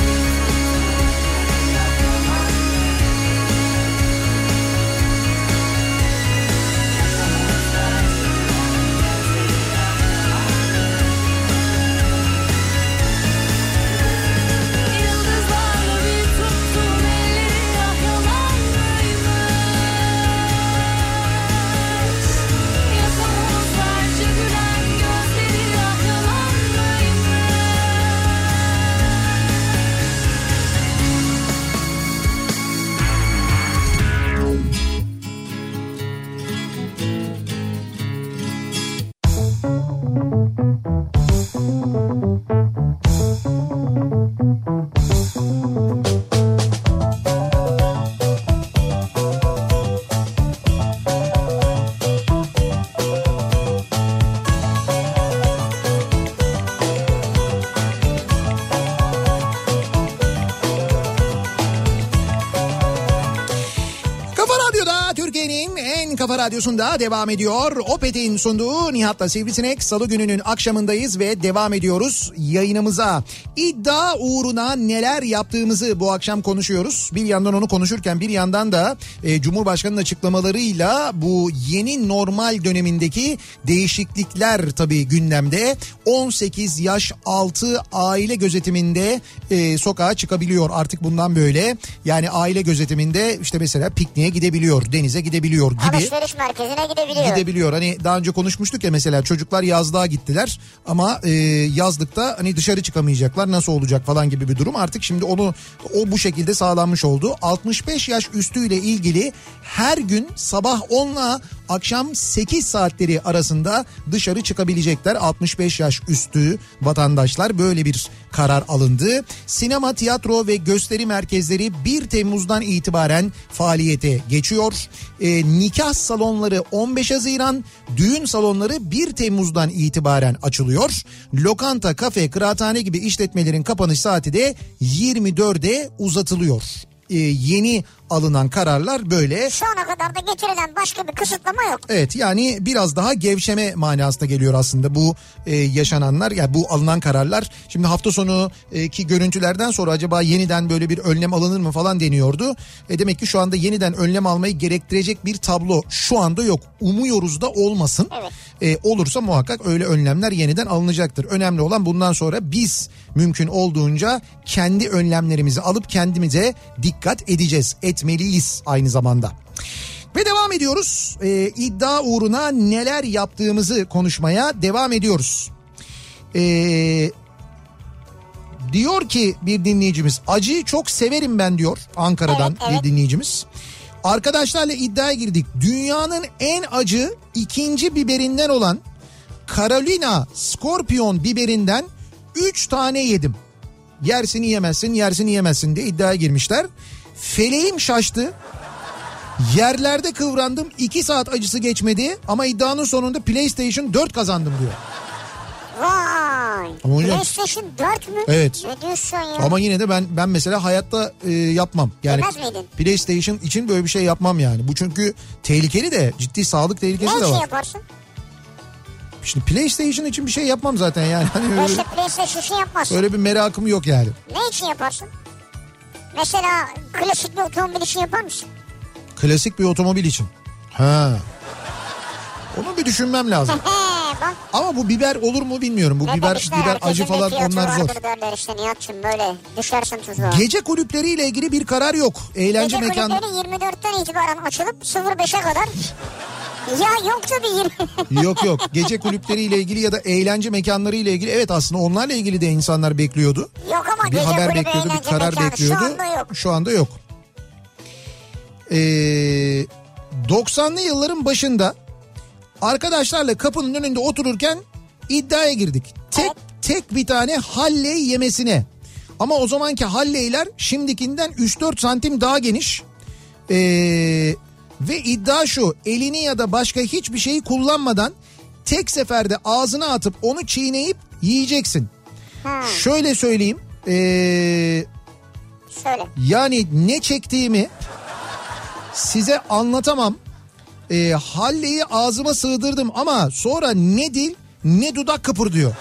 S4: ah ah
S2: NTV Kafa Radyosu'nda devam ediyor. Opet'in sunduğu Nihat'la Sivrisinek salı gününün akşamındayız ve devam ediyoruz yayınımıza. İddia uğruna neler yaptığımızı bu akşam konuşuyoruz. Bir yandan onu konuşurken bir yandan da e, Cumhurbaşkanı'nın açıklamalarıyla bu yeni normal dönemindeki değişiklikler tabii gündemde. 18 yaş altı aile gözetiminde e, sokağa çıkabiliyor artık bundan böyle. Yani aile gözetiminde işte mesela pikniğe gidebiliyor, denize gidebiliyor gibi
S1: Alışveriş merkezine gidebiliyor.
S2: gidebiliyor. Hani daha önce konuşmuştuk ya mesela çocuklar yazlığa gittiler ama e, yazlıkta hani dışarı çıkamayacaklar nasıl olacak falan gibi bir durum. Artık şimdi onu o bu şekilde sağlanmış oldu. 65 yaş üstüyle ilgili her gün sabah 10 ile akşam 8 saatleri arasında dışarı çıkabilecekler. 65 yaş üstü vatandaşlar böyle bir karar alındı. Sinema, tiyatro ve gösteri merkezleri 1 Temmuz'dan itibaren faaliyete geçiyor. E, nikah salonları 15 Haziran, düğün salonları 1 Temmuz'dan itibaren açılıyor. Lokanta, kafe, kıraathane gibi işletmelerin kapanış saati de 24'e uzatılıyor. E, yeni alınan kararlar böyle.
S1: Şu ana kadar da getirilen başka bir kısıtlama yok.
S2: Evet yani biraz daha gevşeme manasına geliyor aslında bu e, yaşananlar yani bu alınan kararlar. Şimdi hafta sonu e, ki görüntülerden sonra acaba yeniden böyle bir önlem alınır mı falan deniyordu. E, demek ki şu anda yeniden önlem almayı gerektirecek bir tablo şu anda yok. Umuyoruz da olmasın. E, olursa muhakkak öyle önlemler yeniden alınacaktır. Önemli olan bundan sonra biz mümkün olduğunca kendi önlemlerimizi alıp kendimize dikkat edeceğiz. Etmeliyiz aynı zamanda. Ve devam ediyoruz. Ee, iddia uğruna neler yaptığımızı konuşmaya devam ediyoruz. Ee, diyor ki bir dinleyicimiz acıyı çok severim ben diyor Ankara'dan
S1: Evet, evet.
S2: bir dinleyicimiz. Arkadaşlarla iddiaya girdik. Dünyanın en acı ikinci biberinden olan Carolina Scorpion biberinden 3 tane yedim. Yersin yemezsin, yersin yemezsin diye iddiaya girmişler. Feleğim şaştı. Yerlerde kıvrandım 2 saat acısı geçmedi ama iddianın sonunda PlayStation 4 kazandım diyor.
S1: Vay.
S2: Ama hocam-
S1: PlayStation 4 mü?
S2: Evet.
S1: Ne diyorsun ya?
S2: Ama yine de ben ben mesela hayatta e, yapmam. Yani
S1: Yemez miydin?
S2: PlayStation için böyle bir şey yapmam yani. Bu çünkü tehlikeli de ciddi sağlık
S1: ne
S2: tehlikesi de
S1: için
S2: var.
S1: yaparsın?
S2: Şimdi PlayStation için bir şey yapmam zaten yani. Hani öyle,
S1: İşte PlayStation için yapmazsın.
S2: öyle bir merakım yok yani.
S1: Ne için yaparsın? Mesela klasik bir otomobil için yapar mısın?
S2: Klasik bir otomobil için. Ha. Onu bir düşünmem lazım.
S1: He bak.
S2: Ama bu biber olur mu bilmiyorum. Bu
S1: ne
S2: biber
S1: demişler,
S2: biber
S1: herkesin
S2: acı
S1: bir
S2: falan
S1: fiyatı
S2: onlar zor.
S1: vardır derler işte Nihat'cığım böyle düşersin tuzağa.
S2: Gece kulüpleriyle ilgili bir karar yok. Eğlence
S1: Gece
S2: mekan
S1: kulüpleri 24'ten itibaren açılıp 05'e kadar. ya yok tabii 20.
S2: yok yok. Gece kulüpleriyle ilgili ya da eğlence mekanları ile ilgili evet aslında onlarla ilgili de insanlar bekliyordu.
S1: Yok ama
S2: Bir
S1: gece
S2: haber
S1: kulübü
S2: bekliyordu, bir
S1: eğlence
S2: karar
S1: mekanı.
S2: bekliyordu.
S1: Şu anda yok.
S2: Şu anda yok. Ee, 90'lı yılların başında arkadaşlarla kapının önünde otururken iddiaya girdik. Tek
S1: Evet.
S2: tek bir tane halley yemesine. Ama o zamanki halleyler şimdikinden 3-4 santim daha geniş. Ee, ve iddia şu elini ya da başka hiçbir şeyi kullanmadan tek seferde ağzına atıp onu çiğneyip yiyeceksin.
S1: Ha,
S2: Şöyle söyleyeyim. Ee,
S1: söyle.
S2: yani ne çektiğimi size anlatamam. Ee, halleyi ağzıma sığdırdım ama sonra ne dil ne dudak kıpırdıyor.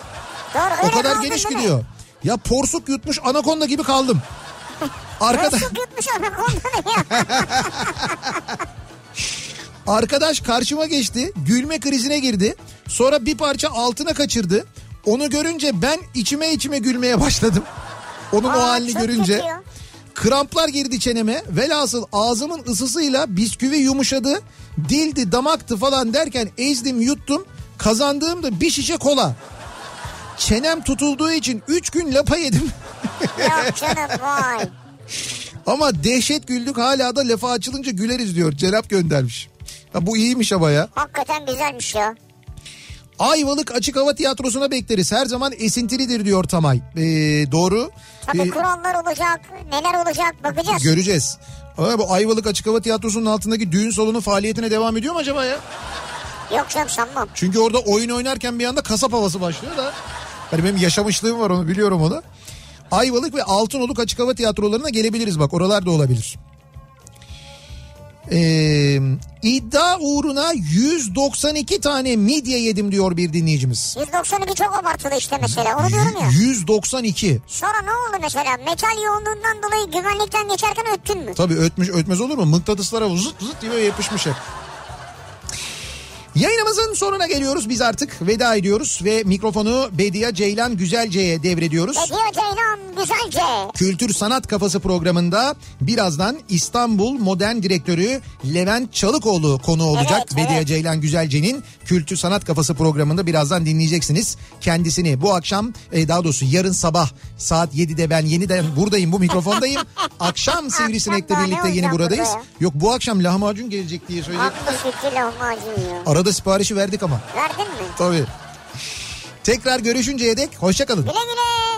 S1: Doğru
S2: O
S1: öyle
S2: kadar
S1: kaldın
S2: geniş
S1: değil mi?
S2: gidiyor. Ya porsuk yutmuş anakonda gibi kaldım. Arkada,
S1: Nasıl gitmiş anakonda ya?
S2: arkadaş karşıma geçti. Gülme krizine girdi. Sonra bir parça altına kaçırdı. Onu görünce ben içime içime gülmeye başladım. Onun o
S1: Aa,
S2: halini
S1: çok
S2: görünce.
S1: kötü ya.
S2: Kramplar girdi çeneme. Velhasıl ağzımın ısısıyla bisküvi yumuşadı. Dildi, damaktı falan derken ezdim, yuttum. Kazandığım da bir şişe kola. Çenem tutulduğu için 3 gün lapa yedim.
S1: Yok canım vay.
S2: ama dehşet güldük hala da lafa açılınca güleriz diyor. Cerap göndermiş. Ya bu iyiymiş ama ya.
S1: Hakikaten güzelmiş ya.
S2: Ayvalık Açık Hava Tiyatrosu'na bekleriz. Her zaman esintilidir diyor Tamay. Ee, doğru.
S1: Tabii
S2: Ee,
S1: kurallar olacak, neler olacak bakacağız.
S2: Göreceğiz. Ama bu Ayvalık Açık Hava Tiyatrosu'nun altındaki düğün salonu faaliyetine devam ediyor mu acaba ya?
S1: Yok canım sanmam.
S2: Çünkü orada oyun oynarken bir anda kasap havası başlıyor da. Hani benim yaşamışlığım var onu biliyorum onu. Ayvalık ve Altınoluk Açık Hava Tiyatrolarına gelebiliriz bak oralar da olabilir. Ee, iddia uğruna 192 tane midye yedim diyor bir dinleyicimiz.
S1: 192 çok abartılı işte mesela onu diyorum ya.
S2: 192.
S1: Sonra ne oldu mesela metal yoğunluğundan dolayı güvenlikten geçerken öttün mü?
S2: Tabii ötmüş ötmez olur mu? Mıknatıslara zıt zıt diye yapışmış hep. Yayınımızın sonuna geliyoruz biz artık veda ediyoruz ve mikrofonu Bediye Ceylan Güzelce'ye devrediyoruz.
S1: Ediyor Ceylan güzelce.
S2: Kültür Sanat Kafası programında birazdan İstanbul Modern Direktörü Levent Çalıkoğlu konu olacak.
S1: Evet, evet.
S2: Bediye Ceylan Güzelce'nin Kültür Sanat Kafası programında birazdan dinleyeceksiniz. Kendisini bu akşam e, daha doğrusu yarın sabah saat 7'de ben yeniden buradayım bu mikrofondayım. akşam Sivrisinek'le
S1: daha ne
S2: birlikte yeni
S1: olacağım
S2: buradayız.
S1: burada ya?
S2: Yok bu akşam lahmacun gelecek diye söyledik.
S1: Haklı fikri lahmacun ya.
S2: Arada siparişi verdik ama.
S1: Verdin mi?
S2: Tabii. Tekrar görüşünceye dek hoşçakalın.
S1: Güle güle.